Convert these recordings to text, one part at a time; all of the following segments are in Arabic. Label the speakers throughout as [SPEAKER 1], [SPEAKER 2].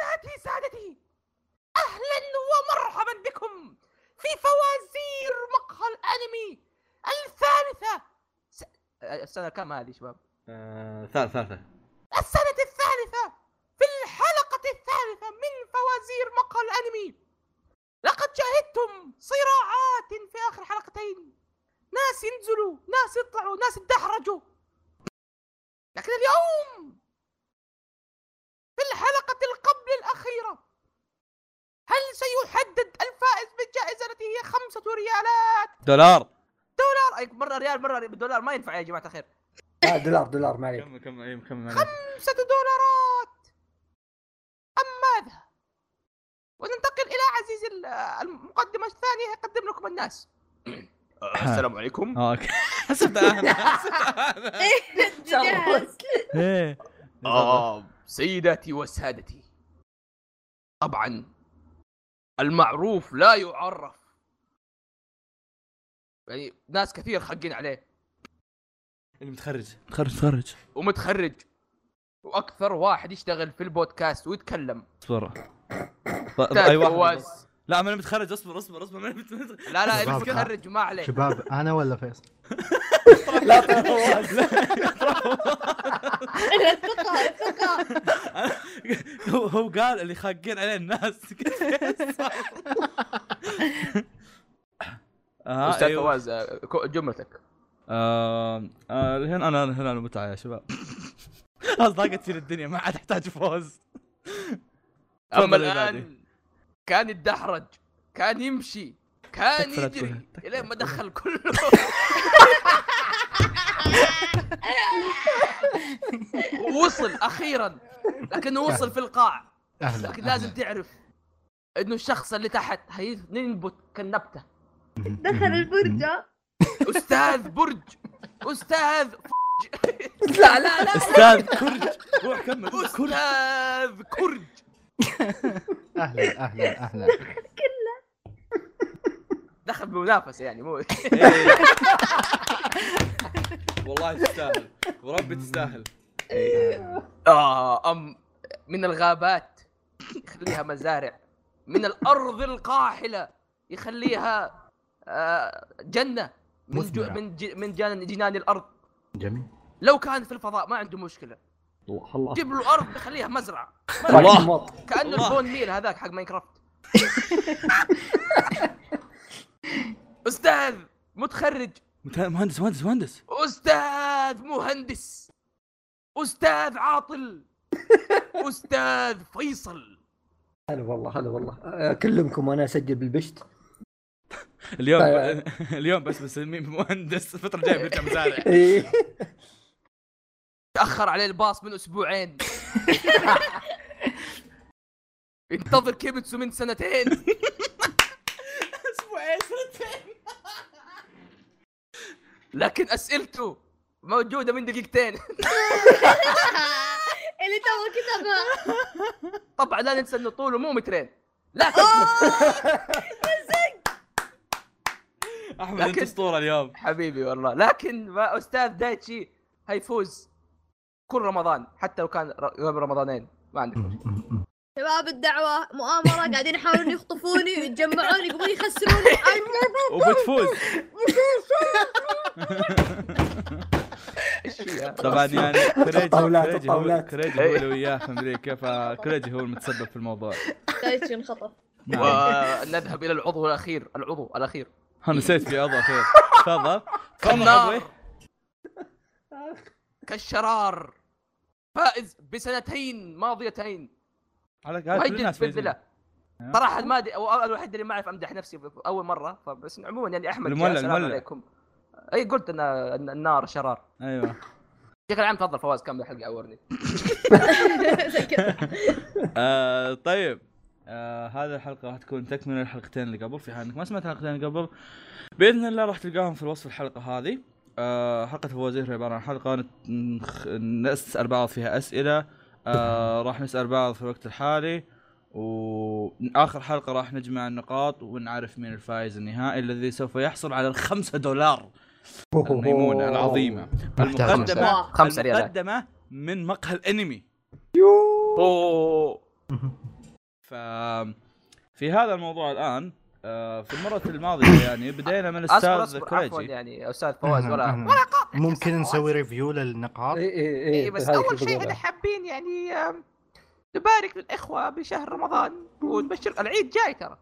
[SPEAKER 1] لسعادتي اهلا ومرحبا بكم في فوازير مقهى الانمي الثالثه س... السنه كم هذه شباب
[SPEAKER 2] آه، ثالث ثالثة
[SPEAKER 1] السنه الثالثه في الحلقه الثالثه من فوازير مقهى الانمي لقد شاهدتم صراعات في اخر حلقتين ناس ينزلوا ناس يطلعوا ناس يدحرجوا لكن اليوم في الحلقة القبل الأخيرة هل سيحدد الفائز بالجائزة التي هي خمسة ريالات
[SPEAKER 2] دولار
[SPEAKER 1] دولار أي مرة ريال مرة ريال بالدولار ما ينفع يا جماعة الخير
[SPEAKER 3] لا دولار دولار ما عليك
[SPEAKER 2] كم كم اي كم
[SPEAKER 1] خمسة دولارات أما ماذا وننتقل إلى عزيزي ال- المقدمة الثانية يقدم لكم الناس آه، السلام عليكم
[SPEAKER 2] اوكي حسبت انا حسبت انا
[SPEAKER 4] جاهز
[SPEAKER 2] ايه
[SPEAKER 1] آه سيداتي وسادتي طبعا المعروف لا يعرف يعني ناس كثير حقين عليه
[SPEAKER 2] اللي متخرج متخرج متخرج
[SPEAKER 1] ومتخرج واكثر واحد يشتغل في البودكاست ويتكلم
[SPEAKER 2] اصبر طيب،
[SPEAKER 1] أستاذ
[SPEAKER 2] أي واحد
[SPEAKER 1] فواز.
[SPEAKER 2] لا ما انا متخرج اصبر اصبر اصبر ما أنا متخرج.
[SPEAKER 1] لا لا اللي
[SPEAKER 5] شباب،
[SPEAKER 1] متخرج ما عليه
[SPEAKER 5] شباب انا ولا فيصل؟
[SPEAKER 3] لا طيب.
[SPEAKER 4] انا ثقه ثقه
[SPEAKER 2] هو هو قال اللي خاقين عليه الناس آه،
[SPEAKER 1] استاذ
[SPEAKER 2] أيوة.
[SPEAKER 1] فواز آه، كو- جملتك
[SPEAKER 2] آه، آه، هنا انا هنا المتعه يا شباب خلاص ضاقت فينا الدنيا ما عاد احتاج فوز
[SPEAKER 1] اما
[SPEAKER 2] تفضل يا نادي.
[SPEAKER 1] الان كان يتدحرج كان يمشي كان
[SPEAKER 2] تكفى لا تقولها،
[SPEAKER 1] يجري
[SPEAKER 2] تكفى
[SPEAKER 1] الين ما دخل كله ووصل اخيرا لكنه وصل في القاع
[SPEAKER 5] اهلا
[SPEAKER 1] لكن لازم
[SPEAKER 5] أهلاً.
[SPEAKER 1] تعرف انه الشخص اللي تحت هينبت كالنبته
[SPEAKER 4] دخل البرجة
[SPEAKER 1] استاذ برج استاذ
[SPEAKER 3] لا لا لا
[SPEAKER 2] استاذ كرج روح كمل كرج
[SPEAKER 1] استاذ كرج
[SPEAKER 5] اهلا اهلا اهلا
[SPEAKER 1] دخل بمنافسه يعني مو
[SPEAKER 2] والله تستاهل وربي تستاهل
[SPEAKER 1] آه أم من الغابات يخليها مزارع من الأرض القاحلة يخليها آه جنة من جو
[SPEAKER 5] مثمرة.
[SPEAKER 1] من ج- من جنان, جنان الأرض
[SPEAKER 5] جميل
[SPEAKER 1] لو كان في الفضاء ما عنده مشكلة
[SPEAKER 2] الله الله
[SPEAKER 1] جيب له أرض يخليها مزرعة
[SPEAKER 2] الله.
[SPEAKER 3] موت.
[SPEAKER 1] كأنه
[SPEAKER 2] الله.
[SPEAKER 1] البون ميل هذاك حق ماينكرافت أستاذ متخرج
[SPEAKER 2] مت- مهندس مهندس مهندس
[SPEAKER 1] أستاذ مهندس أستاذ عاطل أستاذ فيصل
[SPEAKER 3] هلا والله هلا والله اكلمكم وانا اسجل بالبشت
[SPEAKER 2] اليوم
[SPEAKER 3] طيب.
[SPEAKER 2] اليوم بس بسميه مهندس الفتره الجايه بيرجع مزارع
[SPEAKER 3] إيه.
[SPEAKER 1] تاخر عليه الباص من اسبوعين انتظر كيبتسو من سنتين
[SPEAKER 2] اسبوعين سنتين
[SPEAKER 1] لكن اسئلته موجوده من دقيقتين
[SPEAKER 4] اللي تو كتبها
[SPEAKER 1] طبعا لا ننسى انه طوله مو مترين لكن
[SPEAKER 2] آه! احمد
[SPEAKER 1] لكن-
[SPEAKER 2] انت اسطوره اليوم
[SPEAKER 1] حبيبي والله لكن ما استاذ دايتشي هيفوز كل رمضان حتى لو كان ر- قبل رمضانين ما عندك مشكلة.
[SPEAKER 4] شباب الدعوة مؤامرة قاعدين يحاولون يخطفوني ويتجمعون يبغون يخسروني I'm never
[SPEAKER 2] وبتفوز
[SPEAKER 1] ايش فيها؟
[SPEAKER 2] طبعا يعني كريجي
[SPEAKER 3] الطاولات،
[SPEAKER 2] كريجي هو
[SPEAKER 3] الطاولات.
[SPEAKER 2] كريجي هو اللي وياه في امريكا فكريجي هو المتسبب في الموضوع
[SPEAKER 4] دايتشي انخطف
[SPEAKER 2] نعم.
[SPEAKER 1] ونذهب الى العضو الاخير العضو الاخير
[SPEAKER 2] انا نسيت في اضاء خير تفضل تفضل
[SPEAKER 1] كالنار
[SPEAKER 2] أبوي.
[SPEAKER 1] كالشرار فائز بسنتين ماضيتين
[SPEAKER 2] على قاعد كل
[SPEAKER 1] مهجد
[SPEAKER 2] الناس
[SPEAKER 1] في الفيلا صراحه ما ادري أو- أو- الوحيد اللي ما اعرف امدح نفسي اول مره فبس عموما يعني احمد جاء،
[SPEAKER 2] المولع،
[SPEAKER 1] السلام
[SPEAKER 2] المولع.
[SPEAKER 1] عليكم اي قلت ان إن النار شرار
[SPEAKER 2] ايوه
[SPEAKER 1] شكل عام تفضل فواز كمل الحلقه عورني
[SPEAKER 4] زي كذا
[SPEAKER 2] آه طيب آه هذه الحلقة راح تكون تكملة الحلقتين اللي قبل في حال انك ما سمعت الحلقتين اللي قبل بإذن الله راح تلقاهم في وصف الحلقة هذه آه حلقة الفوازير هي عبارة عن حلقة نت- نخ- نسأل بعض فيها أسئلة آه راح نسأل بعض في الوقت الحالي وآخر حلقة راح نجمع النقاط ونعرف مين الفائز النهائي الذي سوف يحصل على الخمسة دولار الميمونة العظيمة
[SPEAKER 5] محتاج
[SPEAKER 2] المقدمة
[SPEAKER 4] مساعدة.
[SPEAKER 1] خمسة ريالات
[SPEAKER 2] المقدمة من مقهى الأنمي
[SPEAKER 3] يو
[SPEAKER 1] اوه
[SPEAKER 2] ف في هذا الموضوع الان آه، في المره الماضيه يعني بدينا من
[SPEAKER 1] اصبر
[SPEAKER 2] الاستاذ
[SPEAKER 1] اصبر عفوا
[SPEAKER 2] كريجي
[SPEAKER 1] يعني استاذ فواز
[SPEAKER 5] أهلاً،
[SPEAKER 1] ولا
[SPEAKER 5] أهلاً. ممكن نسوي ريفيو للنقاط
[SPEAKER 3] اي اي
[SPEAKER 1] اي
[SPEAKER 3] اي
[SPEAKER 1] إيه، بس
[SPEAKER 3] هذه
[SPEAKER 1] اول
[SPEAKER 3] كنت
[SPEAKER 1] شيء
[SPEAKER 3] إيه، بقولها.
[SPEAKER 1] احنا حابين يعني آم، نبارك للاخوه بشهر رمضان ونبشر العيد جاي ترى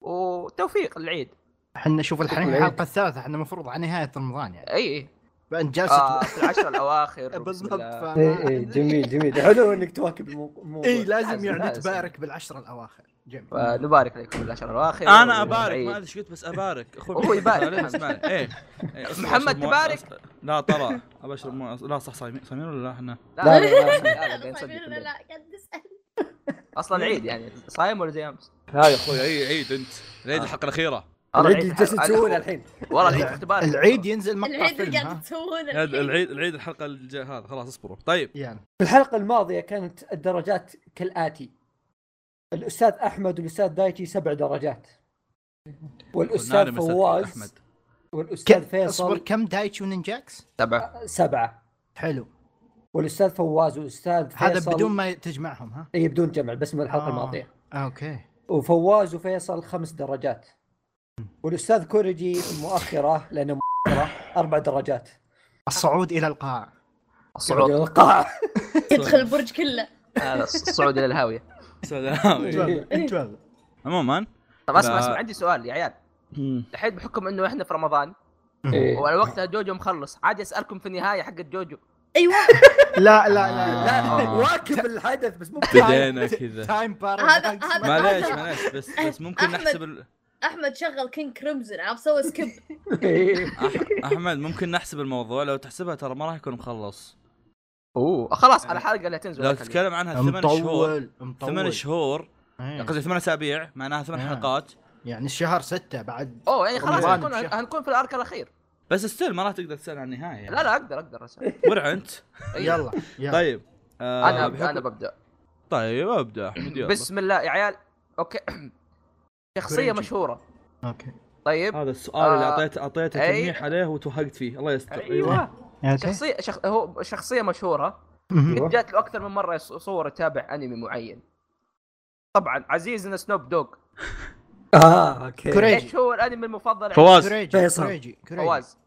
[SPEAKER 1] وتوفيق العيد
[SPEAKER 5] احنا شوف الحين
[SPEAKER 3] شكراً.
[SPEAKER 5] الحلقه الثالثه احنا المفروض على نهايه رمضان يعني
[SPEAKER 1] اي اي
[SPEAKER 5] فانت جالس
[SPEAKER 1] آه في العشر الاواخر بسم
[SPEAKER 5] بالضبط
[SPEAKER 1] الله.
[SPEAKER 5] فما-
[SPEAKER 3] اي اي إيه، جميل جميل حلو انك تواكب المو- الموضوع
[SPEAKER 5] اي لازم
[SPEAKER 1] لازم-
[SPEAKER 5] يعني
[SPEAKER 1] لازم.
[SPEAKER 5] تبارك بالعشر الاواخر جميل
[SPEAKER 1] فنبارك لكم بالعشر الاواخر
[SPEAKER 2] انا ابارك
[SPEAKER 1] والعيد.
[SPEAKER 2] ما ادري ايش قلت بس ابارك اخوي
[SPEAKER 1] هو يبارك.
[SPEAKER 2] لا، اسمعني ايه إيه، أصبر،
[SPEAKER 1] محمد
[SPEAKER 2] أشرب موية.
[SPEAKER 1] تبارك؟
[SPEAKER 2] لا ترى ابى اشرب مويه لا صح صايمين صايمين ولا لا احنا
[SPEAKER 1] لا لا
[SPEAKER 3] لا، لا،
[SPEAKER 1] لا
[SPEAKER 3] لا، لا،
[SPEAKER 1] لا، لا، نصدق
[SPEAKER 4] صايمين ولا
[SPEAKER 1] بالله.
[SPEAKER 4] لا قاعد تسال
[SPEAKER 1] اصلا العيد يعني صايم ولا زي امس؟
[SPEAKER 2] هاي اخوي اي عيد انت العيد
[SPEAKER 1] آه.
[SPEAKER 2] الحلقه الاخيره
[SPEAKER 1] والله
[SPEAKER 3] العيد اللي جالسين
[SPEAKER 1] حلو.
[SPEAKER 3] تسوونه الحين
[SPEAKER 1] والله العيد اختبار
[SPEAKER 5] العيد ينزل مقطع
[SPEAKER 4] العيد
[SPEAKER 5] فيلم
[SPEAKER 4] اللي قاعد
[SPEAKER 5] ها؟
[SPEAKER 4] تسوونه
[SPEAKER 2] هذا العيد العيد الحلقه الجايه هذا خلاص اصبروا طيب
[SPEAKER 5] يعني
[SPEAKER 3] في الحلقه الماضيه كانت الدرجات كالاتي الاستاذ احمد والاستاذ دايتشي سبع درجات
[SPEAKER 5] نعم
[SPEAKER 2] ناري
[SPEAKER 3] والاستاذ
[SPEAKER 2] مساك
[SPEAKER 3] فواز
[SPEAKER 2] احمد
[SPEAKER 3] والاستاذ
[SPEAKER 5] كم اصبر
[SPEAKER 3] فيصل
[SPEAKER 5] كم دايتشي ونينجاكس؟
[SPEAKER 1] تبع
[SPEAKER 3] سبعه
[SPEAKER 5] حلو
[SPEAKER 3] والاستاذ فواز والاستاذ فيصل
[SPEAKER 5] هذا بدون ما تجمعهم ها؟
[SPEAKER 3] اي بدون جمع بس من الحلقه
[SPEAKER 5] آه.
[SPEAKER 3] الماضيه
[SPEAKER 5] اوكي
[SPEAKER 3] وفواز وفيصل خمس درجات والاستاذ كوريجي في المؤخره لانه مؤخره اربع درجات
[SPEAKER 5] الصعود الى القاع
[SPEAKER 1] الصعود
[SPEAKER 3] يعني القاعه
[SPEAKER 4] تدخل البرج كله
[SPEAKER 1] هذا الصعود الى الهاويه
[SPEAKER 2] سلام
[SPEAKER 5] إيه. تفضل
[SPEAKER 2] عموما
[SPEAKER 1] طب اسمع
[SPEAKER 2] لا.
[SPEAKER 1] اسمع عندي سؤال يا عيال الحين بحكم انه احنا في رمضان
[SPEAKER 3] إيه.
[SPEAKER 1] وعلى وقتها جوجو مخلص عادي اسالكم في النهايه حق جوجو
[SPEAKER 4] ايوه
[SPEAKER 5] لا لا لا
[SPEAKER 3] لا
[SPEAKER 2] آه.
[SPEAKER 3] واكب الحدث بس مو
[SPEAKER 2] بدينا كذا
[SPEAKER 5] تايم بار
[SPEAKER 4] هذا- هذا-
[SPEAKER 2] معليش معليش بس بس ممكن
[SPEAKER 4] أحمد.
[SPEAKER 2] نحسب ال-
[SPEAKER 4] احمد شغل كينج كريمزن عرفت سوى سكيب
[SPEAKER 2] أح- احمد ممكن نحسب الموضوع لو تحسبها ترى ما راح يكون مخلص
[SPEAKER 1] اوه آه، خلاص على الحلقه اللي تنزل
[SPEAKER 2] لو تتكلم عنها ثمان شهور
[SPEAKER 5] مطول مطول
[SPEAKER 2] ثمان شهور
[SPEAKER 5] إيه.
[SPEAKER 2] قصدي ثمان اسابيع معناها ثمان
[SPEAKER 5] آه.
[SPEAKER 2] حلقات
[SPEAKER 5] يعني الشهر ستة بعد
[SPEAKER 1] اوه يعني خلاص
[SPEAKER 5] رمضان
[SPEAKER 1] هنكون
[SPEAKER 5] بشهر.
[SPEAKER 1] هنكون في الارك الاخير
[SPEAKER 2] بس ستيل ما راح تقدر تسال عن النهايه يعني.
[SPEAKER 1] لا لا اقدر اقدر أسأل.
[SPEAKER 2] ورع انت
[SPEAKER 5] يلا يلا
[SPEAKER 2] طيب آه،
[SPEAKER 1] انا
[SPEAKER 2] بحكم-
[SPEAKER 1] أبدأ انا ببدا
[SPEAKER 2] طيب ابدا احمد يلا
[SPEAKER 1] بسم الله يا عيال اوكي شخصيه
[SPEAKER 5] كوريجي.
[SPEAKER 1] مشهوره
[SPEAKER 5] اوكي
[SPEAKER 1] طيب
[SPEAKER 2] هذا السؤال اللي
[SPEAKER 1] آه،
[SPEAKER 2] اعطيته اعطيته
[SPEAKER 1] أي.
[SPEAKER 2] تلميح عليه وتوهقت فيه الله يستر أيوه.
[SPEAKER 1] ايوه
[SPEAKER 5] اوكي
[SPEAKER 1] شخصيه شخ... هو شخصيه مشهوره
[SPEAKER 5] مهم.
[SPEAKER 1] قد جات له اكثر من مره يص- يصور يتابع انمي معين طبعا عزيزنا سنوب دوغ
[SPEAKER 3] اه اوكي
[SPEAKER 5] كوريجي.
[SPEAKER 1] ايش هو الانمي المفضل عندك؟
[SPEAKER 2] فواز
[SPEAKER 5] كريجي
[SPEAKER 3] فيصل.
[SPEAKER 5] كريجي كريجي
[SPEAKER 1] فواز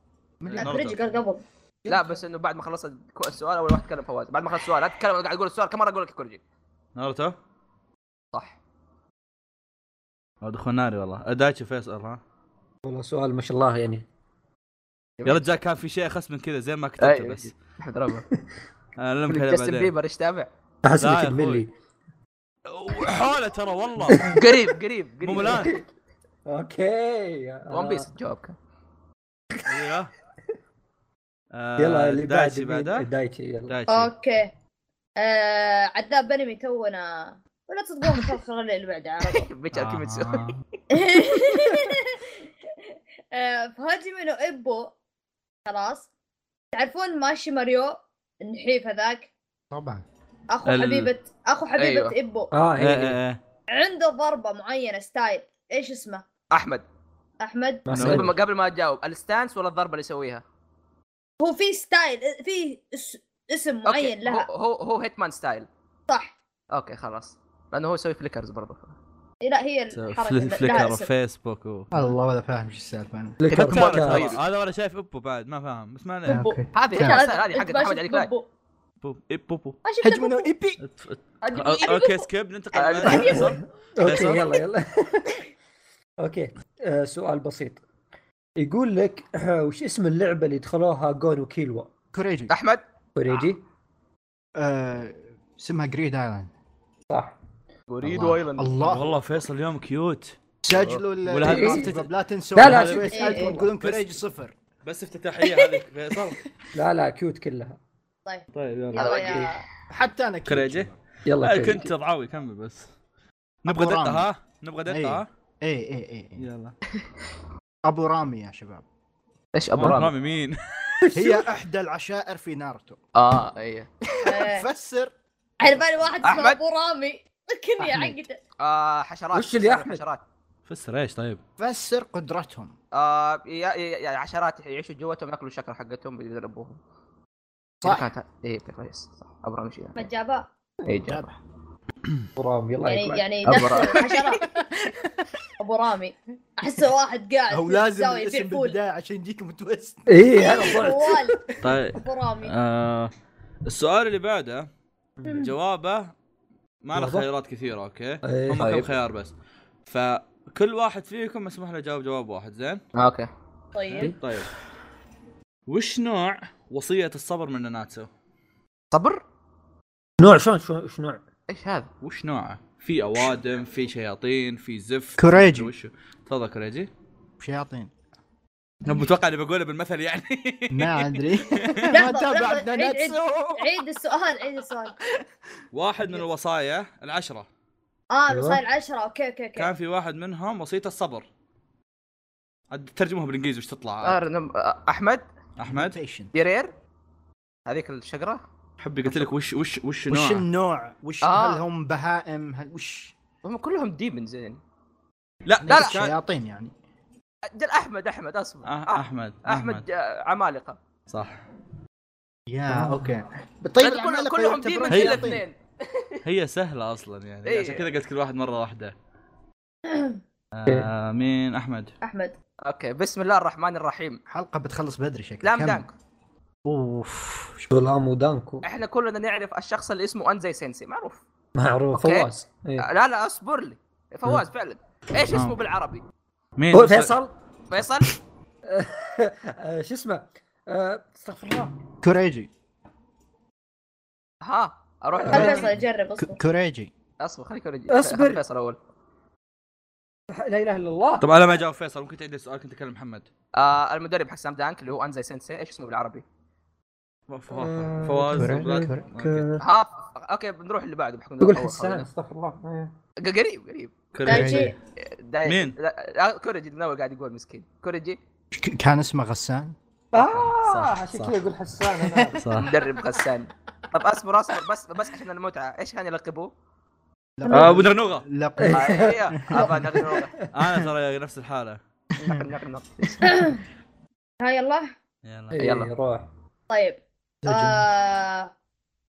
[SPEAKER 5] من
[SPEAKER 2] لا.
[SPEAKER 5] الأول.
[SPEAKER 4] برج قال قبل
[SPEAKER 1] لا بس انه بعد ما خلصت كو- السؤال اول واحد تكلم فواز بعد ما خلص السؤال لا تتكلم أنا قاعد اقول السؤال كم مره اقول لك يا كورجي
[SPEAKER 2] ناروتو
[SPEAKER 1] صح
[SPEAKER 2] دخول ناري والله دايتشي فيصل ها
[SPEAKER 3] والله سؤال ما شاء الله يعني
[SPEAKER 2] يا رجال كان في شيء اخس من كذا زي ما كتبته
[SPEAKER 1] أي.
[SPEAKER 2] بس
[SPEAKER 1] احمد ربه
[SPEAKER 2] أنا ألمك عليه
[SPEAKER 1] جاستن
[SPEAKER 2] بعدين
[SPEAKER 1] بيبر ايش تابع؟
[SPEAKER 3] احس
[SPEAKER 2] لا يا
[SPEAKER 3] انك
[SPEAKER 2] أخوي.
[SPEAKER 3] تملي
[SPEAKER 2] حوله ترى والله
[SPEAKER 1] قريب قريب قريب
[SPEAKER 2] مو ملان
[SPEAKER 3] اوكي
[SPEAKER 1] ون بيس جوابك
[SPEAKER 2] ايوه آه،
[SPEAKER 3] يلا اللي بعد
[SPEAKER 2] دايتشي بعده
[SPEAKER 3] دايتشي يلا
[SPEAKER 2] دايتشي
[SPEAKER 4] اوكي آه عذاب انمي تونا ولا تصدقون الفقره اللي بعدها عرفت
[SPEAKER 1] بيتشر كيميتسو
[SPEAKER 5] آه.
[SPEAKER 4] آه، فهاجم انه ابو خلاص تعرفون ماشي ماريو النحيف هذاك
[SPEAKER 5] طبعا
[SPEAKER 4] اخو
[SPEAKER 2] ال-
[SPEAKER 4] حبيبه اخو حبيبه
[SPEAKER 1] أيوة.
[SPEAKER 4] ابو
[SPEAKER 3] اه
[SPEAKER 2] إيه،
[SPEAKER 3] إيه.
[SPEAKER 2] إيه، إيه.
[SPEAKER 4] عنده ضربه معينه ستايل ايش اسمه
[SPEAKER 1] احمد
[SPEAKER 4] احمد
[SPEAKER 2] آه،
[SPEAKER 1] قبل
[SPEAKER 3] ما
[SPEAKER 1] ما
[SPEAKER 3] سألت.
[SPEAKER 1] قبل ما تجاوب الستانس ولا الضربه اللي يسويها؟
[SPEAKER 4] هو في ستايل في اس- اسم
[SPEAKER 1] أوكي،
[SPEAKER 4] معين لها
[SPEAKER 1] هو هو, هو هيتمان ستايل
[SPEAKER 4] صح
[SPEAKER 1] اوكي خلاص لانه هو يسوي فليكرز برضه
[SPEAKER 4] لا هي الحركه
[SPEAKER 2] فل-
[SPEAKER 4] اللي لها
[SPEAKER 2] فليكر
[SPEAKER 4] اسم
[SPEAKER 2] وفيسبوك و...
[SPEAKER 5] الله ولا فاهم ايش السالفه انا
[SPEAKER 3] لك
[SPEAKER 2] ترى-
[SPEAKER 3] أربعة.
[SPEAKER 1] طيب. إيه.
[SPEAKER 2] هذا ولا شايف ابو بعد ما فاهم بس ما عليه
[SPEAKER 4] بوبو.
[SPEAKER 5] اوكي
[SPEAKER 1] هذه
[SPEAKER 5] كان.
[SPEAKER 1] هيتمان ستايل، هذه
[SPEAKER 4] أنت
[SPEAKER 1] حقت
[SPEAKER 4] ما
[SPEAKER 1] احمد
[SPEAKER 4] شفت
[SPEAKER 1] علي كلاي
[SPEAKER 4] بوبو.
[SPEAKER 2] بوبو إيه، بوبو
[SPEAKER 4] ما شفت
[SPEAKER 5] هجم
[SPEAKER 4] بوبو.
[SPEAKER 5] ايبي
[SPEAKER 2] أت- أت-
[SPEAKER 4] أجيب-
[SPEAKER 2] أ-
[SPEAKER 4] أجيب
[SPEAKER 2] اوكي
[SPEAKER 4] بوبو.
[SPEAKER 2] سكيب ننتقل
[SPEAKER 1] آه،
[SPEAKER 2] بعد.
[SPEAKER 1] فيصل.
[SPEAKER 3] اوكي
[SPEAKER 2] فيصل.
[SPEAKER 3] يلا يلا اوكي آه سؤال بسيط يقول لك آه، وش اسم اللعبه اللي دخلوها جون وكيلوا
[SPEAKER 5] كوريجي
[SPEAKER 1] احمد
[SPEAKER 3] كوريجي
[SPEAKER 5] آه، اسمها جريد ايلاند
[SPEAKER 3] صح
[SPEAKER 1] بوريد
[SPEAKER 5] الله.
[SPEAKER 1] وايلاند
[SPEAKER 5] الله
[SPEAKER 2] والله فيصل اليوم كيوت
[SPEAKER 5] سجلوا ال-
[SPEAKER 2] ولا هذا-
[SPEAKER 5] الانستغرام، لا تنسوا
[SPEAKER 3] لا، لا،
[SPEAKER 5] هذا
[SPEAKER 3] شوف.
[SPEAKER 5] سؤال
[SPEAKER 4] إيه، إيه.
[SPEAKER 5] تقولون كوريجي صفر
[SPEAKER 2] بس افتتاحيه هذه فيصل
[SPEAKER 3] لا لا كيوت كلها
[SPEAKER 2] طيب
[SPEAKER 4] يلا
[SPEAKER 2] يلا
[SPEAKER 1] هذا
[SPEAKER 4] يا-
[SPEAKER 5] حتى انا
[SPEAKER 2] كوريجي.
[SPEAKER 3] يلا
[SPEAKER 2] آه،
[SPEAKER 3] كوريجي.
[SPEAKER 2] كنت ضعاوي كمل بس نبغى
[SPEAKER 5] أبو رامي.
[SPEAKER 2] دقه ها نبغى دقه
[SPEAKER 5] إيه.
[SPEAKER 2] ها
[SPEAKER 5] اي اي اي
[SPEAKER 2] يلا
[SPEAKER 5] ابو رامي يا شباب
[SPEAKER 1] ايش ابو رامي
[SPEAKER 2] رامي مين
[SPEAKER 5] هي احدى العشائر في ناروتو
[SPEAKER 1] اه ايه
[SPEAKER 4] آه،
[SPEAKER 5] فسر
[SPEAKER 4] على بالي واحد اسمه
[SPEAKER 1] أحمد.
[SPEAKER 4] ابو رامي كني
[SPEAKER 5] أحمد.
[SPEAKER 4] عقده
[SPEAKER 1] آه حشرات
[SPEAKER 3] وش اللي يا أحمد؟
[SPEAKER 1] حشرات
[SPEAKER 2] فسر ايش طيب
[SPEAKER 5] فسر قدرتهم
[SPEAKER 1] آه يا يا- يا عشرات يعيشوا جواتهم ياكلوا الشكر حقتهم يدربوهم
[SPEAKER 5] صح.
[SPEAKER 1] كانت ايه إيه، كويس صح ابرم شيء
[SPEAKER 4] ما جابها
[SPEAKER 1] اي جاب
[SPEAKER 5] جابها
[SPEAKER 3] غرام يلا
[SPEAKER 4] يعني
[SPEAKER 3] يكون.
[SPEAKER 4] يعني
[SPEAKER 1] أبو
[SPEAKER 4] دخل
[SPEAKER 1] رامي.
[SPEAKER 4] حشرات ابو رامي احسه واحد قاعد
[SPEAKER 5] او
[SPEAKER 4] في
[SPEAKER 5] لازم
[SPEAKER 4] الزاوية يبيع
[SPEAKER 5] الاسم
[SPEAKER 4] آه، فول
[SPEAKER 5] بالبدايه عشان يجيك متوسط
[SPEAKER 3] ايه انا ضعت
[SPEAKER 4] طوال
[SPEAKER 2] طيب
[SPEAKER 4] ابو رامي
[SPEAKER 2] آه السؤال اللي بعده
[SPEAKER 3] مم.
[SPEAKER 2] جوابه ما له
[SPEAKER 3] واضح؟
[SPEAKER 2] خيارات كثيره اوكي
[SPEAKER 3] إيه.
[SPEAKER 2] هم كم
[SPEAKER 1] طيب.
[SPEAKER 2] خيار بس فكل واحد فيكم مسموح له يجاوب جواب واحد زين
[SPEAKER 1] اوكي
[SPEAKER 4] طيب
[SPEAKER 2] طيب وش نوع وصيه الصبر من ناناتسو
[SPEAKER 1] صبر
[SPEAKER 3] نوع شلون شلون ايش نوع؟
[SPEAKER 1] ايش هذا؟
[SPEAKER 2] وش نوعه في اوادم في شياطين في زفت
[SPEAKER 5] كوريجي.
[SPEAKER 2] وش تفضل كوريجي
[SPEAKER 5] شياطين
[SPEAKER 2] انا متوقع اني بقوله بالمثل يعني
[SPEAKER 5] ما ادري إيه، ما
[SPEAKER 4] لحظة،
[SPEAKER 5] تابع
[SPEAKER 4] لحظة، عيد، عيد.
[SPEAKER 5] ناناتسو
[SPEAKER 4] عيد السؤال عيد السؤال
[SPEAKER 2] واحد من الوصايا العشره
[SPEAKER 4] اه
[SPEAKER 3] أيوة.
[SPEAKER 4] مصاير عشرة اوكي اوكي اوكي
[SPEAKER 2] كان في واحد منهم وصيه الصبر عاد ترجموها بالانجليزي وش تطلع عاد.
[SPEAKER 1] صار آه، نم- احمد
[SPEAKER 2] احمد
[SPEAKER 1] ديرير هذيك الشجره
[SPEAKER 2] حبي قلت لك وش وش وش
[SPEAKER 5] وش
[SPEAKER 2] نوع
[SPEAKER 5] النوع؟ وش
[SPEAKER 1] آه.
[SPEAKER 5] هل هم بهائم؟ هل وش
[SPEAKER 1] هم كلهم ديمنز يعني
[SPEAKER 2] لا
[SPEAKER 1] لا، لا.
[SPEAKER 2] كان-
[SPEAKER 5] شياطين يعني
[SPEAKER 1] أجل احمد احمد اصبر
[SPEAKER 2] أح- احمد
[SPEAKER 1] احمد آه، عمالقه
[SPEAKER 2] صح
[SPEAKER 5] يا اوكي
[SPEAKER 1] طيب
[SPEAKER 5] طيب العمالقة
[SPEAKER 1] كلهم
[SPEAKER 5] يعتبرون
[SPEAKER 1] ديمنز
[SPEAKER 2] هي
[SPEAKER 1] الا
[SPEAKER 3] طيب.
[SPEAKER 5] شياطين.
[SPEAKER 1] اثنين
[SPEAKER 2] هي سهله اصلا يعني
[SPEAKER 1] إيه.
[SPEAKER 2] عشان كذا قلت كل واحد مره واحده آه مين احمد
[SPEAKER 4] احمد
[SPEAKER 1] اوكي بسم الله الرحمن الرحيم
[SPEAKER 5] حلقه بتخلص بدري شكلها
[SPEAKER 1] لام دانك
[SPEAKER 5] اوف
[SPEAKER 3] شولام ودانكو
[SPEAKER 1] احنا كلنا نعرف الشخص اللي اسمه انزي سينسي معروف
[SPEAKER 3] معروف
[SPEAKER 1] أوكي.
[SPEAKER 3] فواز إيه. آه.
[SPEAKER 1] آه، لا لا اصبر لي فواز فعلا ايش اسمه بالعربي؟
[SPEAKER 2] مين
[SPEAKER 3] هو فيصل
[SPEAKER 1] فيصل
[SPEAKER 3] آه، شو اسمه آه، استغفر الله
[SPEAKER 5] كوريجي
[SPEAKER 1] ها اروح
[SPEAKER 3] خل
[SPEAKER 4] خل
[SPEAKER 1] لفيصل.
[SPEAKER 4] فيصل يجرب اصبر
[SPEAKER 5] كوريجي
[SPEAKER 1] اصبر خليك أرجع.
[SPEAKER 3] أصبر.
[SPEAKER 1] خل فيصل اول
[SPEAKER 3] لا اله الا الله
[SPEAKER 2] طب انا ما جاوب فيصل ممكن تعيد السؤال كنت اكلم محمد
[SPEAKER 1] آه المدرب حسام دانك اللي هو انزي سينسي ايش اسمه بالعربي؟
[SPEAKER 3] آه،
[SPEAKER 2] فواز
[SPEAKER 5] كوريجي.
[SPEAKER 2] وبلاد. أوكي.
[SPEAKER 3] ك-
[SPEAKER 1] ها اوكي بنروح اللي بعده بحكم
[SPEAKER 3] تقول
[SPEAKER 1] أول
[SPEAKER 3] حسان
[SPEAKER 1] خبر.
[SPEAKER 3] استغفر الله إيه.
[SPEAKER 1] قريب قريب
[SPEAKER 2] كوريجي
[SPEAKER 4] دايجي
[SPEAKER 1] داي...
[SPEAKER 2] مين؟
[SPEAKER 1] لا- لا، آه، كوريجي من اول قاعد يقول مسكين كوريجي
[SPEAKER 5] ك- كان اسمه غسان
[SPEAKER 3] اه
[SPEAKER 2] صح،
[SPEAKER 3] عشان
[SPEAKER 2] صح.
[SPEAKER 3] كذا اقول حسان انا
[SPEAKER 2] صح
[SPEAKER 1] مدرب غسان طب اصبر اصبر بس بس عشان المتعه ايش كان يلقبوه؟
[SPEAKER 2] آه، أبو درنوغة.
[SPEAKER 5] لقب
[SPEAKER 1] آه، إيه، أبا نغنوغة.
[SPEAKER 2] انا ترى نفس الحاله
[SPEAKER 1] نغن- نغن-
[SPEAKER 4] ها يلا
[SPEAKER 2] يلا
[SPEAKER 3] إيه،
[SPEAKER 1] يلا.
[SPEAKER 3] روح
[SPEAKER 4] طيب آه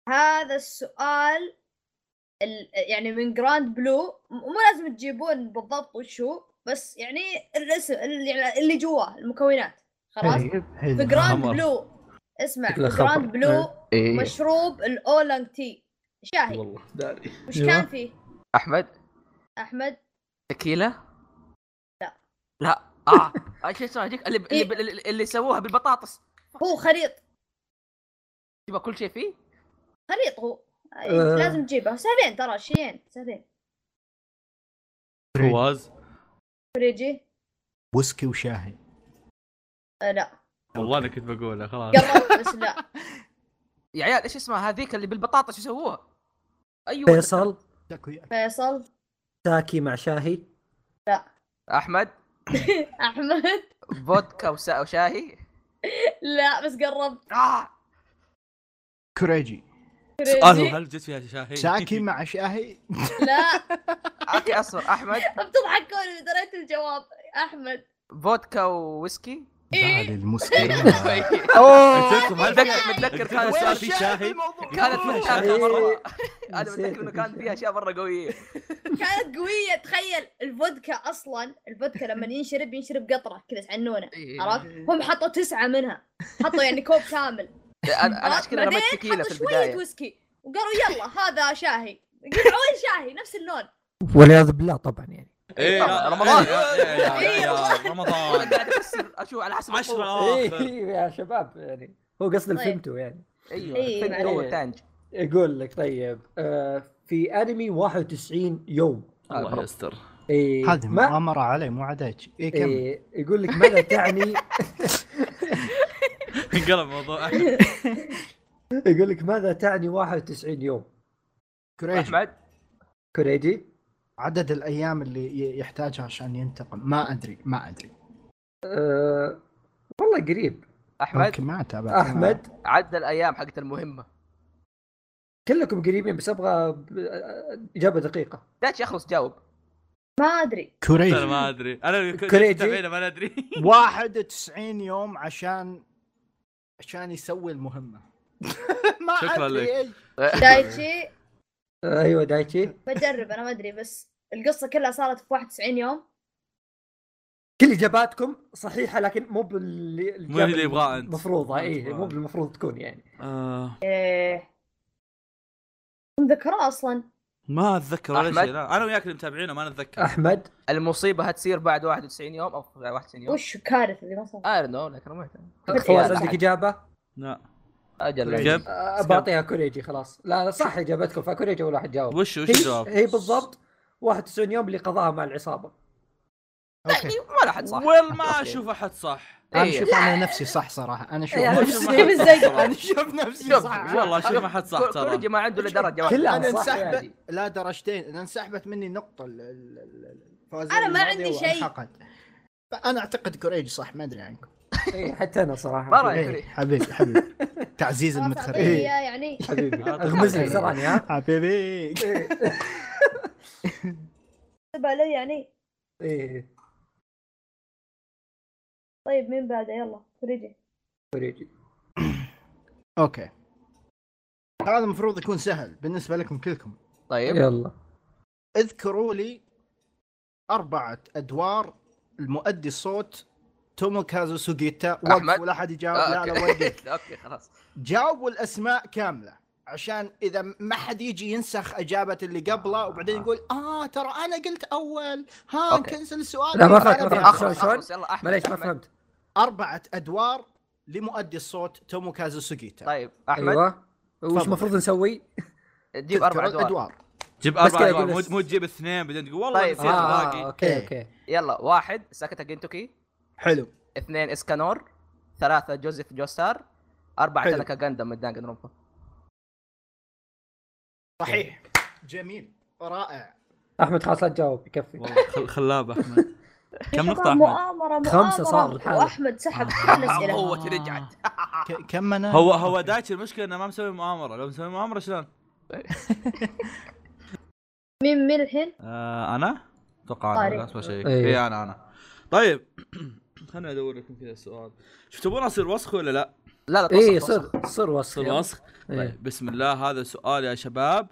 [SPEAKER 4] هذا السؤال ال... يعني من جراند بلو م- مو لازم تجيبون بالضبط وش هو بس يعني الاسم ال- يعني اللي جواه المكونات خلاص في جراند
[SPEAKER 2] خمر.
[SPEAKER 4] بلو اسمع في
[SPEAKER 3] شكله خمر.
[SPEAKER 4] جراند بلو
[SPEAKER 1] إيه.
[SPEAKER 4] مشروب الاولنج تي شاهي
[SPEAKER 2] والله داري
[SPEAKER 4] وش
[SPEAKER 3] أيوة.
[SPEAKER 4] كان فيه
[SPEAKER 1] احمد
[SPEAKER 4] احمد
[SPEAKER 1] تكيلا؟
[SPEAKER 4] لا.
[SPEAKER 1] لا اه ايش اسمه هذيك اللي
[SPEAKER 4] إيه.
[SPEAKER 1] اللي اللي- اللي سووها بالبطاطس
[SPEAKER 4] هو خليط
[SPEAKER 1] تبغى كل شيء فيه؟
[SPEAKER 4] خليط هو أي،
[SPEAKER 3] آه.
[SPEAKER 4] لازم تجيبه سهلين ترى شيئين سهلين
[SPEAKER 2] فواز
[SPEAKER 4] فريجي
[SPEAKER 5] ويسكي وشاهي
[SPEAKER 4] آه لا
[SPEAKER 2] والله انا كنت بقوله خلاص
[SPEAKER 4] قربت بس لا
[SPEAKER 1] يا عيال ايش اسمها هذيك اللي بالبطاطس يسووها؟ ايوه
[SPEAKER 3] فيصل
[SPEAKER 4] فيصل
[SPEAKER 3] ساكي مع شاهي
[SPEAKER 1] احمد
[SPEAKER 4] احمد
[SPEAKER 1] فودكا وسا- وشاهي
[SPEAKER 4] لا بس قربت
[SPEAKER 1] آه.
[SPEAKER 5] كوريجي
[SPEAKER 2] سؤاله
[SPEAKER 4] فريجي
[SPEAKER 2] هل جت فيها شاهي
[SPEAKER 5] ساكي مع شاهي
[SPEAKER 4] لا
[SPEAKER 1] اوكي اصبر احمد
[SPEAKER 4] بتضحكون اذا دريت الجواب احمد
[SPEAKER 1] فودكا وويسكي
[SPEAKER 5] هذه
[SPEAKER 1] إيه.
[SPEAKER 5] المسكينة
[SPEAKER 2] جتكم هل
[SPEAKER 1] متذكر متذكر كانت
[SPEAKER 2] وين
[SPEAKER 1] كانت
[SPEAKER 2] في شاهي
[SPEAKER 1] فيها شاهي
[SPEAKER 3] إيه.
[SPEAKER 1] مره انا متذكر انه
[SPEAKER 3] نسيت.
[SPEAKER 1] كان فيها اشياء مره قويه
[SPEAKER 4] كانت قويه تخيل الفودكا اصلا الفودكا لما ينشرب ينشرب قطره كذا عنونه
[SPEAKER 1] إيه.
[SPEAKER 4] عرفت هم حطوا تسعه منها حطوا يعني كوب كامل
[SPEAKER 1] انا أنا عشان كذا
[SPEAKER 4] بعدين
[SPEAKER 1] رميت تكيله
[SPEAKER 4] حطوا
[SPEAKER 1] في
[SPEAKER 4] شويه
[SPEAKER 1] البدايه
[SPEAKER 4] ويسكي وقالوا يلا هذا شاهي قطعوا شاهي نفس اللون
[SPEAKER 3] والعياذ بالله طبعا يعني
[SPEAKER 2] إيه، لا،
[SPEAKER 1] رمضان.
[SPEAKER 2] يا- يا- يا- يا- يا-
[SPEAKER 1] أنا
[SPEAKER 2] رمضان
[SPEAKER 1] قاعد افسر اشوف على حسب
[SPEAKER 2] عشرة
[SPEAKER 1] القوة.
[SPEAKER 2] آخر.
[SPEAKER 3] ايه يا شباب يعني هو قصد اللي
[SPEAKER 4] طيب.
[SPEAKER 3] فهمته يعني
[SPEAKER 1] ايوه
[SPEAKER 4] إيه،
[SPEAKER 1] فين
[SPEAKER 3] معليش.
[SPEAKER 1] قوه تانج
[SPEAKER 3] يقول لك طيب آه في انمي 91 يوم
[SPEAKER 2] الله يستر
[SPEAKER 3] إيه
[SPEAKER 5] هذه
[SPEAKER 3] ما
[SPEAKER 5] مؤامرة علي مو عداك اي كم
[SPEAKER 3] إيه يقول لك ماذا تعني
[SPEAKER 2] انقلب الموضوع
[SPEAKER 3] يقول لك ماذا تعني 91 يوم
[SPEAKER 5] كوريجي
[SPEAKER 1] احمد
[SPEAKER 3] كوريجي
[SPEAKER 5] عدد الايام اللي ي- يحتاجها عشان ينتقم ما ادري ما ادري
[SPEAKER 3] آه والله قريب
[SPEAKER 1] احمد
[SPEAKER 5] ممكن ما آه، اتابع
[SPEAKER 2] آه.
[SPEAKER 3] احمد
[SPEAKER 1] عد الايام حقت المهمه
[SPEAKER 3] كلكم قريبين بس آه، ابغى ب- اجابه دقيقه
[SPEAKER 1] داتش يخلص جاوب
[SPEAKER 4] ما ادري
[SPEAKER 2] انا
[SPEAKER 5] كوريجي
[SPEAKER 2] ما ادري انا كنت
[SPEAKER 3] كوريجي.
[SPEAKER 2] متابعينه ما ادري
[SPEAKER 5] 91 يوم عشان عشان يسوي المهمة ما
[SPEAKER 2] شكراً
[SPEAKER 5] ادري
[SPEAKER 2] لك.
[SPEAKER 5] ايش
[SPEAKER 4] دايتشي
[SPEAKER 3] ايوه دايتشي
[SPEAKER 4] بجرب انا ما ادري بس القصه كلها صارت في 91 يوم
[SPEAKER 3] كل اجاباتكم صحيحه لكن مو باللي
[SPEAKER 2] مو اللي يبغاه انت
[SPEAKER 3] المفروضه
[SPEAKER 2] ما
[SPEAKER 3] اي
[SPEAKER 2] تبغاه.
[SPEAKER 3] إيه، مو بالمفروض تكون يعني
[SPEAKER 2] آه
[SPEAKER 4] ايه مذكراه اصلا
[SPEAKER 2] ما اتذكر ولا
[SPEAKER 1] أحمد؟
[SPEAKER 2] شيء لا، انا وياك اللي متابعينه ما نتذكر
[SPEAKER 3] احمد
[SPEAKER 1] المصيبه هتسير بعد 91 يوم او 91 يوم
[SPEAKER 4] وش كارثه اللي ما صار
[SPEAKER 1] ايرون نو لكن ما يهتم.
[SPEAKER 3] فواز عندك اجابه؟
[SPEAKER 2] لا
[SPEAKER 1] اجل
[SPEAKER 2] جاب
[SPEAKER 3] آه، بعطيها كوريجي خلاص لا لا، صح اجابتكم فكوريجي اول واحد جاوب
[SPEAKER 2] وش وش
[SPEAKER 3] هي-
[SPEAKER 2] الجواب؟
[SPEAKER 3] هي بالضبط 91 يوم اللي قضاها مع العصابه
[SPEAKER 5] اوكي
[SPEAKER 1] أيوة، ما راح إيه. صح
[SPEAKER 2] والله ما اشوف احد صح
[SPEAKER 5] انا اشوف انا نفسي صح صراحه انا اشوف
[SPEAKER 3] يعني
[SPEAKER 5] نفسي
[SPEAKER 3] نفس-
[SPEAKER 5] صح.
[SPEAKER 3] نفس
[SPEAKER 4] زي-
[SPEAKER 5] انا اشوف نفسي
[SPEAKER 1] شوف،
[SPEAKER 5] صح
[SPEAKER 2] والله اشوف احد صح ترى
[SPEAKER 1] كوريجي ما عنده الا درجه واحده
[SPEAKER 3] كلها
[SPEAKER 5] انا
[SPEAKER 3] صح
[SPEAKER 5] انسحبت
[SPEAKER 3] يعني.
[SPEAKER 5] لا درجتين انا انسحبت مني نقطه ال- ال- ال- الفوازير
[SPEAKER 4] أنا ما
[SPEAKER 5] الماضية
[SPEAKER 4] عندي شيء.
[SPEAKER 5] وانحقت. فانا اعتقد كوريجي صح ما ادري عنكم
[SPEAKER 3] إي، إيه، حتى انا صراحه
[SPEAKER 1] ما
[SPEAKER 2] طيب،
[SPEAKER 1] رأيك؟
[SPEAKER 5] إيه، حبيبي حبيبي تعزيز
[SPEAKER 4] خلاص أعطيني
[SPEAKER 5] المدخلين
[SPEAKER 4] إياه يعني
[SPEAKER 3] حبيبي إيه،
[SPEAKER 2] آه،
[SPEAKER 3] اغمز لي
[SPEAKER 5] طبعاً.
[SPEAKER 3] تراني ها
[SPEAKER 5] حبيبي
[SPEAKER 4] سب علي يعني
[SPEAKER 3] ايه
[SPEAKER 4] طيب مين بعده يلا فريدي
[SPEAKER 3] كوريجي
[SPEAKER 5] اوكي هذا المفروض يكون سهل بالنسبه لكم كلكم
[SPEAKER 1] طيب
[SPEAKER 3] يلا
[SPEAKER 5] اذكروا لي أربعة أدوار المؤدي الصوت تومو كازو سوجيتا
[SPEAKER 1] أحمد؟
[SPEAKER 5] وقف ولا أحد يجاوب
[SPEAKER 1] آه،
[SPEAKER 5] لا لا وقف
[SPEAKER 1] اوكي اوكي خلاص
[SPEAKER 5] جاوبوا الأسماء كاملة عشان إذا ما حد يجي ينسخ إجابة اللي قبله وبعدين يقول آه ترى أنا قلت أول ها
[SPEAKER 1] أوكي.
[SPEAKER 5] كنسل السؤال
[SPEAKER 3] لا، ما
[SPEAKER 5] أنا
[SPEAKER 3] فهمت، ما
[SPEAKER 5] بيعرف.
[SPEAKER 3] فهمت.
[SPEAKER 1] اخلص
[SPEAKER 3] شلون؟
[SPEAKER 1] اخلص يلا احمد
[SPEAKER 3] معليش ما
[SPEAKER 1] أحمد.
[SPEAKER 3] فهمت
[SPEAKER 5] أربعة أدوار لمؤدي الصوت تومو كازو سوجيتا
[SPEAKER 1] طيب احمد
[SPEAKER 3] ايوه وش
[SPEAKER 5] تفضل.
[SPEAKER 3] المفروض نسوي؟
[SPEAKER 1] جيب اربع ادوار
[SPEAKER 2] جيب
[SPEAKER 3] بس
[SPEAKER 2] اربع
[SPEAKER 3] كذا
[SPEAKER 2] أدوار،
[SPEAKER 3] أقول
[SPEAKER 2] مو
[SPEAKER 3] بس.
[SPEAKER 2] مو تجيب اثنين بعدين تقول والله
[SPEAKER 1] طيب.
[SPEAKER 2] نسيت
[SPEAKER 3] اه
[SPEAKER 2] الباقي
[SPEAKER 3] اوكي
[SPEAKER 5] إيه.
[SPEAKER 3] اوكي
[SPEAKER 1] يلا واحد ساكتا جنتوكي
[SPEAKER 5] حلو
[SPEAKER 1] اثنين اسكانور ثلاثة جوزيف جوستار أربعة
[SPEAKER 5] حلو.
[SPEAKER 1] تنكا جندم من دانجن رومبا
[SPEAKER 5] صحيح إيه. جميل رائع
[SPEAKER 3] احمد خلاص لا تجاوب يكفي
[SPEAKER 2] والله خل- خلاب احمد كم
[SPEAKER 4] يا
[SPEAKER 2] نقطة
[SPEAKER 4] شباب،
[SPEAKER 2] احمد؟
[SPEAKER 4] مؤامرة مؤامرة
[SPEAKER 3] خمسة صار الحالة.
[SPEAKER 4] واحمد سحب كل الأسئلة
[SPEAKER 1] قوة رجعت
[SPEAKER 5] ك- كم أنا
[SPEAKER 2] هو هو دايتش المشكلة انه ما مسوي مؤامرة، لو مسوي مؤامرة شلون؟
[SPEAKER 4] مين مين الحين؟
[SPEAKER 2] آه انا؟ اتوقع
[SPEAKER 4] طارق.
[SPEAKER 2] انا لا اسمع شيء
[SPEAKER 3] إيه.
[SPEAKER 2] اي انا انا طيب خليني ادور لكم كذا السؤال شوف تبون اصير وسخ ولا لا؟
[SPEAKER 1] لا لا
[SPEAKER 3] ايه
[SPEAKER 1] توصل، توصل.
[SPEAKER 3] صر صر وصل
[SPEAKER 2] اصير وسخ؟
[SPEAKER 3] إيه.
[SPEAKER 2] طيب بسم الله هذا سؤال يا شباب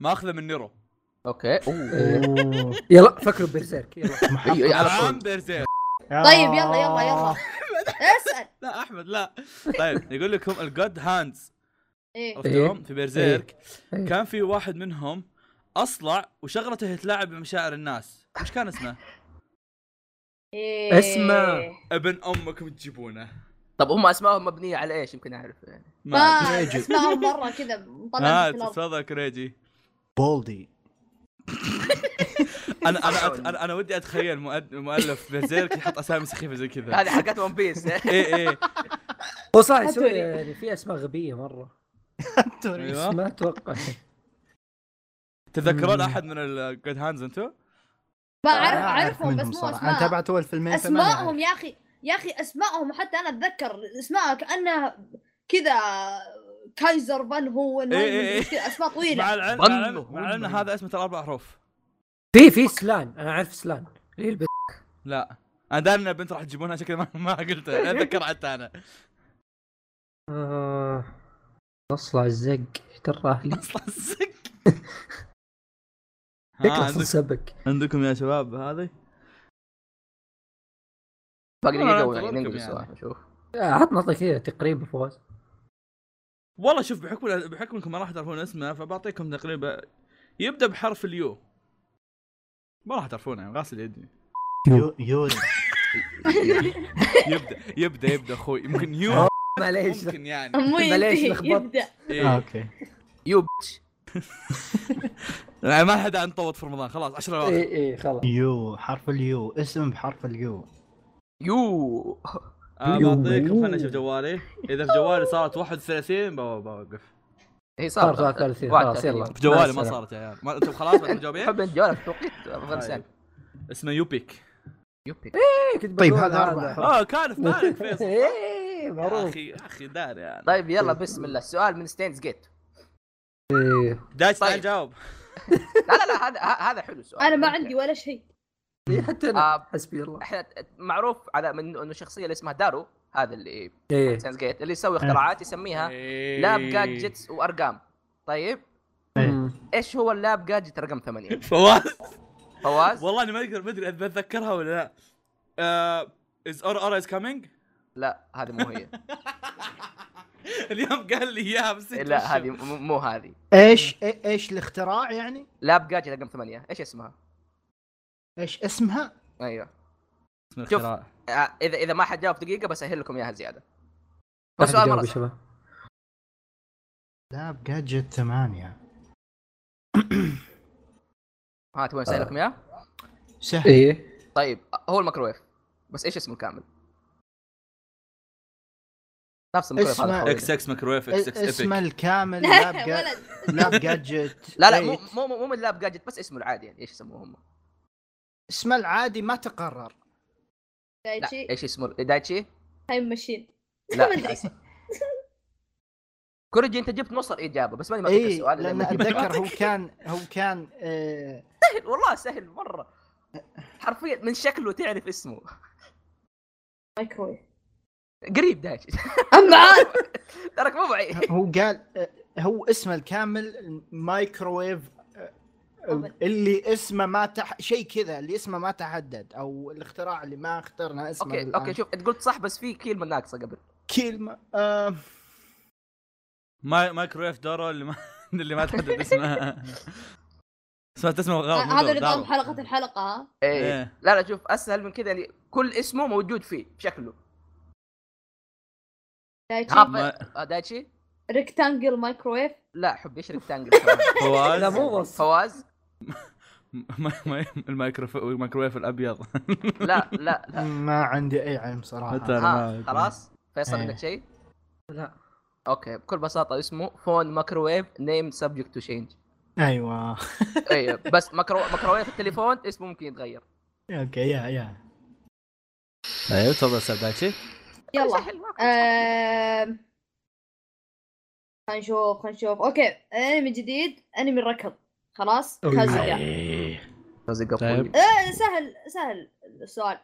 [SPEAKER 2] ماخذه من نيرو
[SPEAKER 1] اوكي أوه.
[SPEAKER 3] إيه،
[SPEAKER 5] أوه.
[SPEAKER 3] يلا فكروا بيرسيرك يلا
[SPEAKER 1] أيوة، أيوة، إيه، على طول.
[SPEAKER 2] عام بيرزير
[SPEAKER 4] طيب يلا يلا
[SPEAKER 5] آه.
[SPEAKER 4] يلا اسأل
[SPEAKER 2] لا احمد لا طيب يقول لكم الجود هاندز
[SPEAKER 4] ايه
[SPEAKER 2] عرفتهم في بيرزيرك
[SPEAKER 3] إيه.
[SPEAKER 2] كان في واحد منهم اصلع وشغلته يتلاعب بمشاعر الناس وش كان اسمه؟
[SPEAKER 4] إيه.
[SPEAKER 3] اسمع.
[SPEAKER 2] ابن امكم تجيبونه
[SPEAKER 1] طب هم اسمائهم مبنية على ايش يمكن اعرف يعني
[SPEAKER 2] ما أدري.
[SPEAKER 4] ما اسمعهم مرة كذا مطلع
[SPEAKER 2] ها
[SPEAKER 4] في الأرض
[SPEAKER 2] آه، تفضل كريجي
[SPEAKER 5] بولدي
[SPEAKER 2] انا انا أت- انا انا ودي اتخيل مؤد- مؤلف بيرزيرك يحط اسامي سخيفه زي كذا
[SPEAKER 1] هذه حقت ون بيس
[SPEAKER 2] ايه ايه
[SPEAKER 3] هو صح يسوي
[SPEAKER 4] أدري.
[SPEAKER 3] يعني في اسماء غبيه مره
[SPEAKER 2] أيوة.
[SPEAKER 3] ما اتوقع
[SPEAKER 2] تتذكرون
[SPEAKER 3] مم.
[SPEAKER 2] احد من الجود هاندز انتم؟
[SPEAKER 4] ما
[SPEAKER 5] آه،
[SPEAKER 4] اعرف اعرفهم بس مو
[SPEAKER 5] انا
[SPEAKER 4] اسماء
[SPEAKER 5] تابعت اول فيلمين فما أنا
[SPEAKER 4] اسمائهم يا اخي يا اخي اسمائهم حتى انا اتذكر اسماء كانها كذا كايزر فان هو
[SPEAKER 2] إيه، إيه، إيه.
[SPEAKER 4] اسماء طويله
[SPEAKER 2] مع العلم مع
[SPEAKER 1] والله،
[SPEAKER 2] العلم مع العلم
[SPEAKER 5] والله.
[SPEAKER 2] هذا اسمه ترى اربع احرف
[SPEAKER 3] في في سلان انا اعرف سلان إيه اللي يلبس
[SPEAKER 2] لا انا داري ان البنت راح تجيبونها شكلي ما, ما قلتها اتذكر حتى انا
[SPEAKER 3] آه، اصلع الزق تراه لي
[SPEAKER 2] اصلا الزق ها،
[SPEAKER 3] يطلع صوت
[SPEAKER 2] آه، عندك-
[SPEAKER 3] سبك
[SPEAKER 2] عندكم يا شباب هذه؟
[SPEAKER 1] باقي دقيقة
[SPEAKER 2] آه،
[SPEAKER 1] وننقل
[SPEAKER 2] تذكركم
[SPEAKER 1] السؤال
[SPEAKER 2] يعني.
[SPEAKER 1] نشوف
[SPEAKER 3] آه، عط نعطي كذا تقريبا فواز
[SPEAKER 2] والله شوف بحكم بحكم انكم ما راح تعرفون اسمه فبعطيكم تقريبا يبدا بحرف اليو ما راح تعرفونه يعني غاسل يدي
[SPEAKER 5] يو- يوري
[SPEAKER 2] يبدا يبدا يبدا اخوي يمكن
[SPEAKER 1] آه،
[SPEAKER 2] يو
[SPEAKER 3] معليش
[SPEAKER 2] ممكن يعني
[SPEAKER 4] مو
[SPEAKER 3] بلاش
[SPEAKER 4] ينتهي،
[SPEAKER 3] لخبطت.
[SPEAKER 4] يبدا
[SPEAKER 2] إيه.
[SPEAKER 5] اوكي
[SPEAKER 1] يو بيتش
[SPEAKER 2] يعني ما حد عن طوط في رمضان خلاص 10
[SPEAKER 1] إيه.
[SPEAKER 2] اواخر
[SPEAKER 3] اي اي إيه، خلاص
[SPEAKER 5] يو حرف اليو اسم بحرف اليو
[SPEAKER 1] يو
[SPEAKER 2] آه،
[SPEAKER 3] يو.
[SPEAKER 2] بعطيكم خليني اشوف جوالي اذا في جوالي صارت 31 بو- بوقف
[SPEAKER 1] هي
[SPEAKER 3] صار
[SPEAKER 1] صارت
[SPEAKER 3] 33
[SPEAKER 1] إيه، واحد
[SPEAKER 3] خلاص
[SPEAKER 1] ثلاثين.
[SPEAKER 3] يلا
[SPEAKER 2] في جوالي ما
[SPEAKER 3] السلامة.
[SPEAKER 2] صارت يا عيال ما انتم خلاص بعد جوابين
[SPEAKER 1] حب انت جوالك في توقيت
[SPEAKER 3] طيب.
[SPEAKER 1] افغانستان
[SPEAKER 2] اسمه يوبيك
[SPEAKER 1] يوبي
[SPEAKER 3] إيه، كنت
[SPEAKER 5] طيب،
[SPEAKER 3] بقول
[SPEAKER 5] هذا أربعة.
[SPEAKER 2] اه كان في بالك فيصل
[SPEAKER 3] إيه، إيه،
[SPEAKER 2] يا
[SPEAKER 3] معروف
[SPEAKER 2] اخي يا اخي داري يعني
[SPEAKER 1] طيب يلا بسم الله السؤال من ستينز جيت
[SPEAKER 3] إيه.
[SPEAKER 2] دايس
[SPEAKER 1] طيب.
[SPEAKER 2] تعال جاوب
[SPEAKER 1] لا لا لا هذا ه- هذا حلو السؤال
[SPEAKER 4] انا ما عندي ولا شيء
[SPEAKER 3] إيه، حتى
[SPEAKER 1] آه،
[SPEAKER 3] انا حسبي الله
[SPEAKER 1] احنا معروف على من انه شخصيه اللي اسمها دارو هذا اللي
[SPEAKER 3] ايه
[SPEAKER 2] إيه.
[SPEAKER 1] ساينس جيت اللي يسوي اختراعات يسميها لاب جادجتس وارقام طيب
[SPEAKER 3] مم.
[SPEAKER 1] ايش هو اللاب جاجت رقم ثمانية
[SPEAKER 2] فواز
[SPEAKER 1] فواز
[SPEAKER 2] والله اني ما اقدر ما ادري أت- بتذكرها ولا آه، لا از اور اور از كامينج
[SPEAKER 1] لا هذه مو هي
[SPEAKER 2] اليوم قال لي اياها بس
[SPEAKER 1] لا هذه مو- مو هذه
[SPEAKER 5] ايش إي- ايش إيه، الاختراع يعني؟
[SPEAKER 1] لاب جاجت رقم ثمانية ايش اسمها؟
[SPEAKER 5] ايش اسمها؟
[SPEAKER 1] ايوه شوف.
[SPEAKER 2] شوف
[SPEAKER 1] آه، اذا اذا ما حد جاوب دقيقة بسهل لكم اياها زيادة
[SPEAKER 3] واحد
[SPEAKER 1] سؤال
[SPEAKER 3] يجاوب
[SPEAKER 1] مرة
[SPEAKER 3] يا شباب
[SPEAKER 5] لاب جادجت ثمانية
[SPEAKER 1] ها تبغى اسهل لكم اياها؟
[SPEAKER 5] سهل
[SPEAKER 3] ايه
[SPEAKER 1] طيب هو الميكروويف بس ايش اسمه كامل؟ نفس الميكروويف
[SPEAKER 5] اسمه
[SPEAKER 1] هذا
[SPEAKER 2] اكس
[SPEAKER 1] الخويلي.
[SPEAKER 2] اكس مايكرويف اكس اكس
[SPEAKER 5] اسمه
[SPEAKER 2] ايبك
[SPEAKER 5] إيه، الكامل
[SPEAKER 4] لا
[SPEAKER 5] لاب جا-
[SPEAKER 4] ولد
[SPEAKER 5] لاب إيه. جادجت
[SPEAKER 1] لا لا
[SPEAKER 5] 8.
[SPEAKER 1] مو
[SPEAKER 4] طيب.
[SPEAKER 1] مو مو, مو من لاب جاجت بس اسمه العادي يعني ايش يسموه هم؟
[SPEAKER 5] اسمه العادي ما تقرر
[SPEAKER 1] لا
[SPEAKER 4] دايتشي
[SPEAKER 1] ايش اسمه دايتشي؟
[SPEAKER 4] تايم ماشين
[SPEAKER 1] لا
[SPEAKER 4] ما أدري.
[SPEAKER 1] كوريجي انت جبت نص الاجابه بس ماني ما
[SPEAKER 5] اي
[SPEAKER 1] إيه السؤال
[SPEAKER 5] لان
[SPEAKER 1] ما جبت الجواب.
[SPEAKER 5] اتذكر هو كان هو كان آه،
[SPEAKER 1] سهل والله سهل مره حرفيا من شكله تعرف اسمه
[SPEAKER 4] مايكرويف
[SPEAKER 1] قريب دايتشي
[SPEAKER 4] اما عاد
[SPEAKER 1] تراك مو بعيد
[SPEAKER 5] هو قال آه، هو اسمه الكامل مايكرويف آه،
[SPEAKER 4] أوبن.
[SPEAKER 5] اللي اسمه ما تح... شيء كذا اللي اسمه ما تحدد او الاختراع اللي ما اخترنا اسمه
[SPEAKER 1] اوكي
[SPEAKER 5] الآن.
[SPEAKER 1] اوكي شوف انت قلت صح بس في كلمه ناقصه قبل
[SPEAKER 5] كلمه آه...
[SPEAKER 2] ماي- مايكرويف دورو اللي ما اللي ما تحدد اسمها اسمها تسمع غلط مو
[SPEAKER 4] هذا
[SPEAKER 2] دورو،
[SPEAKER 4] نظام
[SPEAKER 2] دارو.
[SPEAKER 4] حلقه الحلقه ها
[SPEAKER 1] ايه
[SPEAKER 2] إيه.
[SPEAKER 1] لا لا شوف اسهل من كذا يعني كل اسمه موجود فيه شكله
[SPEAKER 4] دايتشي
[SPEAKER 1] ها، آه، دايتشي
[SPEAKER 4] ريكتانجل مايكرويف
[SPEAKER 1] لا حب يشرب تانجل
[SPEAKER 2] فواز
[SPEAKER 3] لا مو وصف
[SPEAKER 1] فواز
[SPEAKER 2] م- م- المايكروف- الميكروويف الابيض
[SPEAKER 1] لا لا لا
[SPEAKER 5] ما عندي اي علم صراحه
[SPEAKER 2] حتى-
[SPEAKER 1] ها خلاص فيصل
[SPEAKER 5] إيه.
[SPEAKER 1] عندك شيء؟
[SPEAKER 3] لا
[SPEAKER 1] اوكي بكل بساطه اسمه فون مايكروويف نيم سبجكت تو تشينج
[SPEAKER 5] ايوه
[SPEAKER 1] ايوه بس مايكرو مايكروويف التليفون اسمه ممكن يتغير
[SPEAKER 5] اوكي يا يا
[SPEAKER 3] أيوه،
[SPEAKER 2] طيب تفضل استاذ دايتشي
[SPEAKER 4] يلا
[SPEAKER 1] سهل، ما في
[SPEAKER 4] آم، خلينا نشوف خلينا نشوف اوكي انمي جديد انمي الركض خلاص
[SPEAKER 3] أوه.
[SPEAKER 4] كازويا
[SPEAKER 2] إيه.
[SPEAKER 1] رزق
[SPEAKER 2] طيب.
[SPEAKER 1] أبوي.
[SPEAKER 4] آه، سهل سهل السؤال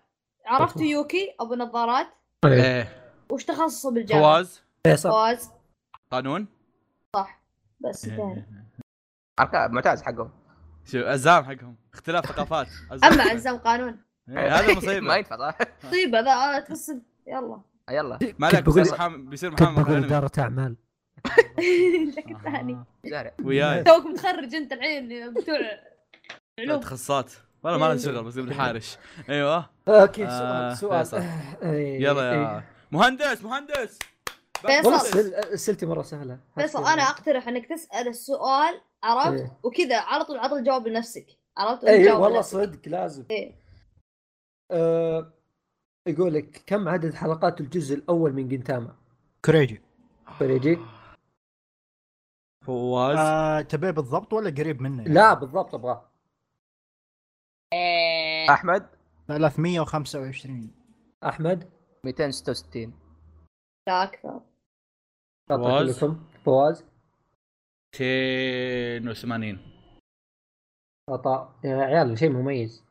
[SPEAKER 4] عرفت يوكي ابو نظارات
[SPEAKER 3] ايه
[SPEAKER 2] ايه
[SPEAKER 4] وش تخصصه بالجامعه؟
[SPEAKER 2] فواز
[SPEAKER 3] إيه، صح
[SPEAKER 4] فواز
[SPEAKER 2] قانون
[SPEAKER 4] بس
[SPEAKER 3] إيه.
[SPEAKER 4] انتهينا
[SPEAKER 1] عرفت- معتاز حقهم
[SPEAKER 2] شو الزام حقهم اختلاف ثقافات أزام.
[SPEAKER 4] اما عزام قانون
[SPEAKER 2] إيه، هذا
[SPEAKER 1] ما
[SPEAKER 2] مصيبه
[SPEAKER 1] ينفع صح؟
[SPEAKER 4] طيب هذا آه، تخصص يلا
[SPEAKER 1] يلا
[SPEAKER 2] ما عليك
[SPEAKER 3] كنت بقول-
[SPEAKER 2] بيصير محام- بيصير
[SPEAKER 3] كنت
[SPEAKER 2] محامي
[SPEAKER 3] بقول
[SPEAKER 2] بالأنمي.
[SPEAKER 3] اداره اعمال
[SPEAKER 4] لك الثاني
[SPEAKER 3] آه.
[SPEAKER 1] زارع
[SPEAKER 2] وياي
[SPEAKER 4] توك متخرج انت الحين بتوع علوم
[SPEAKER 2] تخصصات والله ما لنا شغل بس ابن حارش ايوه
[SPEAKER 3] اوكي
[SPEAKER 2] آه،
[SPEAKER 3] سؤال سؤال
[SPEAKER 2] فيصل.
[SPEAKER 3] إيه،
[SPEAKER 2] يلا يا
[SPEAKER 3] إيه.
[SPEAKER 2] مهندس مهندس
[SPEAKER 3] والله
[SPEAKER 4] فيصل.
[SPEAKER 3] سل- اسئلتي مره سهله
[SPEAKER 4] فيصل انا اقترح انك تسال السؤال عرفت
[SPEAKER 3] إيه.
[SPEAKER 4] وكذا على طول عطل جواب لنفسك عرفت
[SPEAKER 3] اي
[SPEAKER 4] وجاوب
[SPEAKER 3] إيه، والله
[SPEAKER 4] لنفسك.
[SPEAKER 3] صدق لازم
[SPEAKER 4] إيه.
[SPEAKER 3] آه، يقول لك كم عدد حلقات الجزء الاول من جنتاما؟ طيب،
[SPEAKER 5] كريجي
[SPEAKER 3] فريجي؟
[SPEAKER 2] آه. فواز
[SPEAKER 5] آه، تبيه بالضبط ولا قريب منه يعني؟
[SPEAKER 3] لا بالضبط ابغاه
[SPEAKER 1] احمد
[SPEAKER 5] 325
[SPEAKER 3] احمد
[SPEAKER 1] 266
[SPEAKER 4] لا اكثر
[SPEAKER 3] شاطر
[SPEAKER 2] فواز.
[SPEAKER 3] كلكم فواز
[SPEAKER 2] 280
[SPEAKER 3] عطاء يا عيال شيء مميز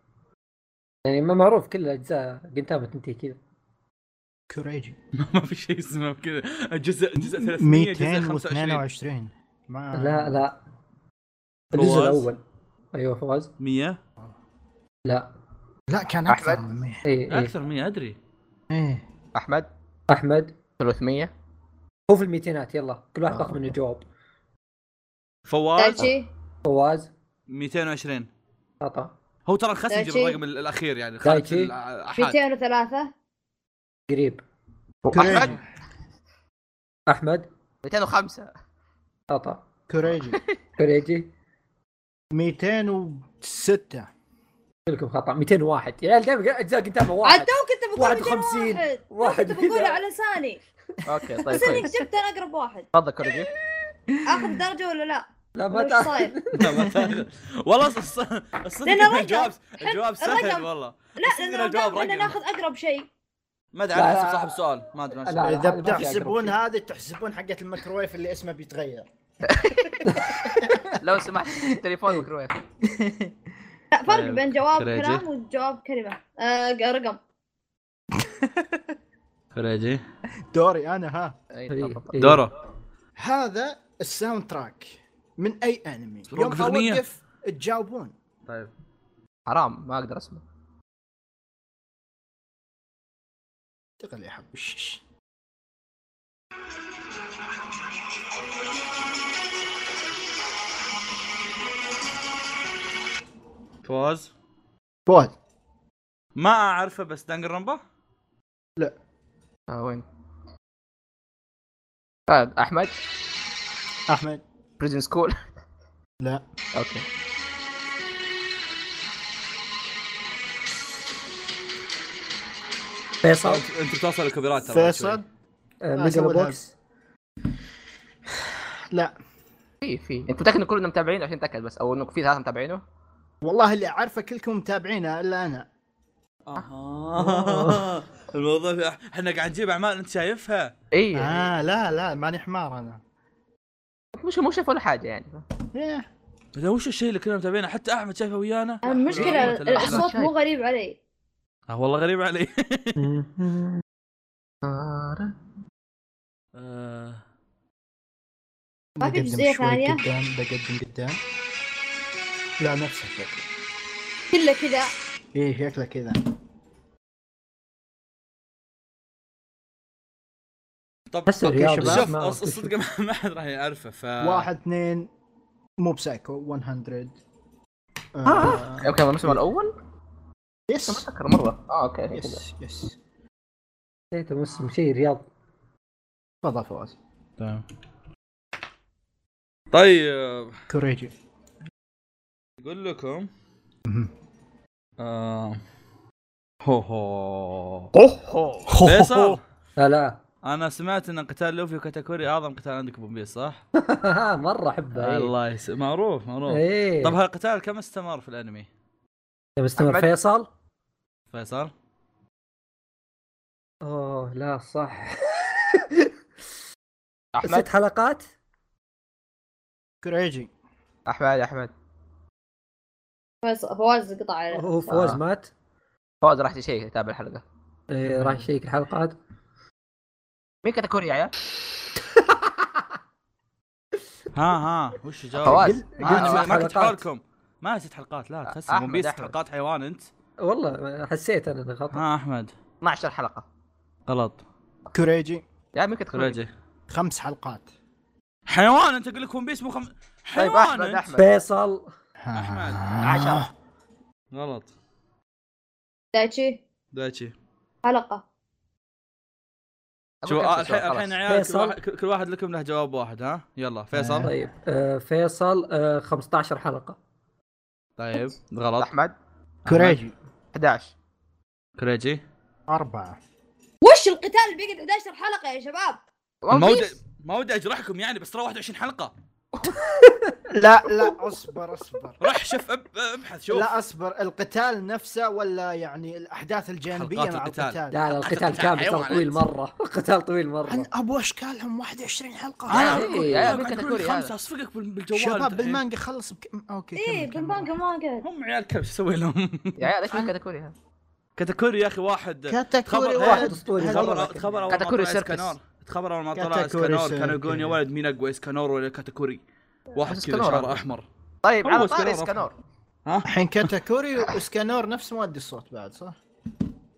[SPEAKER 3] يعني ما معروف كل اجزاء جنتاما تنتهي كذا
[SPEAKER 5] كوريجي
[SPEAKER 2] ما في شيء اسمه كذا الجزء جزء 300 جزء 25
[SPEAKER 5] 222 ما
[SPEAKER 3] لا لا الجزء
[SPEAKER 2] فواز.
[SPEAKER 3] الاول ايوه فواز
[SPEAKER 2] 100
[SPEAKER 3] لا إيه،
[SPEAKER 5] لا كان اكثر
[SPEAKER 1] أحمد.
[SPEAKER 5] من 100
[SPEAKER 3] اي
[SPEAKER 4] إيه.
[SPEAKER 3] اي
[SPEAKER 2] اكثر 100 ادري
[SPEAKER 5] ايه
[SPEAKER 1] احمد
[SPEAKER 3] احمد
[SPEAKER 1] 300
[SPEAKER 3] هو في الميتينات يلا كل واحد طاق منه جواب
[SPEAKER 2] فواز
[SPEAKER 4] دايتشي
[SPEAKER 3] فواز
[SPEAKER 2] 220
[SPEAKER 3] عطاء
[SPEAKER 2] هو ترى انخسج
[SPEAKER 4] دايتشي.
[SPEAKER 2] بالرقم ال- الاخير يعني خارج
[SPEAKER 3] دايتشي.
[SPEAKER 2] الاحاد
[SPEAKER 4] 203
[SPEAKER 3] قريب
[SPEAKER 1] احمد
[SPEAKER 5] كوريجي
[SPEAKER 3] احمد
[SPEAKER 1] 205
[SPEAKER 3] عطاء
[SPEAKER 5] كوريجي
[SPEAKER 3] فريجي
[SPEAKER 5] 206
[SPEAKER 3] كلكم خطا 201 يا عيال دائما اجزاء جنتاما
[SPEAKER 4] عاد
[SPEAKER 3] واحد
[SPEAKER 4] توك انت بقول
[SPEAKER 3] 51
[SPEAKER 4] واحد
[SPEAKER 3] واحد
[SPEAKER 4] كنت بقوله
[SPEAKER 3] كذا.
[SPEAKER 4] على لساني
[SPEAKER 1] اوكي طيب
[SPEAKER 4] بس انك
[SPEAKER 1] كويس
[SPEAKER 4] جبت انا اقرب واحد
[SPEAKER 1] تفضل كوريجي
[SPEAKER 4] اخذ درجه ولا لا؟
[SPEAKER 3] لا ما
[SPEAKER 4] وش
[SPEAKER 3] تعرف
[SPEAKER 4] صاير؟
[SPEAKER 2] لا، ما تاخذ. والله الص- الص- الصدق
[SPEAKER 4] لأنه
[SPEAKER 2] إن
[SPEAKER 4] رقم.
[SPEAKER 2] الجواب الجواب سهل
[SPEAKER 4] الرقم.
[SPEAKER 2] والله
[SPEAKER 4] لا
[SPEAKER 2] إنه
[SPEAKER 4] لانه
[SPEAKER 2] الجواب
[SPEAKER 4] قلنا
[SPEAKER 2] رقم.
[SPEAKER 4] ناخذ اقرب شيء
[SPEAKER 2] ما ادري
[SPEAKER 3] لا،
[SPEAKER 2] على
[SPEAKER 3] لا.
[SPEAKER 2] حسب صاحب سؤال ما ادري عن
[SPEAKER 3] لا،
[SPEAKER 2] السؤال.
[SPEAKER 5] اذا
[SPEAKER 3] هذا ما في أقرب
[SPEAKER 5] بتحسبون
[SPEAKER 3] شيء.
[SPEAKER 5] هذه تحسبون حقه الميكرويف اللي اسمه بيتغير
[SPEAKER 1] لو سمحت التليفون ميكروويف
[SPEAKER 4] لا فرق
[SPEAKER 2] طيب،
[SPEAKER 4] بين جواب
[SPEAKER 2] كريجي.
[SPEAKER 4] كلام وجواب كلمه آه رقم
[SPEAKER 2] فريجي
[SPEAKER 5] دوري انا ها
[SPEAKER 3] إيه،
[SPEAKER 1] أي، إيه، تفضل.
[SPEAKER 2] دورو
[SPEAKER 5] هذا الساوند تراك من اي انمي
[SPEAKER 2] بس
[SPEAKER 5] يوم
[SPEAKER 2] روك أغنية.
[SPEAKER 5] اوقف تجاوبون
[SPEAKER 2] طيب
[SPEAKER 1] حرام ما اقدر اسمع
[SPEAKER 5] انتقل يا حبيبي شش.
[SPEAKER 2] فواز
[SPEAKER 5] فواز
[SPEAKER 2] ما اعرفه بس دانجر رمبا
[SPEAKER 1] آه وين آه احمد
[SPEAKER 5] احمد
[SPEAKER 1] بريزن سكول
[SPEAKER 5] لا
[SPEAKER 1] اوكي
[SPEAKER 3] فيصل
[SPEAKER 2] انت أنت بتوصل الكوبيرات ترى
[SPEAKER 5] فيصل
[SPEAKER 3] آه،
[SPEAKER 5] ما
[SPEAKER 3] ميجا
[SPEAKER 5] سوى
[SPEAKER 3] بوكس
[SPEAKER 5] لا
[SPEAKER 1] في في انت متاكد ان كلنا متابعين عشان اتاكد بس او انه في ثلاثه متابعينه
[SPEAKER 5] والله اللي اعرفه كلكم متابعينه الا انا
[SPEAKER 2] اها آه. الموضوع في- احنا قاعد نجيب اعمال انت شايفها
[SPEAKER 1] اي
[SPEAKER 2] آه.
[SPEAKER 1] يعني
[SPEAKER 5] اه لا لا ماني حمار انا
[SPEAKER 1] مش مو شاف ولا حاجه يعني
[SPEAKER 2] آه.
[SPEAKER 5] إيه.
[SPEAKER 2] هذا وش الشيء اللي كنا متابعينه حتى احمد شايفه ويانا
[SPEAKER 4] المشكلة
[SPEAKER 2] لا، لا، لا.
[SPEAKER 4] الصوت مو غريب علي
[SPEAKER 2] آه والله غريب علي آه،
[SPEAKER 4] ما في
[SPEAKER 5] بقدم
[SPEAKER 4] جزئية
[SPEAKER 5] شوي
[SPEAKER 4] ثانية؟
[SPEAKER 5] قدام بقدم قدام لا نفس الشكل
[SPEAKER 4] كله كذا
[SPEAKER 5] ايه شكله كذا
[SPEAKER 2] طب
[SPEAKER 3] بس الرياض
[SPEAKER 5] شباب.
[SPEAKER 2] شوف
[SPEAKER 3] ما-
[SPEAKER 2] الص- الصدق ما- ما حد راح يعرفه ف
[SPEAKER 5] واحد اثنين مو بسايكو 100 آه،
[SPEAKER 1] اوكي ما اسمه الاول؟ ما
[SPEAKER 5] يس
[SPEAKER 1] اتذكر مره اه اوكي كذا.
[SPEAKER 5] يس يس
[SPEAKER 3] نسيت موسم شيء رياض
[SPEAKER 5] تفضل فواز
[SPEAKER 2] تمام. طيب
[SPEAKER 5] كوريجي
[SPEAKER 2] اقول لكم آه، هو هو فيصل
[SPEAKER 3] لا لا
[SPEAKER 2] انا سمعت ان قتال لوفي وكاتاكوري اعظم قتال عندك بون بيس صح؟
[SPEAKER 3] مره احبها إيه.
[SPEAKER 2] الله يس... معروف معروف
[SPEAKER 3] ايه
[SPEAKER 2] طب هالقتال كم استمر في الانمي؟
[SPEAKER 3] طب استمر
[SPEAKER 1] أحمد.
[SPEAKER 3] فيصل
[SPEAKER 2] فيصل
[SPEAKER 3] اوه لا صح ست
[SPEAKER 1] احمد
[SPEAKER 3] حلقات
[SPEAKER 5] كوريجي
[SPEAKER 1] احمد احمد
[SPEAKER 4] فواز فواز قطع عليه
[SPEAKER 3] هو فوز
[SPEAKER 1] آه.
[SPEAKER 3] مات
[SPEAKER 1] فوز راح تشيك تتابع الحلقه
[SPEAKER 3] إيه راح يشيك الحلقات
[SPEAKER 1] مين كاتاكوري يا عيال؟
[SPEAKER 2] ها ها وش الجواب؟
[SPEAKER 1] فواز
[SPEAKER 3] قل-
[SPEAKER 2] ما,
[SPEAKER 3] قل-
[SPEAKER 1] آه،
[SPEAKER 2] ما,
[SPEAKER 3] قل-
[SPEAKER 2] ما كنت
[SPEAKER 3] حلقات.
[SPEAKER 2] حولكم ما ست حلقات لا تكسر
[SPEAKER 1] أحمد،
[SPEAKER 2] ون بيس ست
[SPEAKER 1] أحمد.
[SPEAKER 2] حلقات حيوان انت
[SPEAKER 3] والله حسيت انا انه خطا
[SPEAKER 2] ها احمد
[SPEAKER 1] 12 حلقه
[SPEAKER 2] غلط
[SPEAKER 5] كوريجي
[SPEAKER 1] يا مين كاتاكوري؟
[SPEAKER 2] كوريجي
[SPEAKER 5] خمس حلقات
[SPEAKER 2] حيوان انت اقول لك ون بيس مو خم...
[SPEAKER 1] طيب
[SPEAKER 2] حيوان
[SPEAKER 1] احمد
[SPEAKER 2] أنت.
[SPEAKER 1] احمد
[SPEAKER 3] فيصل
[SPEAKER 5] آه.
[SPEAKER 2] أحمد.
[SPEAKER 1] 10
[SPEAKER 2] غلط
[SPEAKER 4] دايتشي
[SPEAKER 2] دايتشي
[SPEAKER 4] حلقة
[SPEAKER 2] شو آه، الحين الحين يا عيال كل
[SPEAKER 3] فيصل.
[SPEAKER 2] واحد, كل واحد لكم له جواب واحد ها يلا فيصل
[SPEAKER 3] طيب آه فيصل آه 15 حلقه
[SPEAKER 2] طيب غلط
[SPEAKER 1] احمد
[SPEAKER 5] كوريجي
[SPEAKER 1] 11
[SPEAKER 2] كريجي
[SPEAKER 5] أربعة
[SPEAKER 4] وش القتال اللي بيقعد 11 حلقة يا شباب؟
[SPEAKER 1] One
[SPEAKER 2] ما ودي
[SPEAKER 1] Piece؟
[SPEAKER 2] ما ودي اجرحكم يعني بس ترى 21 حلقه
[SPEAKER 5] لا لا اصبر اصبر
[SPEAKER 2] روح شوف أب- ابحث شوف
[SPEAKER 5] لا اصبر القتال نفسه ولا يعني الاحداث الجانبيه
[SPEAKER 2] حلقات
[SPEAKER 5] مع
[SPEAKER 2] القتال.
[SPEAKER 5] القتال
[SPEAKER 3] لا لا القتال
[SPEAKER 2] القتال
[SPEAKER 3] كامل
[SPEAKER 2] حيوان
[SPEAKER 3] ترى طويل
[SPEAKER 2] أنت.
[SPEAKER 3] مره القتال طويل
[SPEAKER 5] عن
[SPEAKER 3] مره
[SPEAKER 5] ابو اشكالهم 21 حلقه
[SPEAKER 2] انا
[SPEAKER 1] إيه،
[SPEAKER 2] أقول-
[SPEAKER 1] يا
[SPEAKER 2] أنا
[SPEAKER 1] بنت
[SPEAKER 2] أقول
[SPEAKER 1] كتكوري
[SPEAKER 2] آه، خمسة،
[SPEAKER 1] هذا.
[SPEAKER 2] اصفقك بال- بالجوال
[SPEAKER 5] شباب
[SPEAKER 2] أنت.
[SPEAKER 5] بالمانجا خلص بك... اوكي
[SPEAKER 4] ايه
[SPEAKER 5] كمل، كمل.
[SPEAKER 4] بالمانجا ما قعد
[SPEAKER 2] هم عيال كلب شو اسوي لهم؟
[SPEAKER 1] يا عيال ايش مين كاتاكوري هذا؟
[SPEAKER 2] كاتاكوري يا اخي واحد
[SPEAKER 5] كاتاكوري
[SPEAKER 2] خبر-
[SPEAKER 5] واحد
[SPEAKER 3] أسطوري.
[SPEAKER 2] تخبر
[SPEAKER 5] هذا-
[SPEAKER 2] تخبر اول ما
[SPEAKER 1] كاتاكوري
[SPEAKER 2] طلع
[SPEAKER 1] سيركس.
[SPEAKER 2] اسكانور تخبر اول ما طلع
[SPEAKER 5] كاتاكوري
[SPEAKER 2] اسكانور كانوا
[SPEAKER 5] سيركس.
[SPEAKER 2] يقولون يا ولد مين اقوى اسكانور ولا كاتاكوري؟ واحد
[SPEAKER 1] بس
[SPEAKER 2] كذا
[SPEAKER 1] اسكانور
[SPEAKER 2] شعره
[SPEAKER 1] أقوى.
[SPEAKER 2] احمر
[SPEAKER 1] طيب
[SPEAKER 2] هو
[SPEAKER 1] على
[SPEAKER 2] سكانور
[SPEAKER 1] طاري سكانور
[SPEAKER 5] الحين كاتاكوري واسكانور نفس مؤدي الصوت بعد صح؟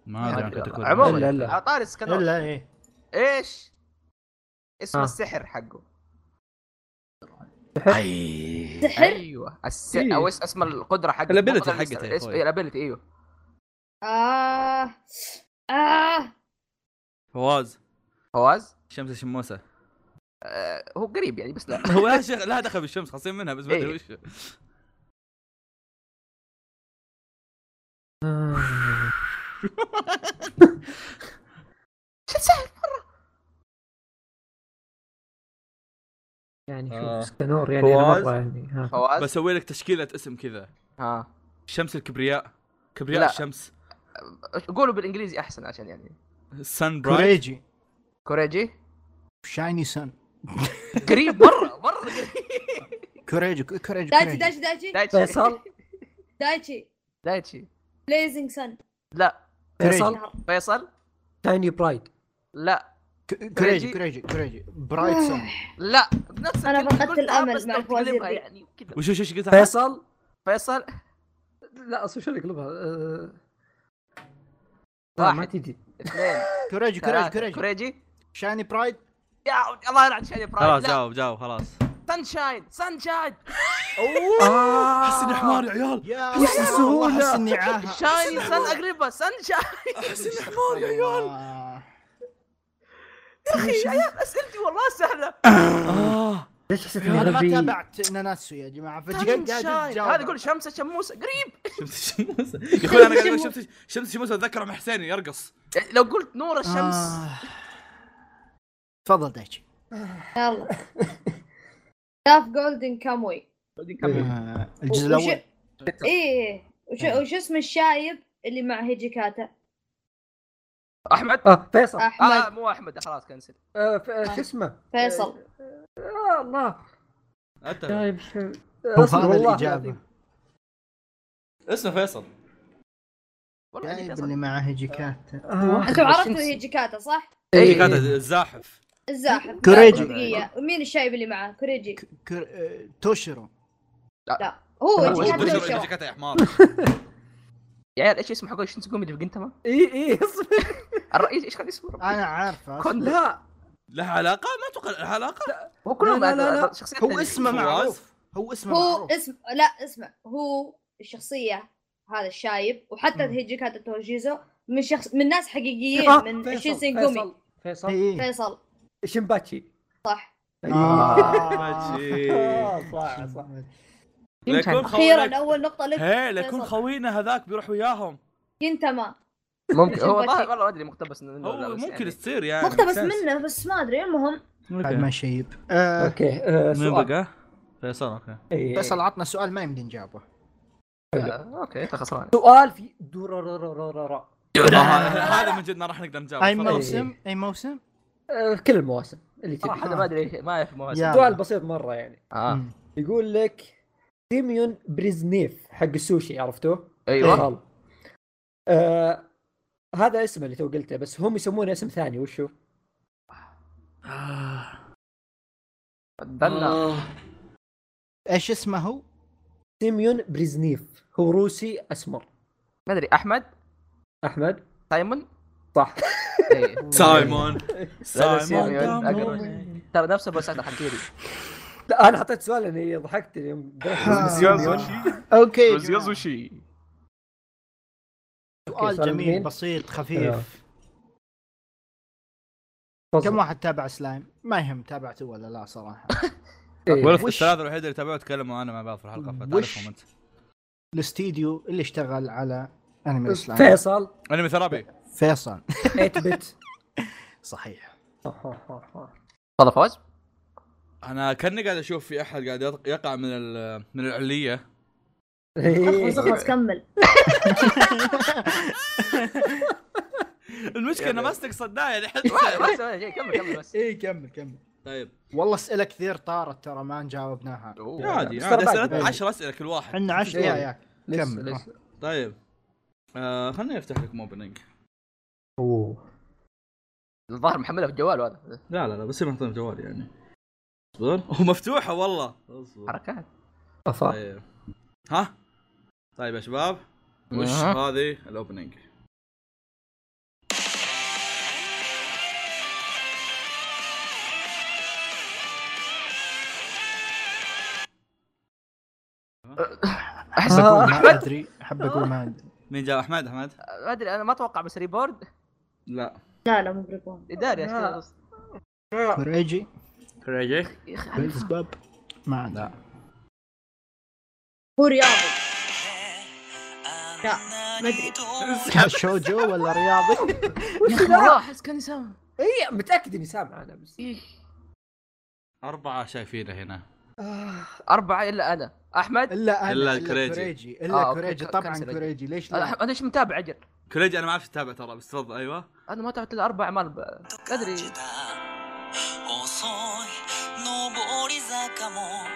[SPEAKER 2] ما ادري عن كاتاكوري
[SPEAKER 3] إلا-
[SPEAKER 1] عموما
[SPEAKER 3] إلا.
[SPEAKER 1] على طاري سكانور
[SPEAKER 5] الا ايه
[SPEAKER 1] ايش؟ اسم
[SPEAKER 3] آه.
[SPEAKER 1] السحر حقه
[SPEAKER 4] سحر؟
[SPEAKER 1] ايوه الس...
[SPEAKER 2] إيه.
[SPEAKER 1] او اس- اسم القدره حقه
[SPEAKER 2] الability
[SPEAKER 1] القدرة
[SPEAKER 2] حقته طيب. يا
[SPEAKER 1] الس- اسم-
[SPEAKER 2] أخوي.
[SPEAKER 1] إيه، الابيلتي ايوه
[SPEAKER 4] آه آه
[SPEAKER 2] فواز
[SPEAKER 1] فواز
[SPEAKER 2] شمس الشموسه
[SPEAKER 1] آه، هو قريب يعني بس لا
[SPEAKER 2] هو يا شيخ لا دخل بالشمس خاصين منها بس ما ادري
[SPEAKER 1] إيه.
[SPEAKER 2] وش
[SPEAKER 3] آه،
[SPEAKER 1] شو السحر؟
[SPEAKER 3] يعني شوف
[SPEAKER 2] آه.
[SPEAKER 3] سكنور يعني أنا
[SPEAKER 2] فواز.
[SPEAKER 3] مره يعني ها
[SPEAKER 1] فواز
[SPEAKER 2] بسوي لك تشكيله اسم كذا
[SPEAKER 1] ها
[SPEAKER 2] شمس الكبرياء كبرياء
[SPEAKER 1] لا.
[SPEAKER 2] الشمس
[SPEAKER 1] قولوا بالانجليزي احسن عشان يعني
[SPEAKER 2] سن برايت
[SPEAKER 5] كوريجي
[SPEAKER 1] كوريجي
[SPEAKER 5] شايني سن
[SPEAKER 1] قريب مره مره قريب
[SPEAKER 5] كوريجي كوريجي
[SPEAKER 4] دايتشي دايتشي دايتشي
[SPEAKER 5] كوريجي
[SPEAKER 1] دايتشي
[SPEAKER 3] فيصل
[SPEAKER 4] دايتشي
[SPEAKER 1] دايتشي
[SPEAKER 4] بليزنج سن
[SPEAKER 1] لا
[SPEAKER 3] فيصل
[SPEAKER 1] فيصل
[SPEAKER 3] تايني برايد
[SPEAKER 1] لا
[SPEAKER 5] كريجي كريجي كريجي برايت سن
[SPEAKER 1] لا نفس
[SPEAKER 4] أنا
[SPEAKER 1] الكلمة
[SPEAKER 4] فقدت
[SPEAKER 1] قلتها
[SPEAKER 4] الأمل
[SPEAKER 1] بس
[SPEAKER 4] مع
[SPEAKER 1] لو
[SPEAKER 4] الفوازير
[SPEAKER 1] تكلمها
[SPEAKER 4] دي.
[SPEAKER 1] يعني كذا
[SPEAKER 2] وش وش وش قلت أحمد؟
[SPEAKER 3] فيصل
[SPEAKER 1] فيصل
[SPEAKER 3] لا اصلا شو يقلبها أه...
[SPEAKER 1] واحد.
[SPEAKER 3] واحد ما تجي
[SPEAKER 1] اثنين
[SPEAKER 5] كريجي كريجي
[SPEAKER 1] ثلاثة.
[SPEAKER 5] كريجي
[SPEAKER 1] كريجي
[SPEAKER 5] شاني برايد
[SPEAKER 1] يا الله يلعن شايف
[SPEAKER 2] خلاص
[SPEAKER 1] برايد لا
[SPEAKER 2] جاوب جاوب خلاص
[SPEAKER 1] سانشاين سانشاين
[SPEAKER 2] احس اني حمار يا عيال
[SPEAKER 5] يا
[SPEAKER 3] وش السهولة؟
[SPEAKER 5] احس اني عاها
[SPEAKER 1] شاين سان اقربها سانشاين
[SPEAKER 2] احس اني حمار يا عيال
[SPEAKER 5] الله.
[SPEAKER 1] اسئلتي والله سهله
[SPEAKER 2] آه.
[SPEAKER 3] ليش حسيت اني
[SPEAKER 5] انا ما
[SPEAKER 3] غبي؟
[SPEAKER 5] تابعت ناناتسو يا جماعه فجاه قاعد
[SPEAKER 1] سانشاين
[SPEAKER 5] تجاوب.
[SPEAKER 1] هذا يقول شمسه شموسه قريب
[SPEAKER 2] شمس الشموس يا اخوي انا قاعد أقول شمس شمس الشموس اتذكر ام حسين يرقص
[SPEAKER 1] يعني لو قلت نور الشمس
[SPEAKER 5] آه. تفضل دايتشي
[SPEAKER 4] يلا شاف جولدن كاموي
[SPEAKER 5] آه، الجزء الاول
[SPEAKER 4] ايه وش وش اسم الشايب اللي مع هيجيكاتا
[SPEAKER 1] احمد
[SPEAKER 5] آه،
[SPEAKER 3] اه فيصل
[SPEAKER 1] اه
[SPEAKER 4] احمد
[SPEAKER 1] مو احمد خلاص كنسل
[SPEAKER 3] آه، ف- آه، شو اسمه؟
[SPEAKER 4] فيصل
[SPEAKER 3] آه الله
[SPEAKER 2] أنت-
[SPEAKER 3] جايب شو
[SPEAKER 5] هو
[SPEAKER 3] أصبر،
[SPEAKER 5] هذا
[SPEAKER 3] والله
[SPEAKER 5] الاجابه
[SPEAKER 2] اسمه فيصل
[SPEAKER 1] والله إني
[SPEAKER 5] جايب
[SPEAKER 1] أصلاً.
[SPEAKER 5] اللي مع هيجيكاتا
[SPEAKER 3] آه.
[SPEAKER 4] انتم عرفتوا هيجيكاتا صح؟
[SPEAKER 2] هي
[SPEAKER 1] إيه.
[SPEAKER 2] كانت الزاحف
[SPEAKER 4] الزاحف
[SPEAKER 5] كوريجي.
[SPEAKER 4] لا، دقيقة مين الشايب اللي معاه؟ كوريجي
[SPEAKER 5] كر... آه، توشيرو
[SPEAKER 4] لا هو
[SPEAKER 1] هو
[SPEAKER 4] هيجيكاتا
[SPEAKER 1] كوريجي.
[SPEAKER 4] توشيرو.
[SPEAKER 2] كانت يا حمار
[SPEAKER 1] يا عيال ايش اسمه حق شنسوغومي اللي في جنتما؟
[SPEAKER 3] اي اي إيه، اصبر
[SPEAKER 1] الرئيس ايش كان اسمه؟
[SPEAKER 5] انا عارفه
[SPEAKER 1] كون لا
[SPEAKER 3] لا
[SPEAKER 2] لها علاقه ما اتوقع لها علاقه
[SPEAKER 1] هو كلهم
[SPEAKER 3] لا، لا، لا.
[SPEAKER 1] شخصيات
[SPEAKER 5] هو
[SPEAKER 1] ثانية.
[SPEAKER 5] اسمه
[SPEAKER 2] فواز.
[SPEAKER 5] معروف هو اسمه
[SPEAKER 4] هو
[SPEAKER 5] معروف
[SPEAKER 4] اسم لا اسمع هو الشخصية هذا الشايب وحتى هيجيكاتا توشيزو من شخص من ناس حقيقيين
[SPEAKER 3] آه،
[SPEAKER 4] إيه، من
[SPEAKER 3] فيصل،
[SPEAKER 4] شينسينجومي
[SPEAKER 3] فيصل، فيصل
[SPEAKER 5] إيه.
[SPEAKER 4] فيصل
[SPEAKER 3] شمباتشي
[SPEAKER 4] صح
[SPEAKER 5] طيب. آه.
[SPEAKER 3] آه، صح صح
[SPEAKER 2] ليكون
[SPEAKER 4] اخيرا
[SPEAKER 2] خوينا
[SPEAKER 4] اول نقطة لك
[SPEAKER 2] هي ليكون
[SPEAKER 4] فيصل.
[SPEAKER 2] خوينا هذاك بيروح وياهم
[SPEAKER 4] كنتما
[SPEAKER 1] ممكن هو
[SPEAKER 4] شمباتشي.
[SPEAKER 1] والله والله ما ادري مقتبس منه ولا
[SPEAKER 2] هو
[SPEAKER 1] لا، بس
[SPEAKER 2] ممكن
[SPEAKER 1] يعني.
[SPEAKER 2] تصير يعني
[SPEAKER 4] مقتبس منه بس ما ادري المهم
[SPEAKER 5] بعد ما
[SPEAKER 2] منه
[SPEAKER 5] شيب آه،
[SPEAKER 3] اوكي آه،
[SPEAKER 2] من
[SPEAKER 3] سؤال إيه.
[SPEAKER 2] بقى؟ فيصل اوكي
[SPEAKER 3] إي، إي.
[SPEAKER 5] فيصل عطنا سؤال ما يمدي نجاوبه
[SPEAKER 1] آه، اوكي انت خسران آه،
[SPEAKER 3] سؤال في دورارارارارا
[SPEAKER 2] آه، هذا من جد ما راح نقدر
[SPEAKER 5] اي
[SPEAKER 2] نجاوب
[SPEAKER 3] موسم.
[SPEAKER 5] موسم اي موسم
[SPEAKER 3] آه، في كل المواسم اللي
[SPEAKER 1] صراحه
[SPEAKER 3] تبي
[SPEAKER 1] انا ما ادري ما اعرف مواسم
[SPEAKER 5] يا.
[SPEAKER 3] سؤال بسيط مره يعني
[SPEAKER 1] اه
[SPEAKER 5] مم.
[SPEAKER 3] يقول لك سيميون بريزنيف حق السوشي عرفتوه؟
[SPEAKER 1] ايوه
[SPEAKER 3] قال. آه هذا اسمه اللي تو قلته بس هم يسمونه اسم ثاني وشو؟
[SPEAKER 1] استنى
[SPEAKER 2] آه.
[SPEAKER 5] ايش اسمه هو؟
[SPEAKER 3] سيميون بريزنيف هو روسي اسمر
[SPEAKER 1] ما ادري احمد
[SPEAKER 3] احمد
[SPEAKER 1] سايمون
[SPEAKER 3] صح
[SPEAKER 1] إيه.
[SPEAKER 2] سايمون
[SPEAKER 1] سيميون،
[SPEAKER 2] سايمون
[SPEAKER 1] أقرب. ترى نفس البساطه حقيري
[SPEAKER 3] لا انا حطيت سؤال لاني ضحكت اليوم
[SPEAKER 5] آه. اوكي جماعة.
[SPEAKER 2] وشي
[SPEAKER 3] أوكي،
[SPEAKER 5] سؤال
[SPEAKER 3] سؤال
[SPEAKER 5] جميل
[SPEAKER 3] مين؟
[SPEAKER 5] بسيط
[SPEAKER 3] آه.
[SPEAKER 5] خفيف كم
[SPEAKER 3] تفضل
[SPEAKER 5] واحد تابع سلايم؟ ما يهم تابعته ولا لا صراحه
[SPEAKER 3] إيه.
[SPEAKER 2] ولا
[SPEAKER 5] وش-
[SPEAKER 2] الثلاثه الوحيده اللي تابعوا تكلموا معنا مع بعض في الحلقه
[SPEAKER 5] وش-
[SPEAKER 2] فتعرفهم انت
[SPEAKER 5] الاستديو اللي اشتغل على انمي سلايم
[SPEAKER 3] فيصل
[SPEAKER 2] انمي ثرابي
[SPEAKER 5] فيصل
[SPEAKER 3] 8 بت
[SPEAKER 5] صحيح
[SPEAKER 1] تفضل فوز
[SPEAKER 2] انا كاني قاعد اشوف في احد قاعد يط- يقع من ال- من العليه
[SPEAKER 3] إيه.
[SPEAKER 4] اخلص اخلص كمل
[SPEAKER 2] المشكله انه ما استقصدناه يعني
[SPEAKER 1] ما- ما سوينا شيء كمل كمل بس
[SPEAKER 5] اي إيه، كمل كمل
[SPEAKER 2] طيب
[SPEAKER 5] والله اسئله كثير طارت ترى ما جاوبناها
[SPEAKER 2] عادي
[SPEAKER 3] بس
[SPEAKER 2] عادي
[SPEAKER 3] ترى بعد-
[SPEAKER 2] اسئله 10 اسئله كل واحد
[SPEAKER 5] عندنا 10
[SPEAKER 3] إيه.
[SPEAKER 5] يا يا كمل.
[SPEAKER 2] طيب آه خليني افتح لكم اوبننج
[SPEAKER 3] اوه
[SPEAKER 1] الظاهر محملها في الجوال هذا
[SPEAKER 2] لا لا لا بس محطوطه في جوالي يعني اصبر هو مفتوحه والله اصبر
[SPEAKER 1] حركات
[SPEAKER 3] افا
[SPEAKER 2] طيب ها طيب يا شباب وش
[SPEAKER 1] أها.
[SPEAKER 2] هذه الاوبننج
[SPEAKER 1] احس
[SPEAKER 3] آه.
[SPEAKER 1] اكون
[SPEAKER 5] ما ادري احب اقول ما ادري
[SPEAKER 2] مين جاب احمد احمد
[SPEAKER 1] ما ادري انا ما اتوقع بس ريبورد
[SPEAKER 2] لا
[SPEAKER 4] لا لا مو بريبون
[SPEAKER 1] اداري أشتغل
[SPEAKER 3] آه.
[SPEAKER 1] بس.
[SPEAKER 5] كوريجي
[SPEAKER 2] كريجي
[SPEAKER 1] يا
[SPEAKER 5] إيه.
[SPEAKER 1] أخي،
[SPEAKER 5] باب ما ادري
[SPEAKER 2] لا
[SPEAKER 4] هو رياضي لا ما ادري
[SPEAKER 5] شوجو ولا رياضي؟
[SPEAKER 1] يا اخي والله احس كان يساوي
[SPEAKER 3] اي متاكد اني إيه، سامع انا بس
[SPEAKER 2] اربعه شايفينه هنا
[SPEAKER 1] اربعه الا انا احمد
[SPEAKER 5] الا انا
[SPEAKER 2] إلا
[SPEAKER 5] الا
[SPEAKER 2] الكوريجي.
[SPEAKER 5] كوريجي
[SPEAKER 1] آه،
[SPEAKER 5] الا
[SPEAKER 1] أوكي،
[SPEAKER 5] كوريجي
[SPEAKER 1] ك-
[SPEAKER 5] طبعا
[SPEAKER 1] كنسل أجل.
[SPEAKER 5] كوريجي ليش
[SPEAKER 1] انا
[SPEAKER 5] لا؟
[SPEAKER 1] أحمد- أنا ايش متابع اجل
[SPEAKER 2] كريجي انا ما اعرف اتابع ترى بس تفضل ايوه
[SPEAKER 1] انا ما تابعت الا اربع اعمال ب- ما ادري
[SPEAKER 6] 遅い上り坂も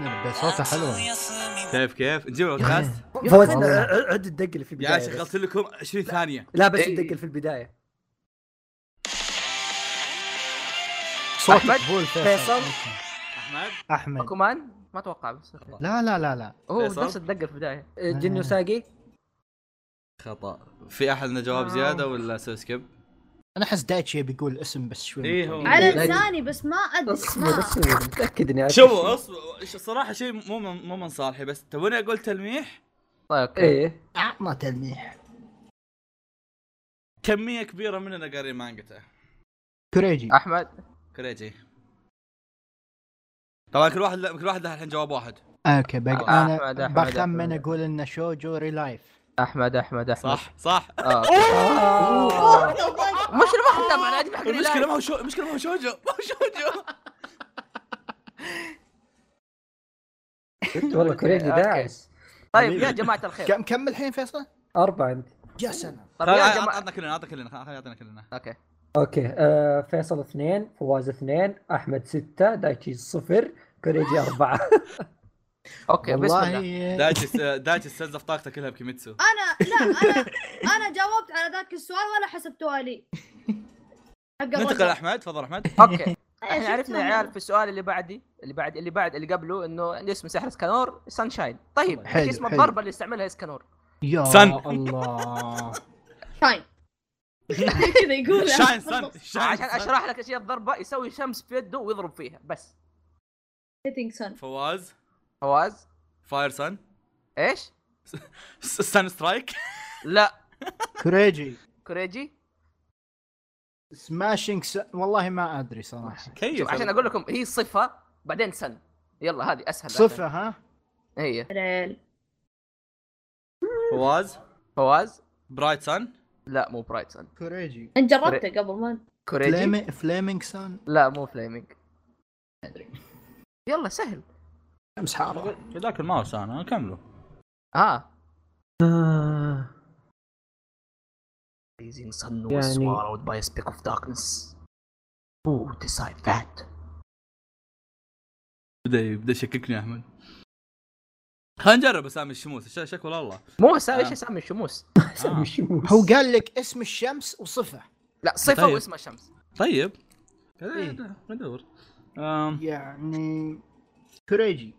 [SPEAKER 5] نبي صوته حلو
[SPEAKER 6] 休み
[SPEAKER 2] شايف كيف نجيب البودكاست
[SPEAKER 3] فوز
[SPEAKER 1] والله.
[SPEAKER 3] ع- عد الدق اللي في
[SPEAKER 2] يا عيال،
[SPEAKER 3] البدايه بس.
[SPEAKER 2] شغلت لكم 20 ثانيه
[SPEAKER 3] لا بس
[SPEAKER 1] إيه.
[SPEAKER 3] الدق اللي في البدايه
[SPEAKER 5] صوتك
[SPEAKER 1] أحمد؟
[SPEAKER 5] هو الفيصل
[SPEAKER 3] فيصل
[SPEAKER 2] احمد
[SPEAKER 5] احمد
[SPEAKER 1] باكومان ما اتوقع بس أوكي.
[SPEAKER 5] لا لا لا لا
[SPEAKER 1] هو
[SPEAKER 2] فيصل؟
[SPEAKER 1] نفس الدقه في البدايه
[SPEAKER 3] آه، جن وساقي
[SPEAKER 2] خطا في احد عنده جواب زياده ولا اسوي سكيب؟
[SPEAKER 5] انا احس دايتشي بيقول اسم بس شوي
[SPEAKER 2] إيه هو.
[SPEAKER 4] على
[SPEAKER 3] لا-
[SPEAKER 4] لساني بس ما ادري
[SPEAKER 3] اصبر
[SPEAKER 4] اسماء
[SPEAKER 3] اصبر متاكد اني عارف
[SPEAKER 2] شوفوا أص- ش- صراحه شيء مو من مو من صالحي بس توني اقول تلميح
[SPEAKER 1] طيب اوكي
[SPEAKER 3] ايه
[SPEAKER 5] اعطنا تلميح
[SPEAKER 2] كميه كبيره مننا قارين مانجته
[SPEAKER 5] كريجي
[SPEAKER 1] احمد
[SPEAKER 2] كريجي طبعا كل واحد كل واحد له الحين جواب واحد
[SPEAKER 5] اوكي بق...
[SPEAKER 1] أحمد-
[SPEAKER 5] انا
[SPEAKER 1] أحمد- أحمد-
[SPEAKER 5] بخمن
[SPEAKER 1] أحمد.
[SPEAKER 5] اقول انه شوجو ريلايف
[SPEAKER 1] احمد احمد احمد
[SPEAKER 2] صح صح
[SPEAKER 1] آه.
[SPEAKER 3] آه.
[SPEAKER 1] مش ما حد تابع الانمي حق
[SPEAKER 2] المشكله
[SPEAKER 1] المشكله
[SPEAKER 2] ما هو شو المشكله ما هو شوجو ما هو شوجو
[SPEAKER 3] والله كوريجي
[SPEAKER 1] أوكي.
[SPEAKER 3] داعس
[SPEAKER 1] طيب يا جماعه الخير
[SPEAKER 5] كم كم الحين فيصل؟
[SPEAKER 3] اربعه انت
[SPEAKER 5] يا سلام
[SPEAKER 1] طيب
[SPEAKER 2] خل-
[SPEAKER 1] يا
[SPEAKER 2] عط-
[SPEAKER 1] جماعه
[SPEAKER 2] عطنا كلنا عطنا كلنا خل- خل يعطينا كلنا
[SPEAKER 1] اوكي
[SPEAKER 3] اوكي آه فيصل اثنين فواز اثنين احمد سته دايتشي صفر كوريجي اربعه
[SPEAKER 1] اوكي بسم
[SPEAKER 5] والله
[SPEAKER 1] الله
[SPEAKER 2] دايتش دايتش استنزف طاقته كلها بكيميتسو
[SPEAKER 4] انا لا انا انا جاوبت على ذاك السؤال ولا حسبتوها لي حق
[SPEAKER 2] ننتقل
[SPEAKER 4] الرجل.
[SPEAKER 2] احمد تفضل احمد
[SPEAKER 1] اوكي
[SPEAKER 4] إيه،
[SPEAKER 1] احنا
[SPEAKER 4] شفت
[SPEAKER 1] عرفنا يا
[SPEAKER 4] أنا.
[SPEAKER 1] عيال في السؤال اللي بعدي اللي بعد اللي بعد اللي قبله انه اللي اسمه سحر اسكانور سانشاين طيب
[SPEAKER 5] حلو،
[SPEAKER 1] ايش اسم
[SPEAKER 5] حلو.
[SPEAKER 1] الضربه اللي استعملها اسكانور
[SPEAKER 5] يا
[SPEAKER 2] سن.
[SPEAKER 5] الله
[SPEAKER 4] شاين كذا يقول
[SPEAKER 2] شاين سن شاين
[SPEAKER 1] عشان
[SPEAKER 2] سن.
[SPEAKER 1] اشرح لك ايش هي الضربه يسوي شمس في يده ويضرب فيها بس
[SPEAKER 4] هيتنج سن
[SPEAKER 2] فواز
[SPEAKER 1] فواز
[SPEAKER 2] فاير سن
[SPEAKER 1] ايش؟
[SPEAKER 2] س- سن سترايك
[SPEAKER 1] لا
[SPEAKER 5] كريجي
[SPEAKER 1] كوريجي
[SPEAKER 5] سماشينج س... والله ما ادري صراحه
[SPEAKER 2] كيف
[SPEAKER 1] شوف عشان اقول لكم هي صفه بعدين سن يلا هذه اسهل
[SPEAKER 5] صفه ها
[SPEAKER 1] بعدين. هي
[SPEAKER 4] ريل
[SPEAKER 2] فواز
[SPEAKER 1] فواز
[SPEAKER 2] برايت سن
[SPEAKER 1] لا مو برايت سن
[SPEAKER 5] كوريجي
[SPEAKER 4] انت جربته قبل ما
[SPEAKER 1] كوريجي
[SPEAKER 5] فليمي... فليمينج سان
[SPEAKER 1] لا مو فليمينج يلا سهل
[SPEAKER 5] كم سحاره
[SPEAKER 2] ذاك الماوس انا كملوا
[SPEAKER 1] اه
[SPEAKER 3] آه.
[SPEAKER 1] Blazing sun was
[SPEAKER 3] يعني-
[SPEAKER 1] swallowed by a speck of darkness. Who decide that?
[SPEAKER 2] بدا بدا يشككني احمد خلينا نجرب اسامي الشموس ش- شكوى الله
[SPEAKER 1] مو سا... ايش
[SPEAKER 2] آه.
[SPEAKER 1] اسامي الشموس؟
[SPEAKER 2] آه.
[SPEAKER 3] سامي شموس
[SPEAKER 5] هو قال لك اسم الشمس وصفه
[SPEAKER 1] لا صفه
[SPEAKER 2] طيب.
[SPEAKER 1] واسمها شمس.
[SPEAKER 2] طيب
[SPEAKER 5] إيه.
[SPEAKER 2] ندور آم،
[SPEAKER 5] يعني كوريجي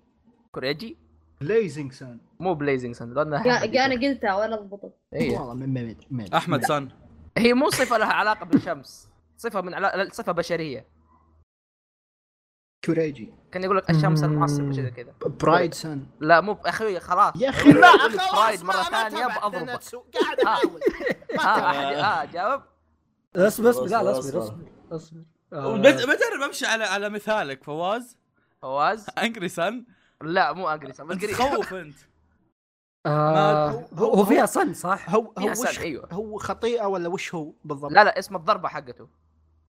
[SPEAKER 1] كوريجي
[SPEAKER 5] بليزنج سان
[SPEAKER 1] مو بليزنج سن لانها
[SPEAKER 4] قا- انا قلتها ولا ضبطت
[SPEAKER 1] هي.
[SPEAKER 5] والله من من من
[SPEAKER 2] احمد سن
[SPEAKER 1] هي مو صفه لها علاقه بالشمس. صفه من علا... صفه بشريه.
[SPEAKER 5] كوريجي
[SPEAKER 1] كان يقول لك الشمس المعصب وشذا كذا.
[SPEAKER 5] برايد سان
[SPEAKER 1] لا مو اخوي خلاص.
[SPEAKER 5] يا اخي لا
[SPEAKER 1] أقول لك برايد مره ثانيه بضربك.
[SPEAKER 5] قاعد احاول ما
[SPEAKER 1] ها
[SPEAKER 5] تابعت.
[SPEAKER 1] احد اه جاوب
[SPEAKER 3] اصبر اصبر لا لا اصبر اصبر اصبر آه.
[SPEAKER 2] بجرب امشي على على مثالك فواز
[SPEAKER 1] فواز
[SPEAKER 2] انجري سن
[SPEAKER 1] لا مو انجري سن
[SPEAKER 2] انت
[SPEAKER 1] انجري
[SPEAKER 2] تخوف انت
[SPEAKER 3] آه.
[SPEAKER 5] ما-
[SPEAKER 3] هو هو فيها صن صح؟
[SPEAKER 5] هو هو
[SPEAKER 1] يا سلام،
[SPEAKER 5] وش
[SPEAKER 1] أيوة.
[SPEAKER 5] هو خطيئه ولا وش هو بالضبط؟
[SPEAKER 1] لا لا اسم الضربه حقته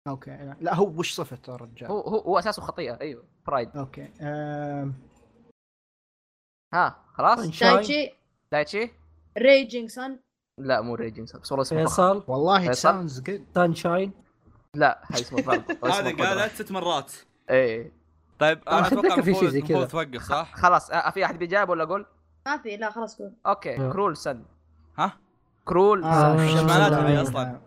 [SPEAKER 5] اوكي لا, لا هو وش صفته الرجال؟
[SPEAKER 1] هو هو, هو اساسه خطيئه ايوه برايد
[SPEAKER 5] اوكي آم،
[SPEAKER 1] ها خلاص
[SPEAKER 3] طيب.
[SPEAKER 4] دايتشي
[SPEAKER 1] دايتشي
[SPEAKER 4] ريجينج سن
[SPEAKER 1] لا مو ريجين سن بس والله اسمه فخم.
[SPEAKER 3] فيصل
[SPEAKER 5] والله
[SPEAKER 1] فيصل؟
[SPEAKER 5] ساوندز جود
[SPEAKER 3] سانشاين
[SPEAKER 1] لا هاي اسمه فرد
[SPEAKER 2] هذه قالت ست مرات
[SPEAKER 1] ايه
[SPEAKER 2] طيب انا
[SPEAKER 3] أتذكر
[SPEAKER 2] اتوقع
[SPEAKER 3] في شيء
[SPEAKER 2] المفروض
[SPEAKER 3] زي كذا.
[SPEAKER 2] المفروض توقف صح؟
[SPEAKER 1] خلاص آه في احد بيجاوب ولا اقول؟
[SPEAKER 4] ما في لا خلاص قول
[SPEAKER 1] اوكي
[SPEAKER 3] آه.
[SPEAKER 1] كرول سن
[SPEAKER 2] ها؟
[SPEAKER 1] كرول
[SPEAKER 3] آه،
[SPEAKER 1] سن.
[SPEAKER 3] شو
[SPEAKER 2] معناته هذه
[SPEAKER 5] والله.
[SPEAKER 2] أصلاً؟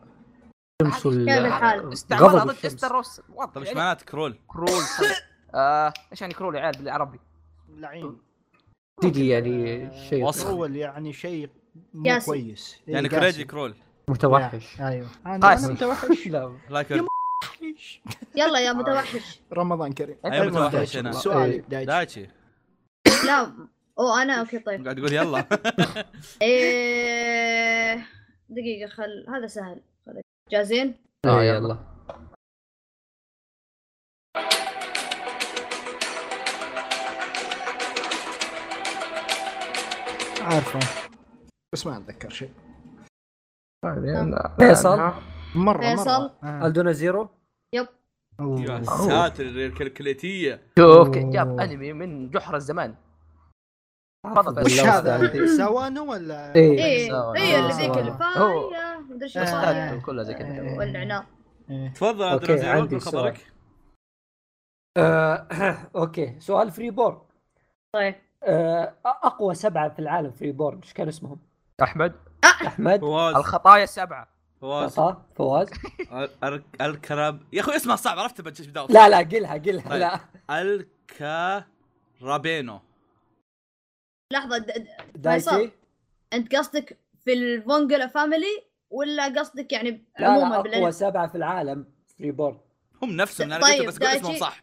[SPEAKER 3] شمس وال-
[SPEAKER 4] كيف الحال؟
[SPEAKER 1] استعملها
[SPEAKER 3] غضب
[SPEAKER 1] ضد
[SPEAKER 3] الشمس.
[SPEAKER 1] استروس
[SPEAKER 2] طيب
[SPEAKER 1] واضح
[SPEAKER 2] ايش
[SPEAKER 1] يعني
[SPEAKER 2] معناته كرول؟
[SPEAKER 1] كرول سن آه ايش يعني كرول يا عيال بالعربي؟
[SPEAKER 5] لعين
[SPEAKER 3] تجي يعني شيء
[SPEAKER 2] وصخ.
[SPEAKER 5] اول يعني شيء مو
[SPEAKER 4] قاسي.
[SPEAKER 5] كويس إيه،
[SPEAKER 2] يعني
[SPEAKER 5] قاسي.
[SPEAKER 2] كريجي كرول
[SPEAKER 3] متوحش
[SPEAKER 5] ايوه
[SPEAKER 1] قاسي.
[SPEAKER 5] انا متوحش
[SPEAKER 3] لا
[SPEAKER 2] لايك يور-
[SPEAKER 4] يلا يا متوحش
[SPEAKER 5] رمضان كريم
[SPEAKER 2] أيوة،
[SPEAKER 1] أنت-
[SPEAKER 2] متوحش.
[SPEAKER 5] دايتشي.
[SPEAKER 2] هنا.
[SPEAKER 5] سؤالي دايتشي.
[SPEAKER 2] دايتشي
[SPEAKER 4] لا او انا اوكي طيب
[SPEAKER 2] قاعد تقول يلا
[SPEAKER 4] إيه... دقيقة خل هذا سهل خل- جاهزين؟
[SPEAKER 3] آه، يلا
[SPEAKER 5] عارفه بس ما اتذكر شيء
[SPEAKER 1] طيب،
[SPEAKER 3] آه.
[SPEAKER 1] آه،
[SPEAKER 3] فيصل
[SPEAKER 5] مره
[SPEAKER 4] فيصل؟
[SPEAKER 5] مره آه.
[SPEAKER 3] الدونا زيرو
[SPEAKER 4] يب
[SPEAKER 5] أوه.
[SPEAKER 2] يا ساتر الكلكليتيه
[SPEAKER 1] شوف كيف جاب انمي من جحر الزمان تفضل
[SPEAKER 5] وش
[SPEAKER 1] فيصل.
[SPEAKER 5] هذا اللي سوانو ولا
[SPEAKER 3] إيه.
[SPEAKER 4] ايه
[SPEAKER 1] سوا.
[SPEAKER 4] ايه
[SPEAKER 5] آه،
[SPEAKER 4] اللي ذيك
[SPEAKER 5] سوا.
[SPEAKER 4] الفاية مدري شو
[SPEAKER 5] آه.
[SPEAKER 4] الفاية
[SPEAKER 1] كلها زي كذا
[SPEAKER 5] آه.
[SPEAKER 4] والعناق
[SPEAKER 5] إيه.
[SPEAKER 2] تفضل عبد
[SPEAKER 3] أوكي،
[SPEAKER 2] العزيز
[SPEAKER 3] عندي
[SPEAKER 2] قول
[SPEAKER 3] سؤال.
[SPEAKER 2] خبرك
[SPEAKER 3] آه، اوكي سؤال فريبورن
[SPEAKER 4] طيب
[SPEAKER 3] آه، اقوى سبعه في العالم فريبورن ايش كانوا اسمهم؟
[SPEAKER 1] احمد
[SPEAKER 3] احمد
[SPEAKER 2] فواز
[SPEAKER 1] الخطايا السبعه
[SPEAKER 2] فواز
[SPEAKER 3] طه فواز
[SPEAKER 2] ال- الكرب يا اخوي اسمها صعب عرفت بجيش بداوة
[SPEAKER 3] لا لا قلها قلها
[SPEAKER 2] طيب.
[SPEAKER 3] لا
[SPEAKER 2] الكرابينو
[SPEAKER 4] لحظه د- د-
[SPEAKER 3] دايتي
[SPEAKER 4] فيصل. انت قصدك في الفونجلا فاميلي ولا قصدك يعني
[SPEAKER 3] لا
[SPEAKER 4] عموما
[SPEAKER 3] لا
[SPEAKER 4] بالأنمي؟
[SPEAKER 3] اقوى سبعه في العالم ريبورن
[SPEAKER 2] هم نفسهم انا
[SPEAKER 4] طيب،
[SPEAKER 2] قلت بس قلت اسمهم
[SPEAKER 4] دايتشي.
[SPEAKER 2] صح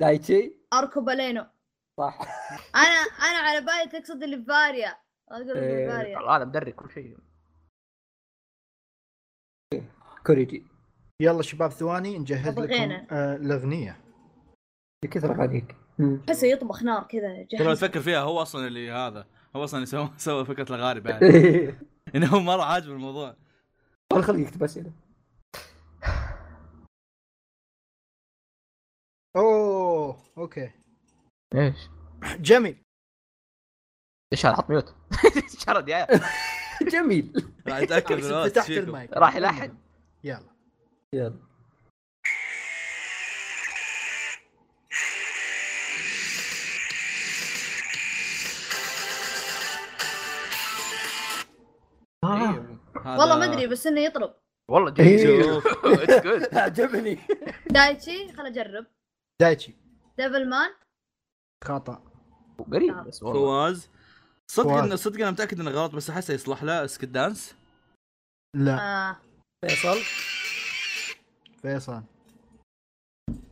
[SPEAKER 3] دايتي
[SPEAKER 4] اركو بالينو
[SPEAKER 3] صح
[SPEAKER 4] انا انا على بالي تقصد اللي بفاريا اقول اللي
[SPEAKER 3] إيه.
[SPEAKER 4] بفاريا
[SPEAKER 1] هذا مدري كل شيء
[SPEAKER 3] كوريجي
[SPEAKER 5] يلا شباب ثواني نجهز لكم
[SPEAKER 4] أبغينا.
[SPEAKER 5] آه، الاغنيه
[SPEAKER 3] بكثر غنيك
[SPEAKER 4] احسه يطبخ نار كذا
[SPEAKER 2] ترى لو
[SPEAKER 4] جهز
[SPEAKER 2] تفكر فيها هو اصلا اللي هذا هو اصلا اللي سوى سوى فكره الغارب هذه انه هو مره عاجبه الموضوع
[SPEAKER 3] والله خليك يكتب اسئله
[SPEAKER 5] اوه اوكي
[SPEAKER 1] ايش؟
[SPEAKER 5] جميل
[SPEAKER 1] ايش هذا حط ميوت شرد يا عيال.
[SPEAKER 3] جميل
[SPEAKER 2] راح اتاكد من الوقت
[SPEAKER 5] فتحت
[SPEAKER 2] فيكم.
[SPEAKER 5] المايك
[SPEAKER 1] راح يلحن
[SPEAKER 5] يلا
[SPEAKER 3] يلا
[SPEAKER 5] آه.
[SPEAKER 1] آه.
[SPEAKER 2] هذا-
[SPEAKER 4] والله ما ادري بس انه يطرب
[SPEAKER 1] إيه، والله
[SPEAKER 3] إيه.
[SPEAKER 1] جيد اتس جود
[SPEAKER 3] عجبني
[SPEAKER 4] دايتشي خل اجرب
[SPEAKER 5] دايتشي
[SPEAKER 4] ديفل مان
[SPEAKER 5] خطا
[SPEAKER 1] قريب بس والله
[SPEAKER 2] فواز صدق
[SPEAKER 5] فواز.
[SPEAKER 2] إن صدق انا متاكد انه غلط بس احسه يصلح له سكت دانس
[SPEAKER 5] لا
[SPEAKER 4] آه.
[SPEAKER 3] فيصل
[SPEAKER 5] فيصل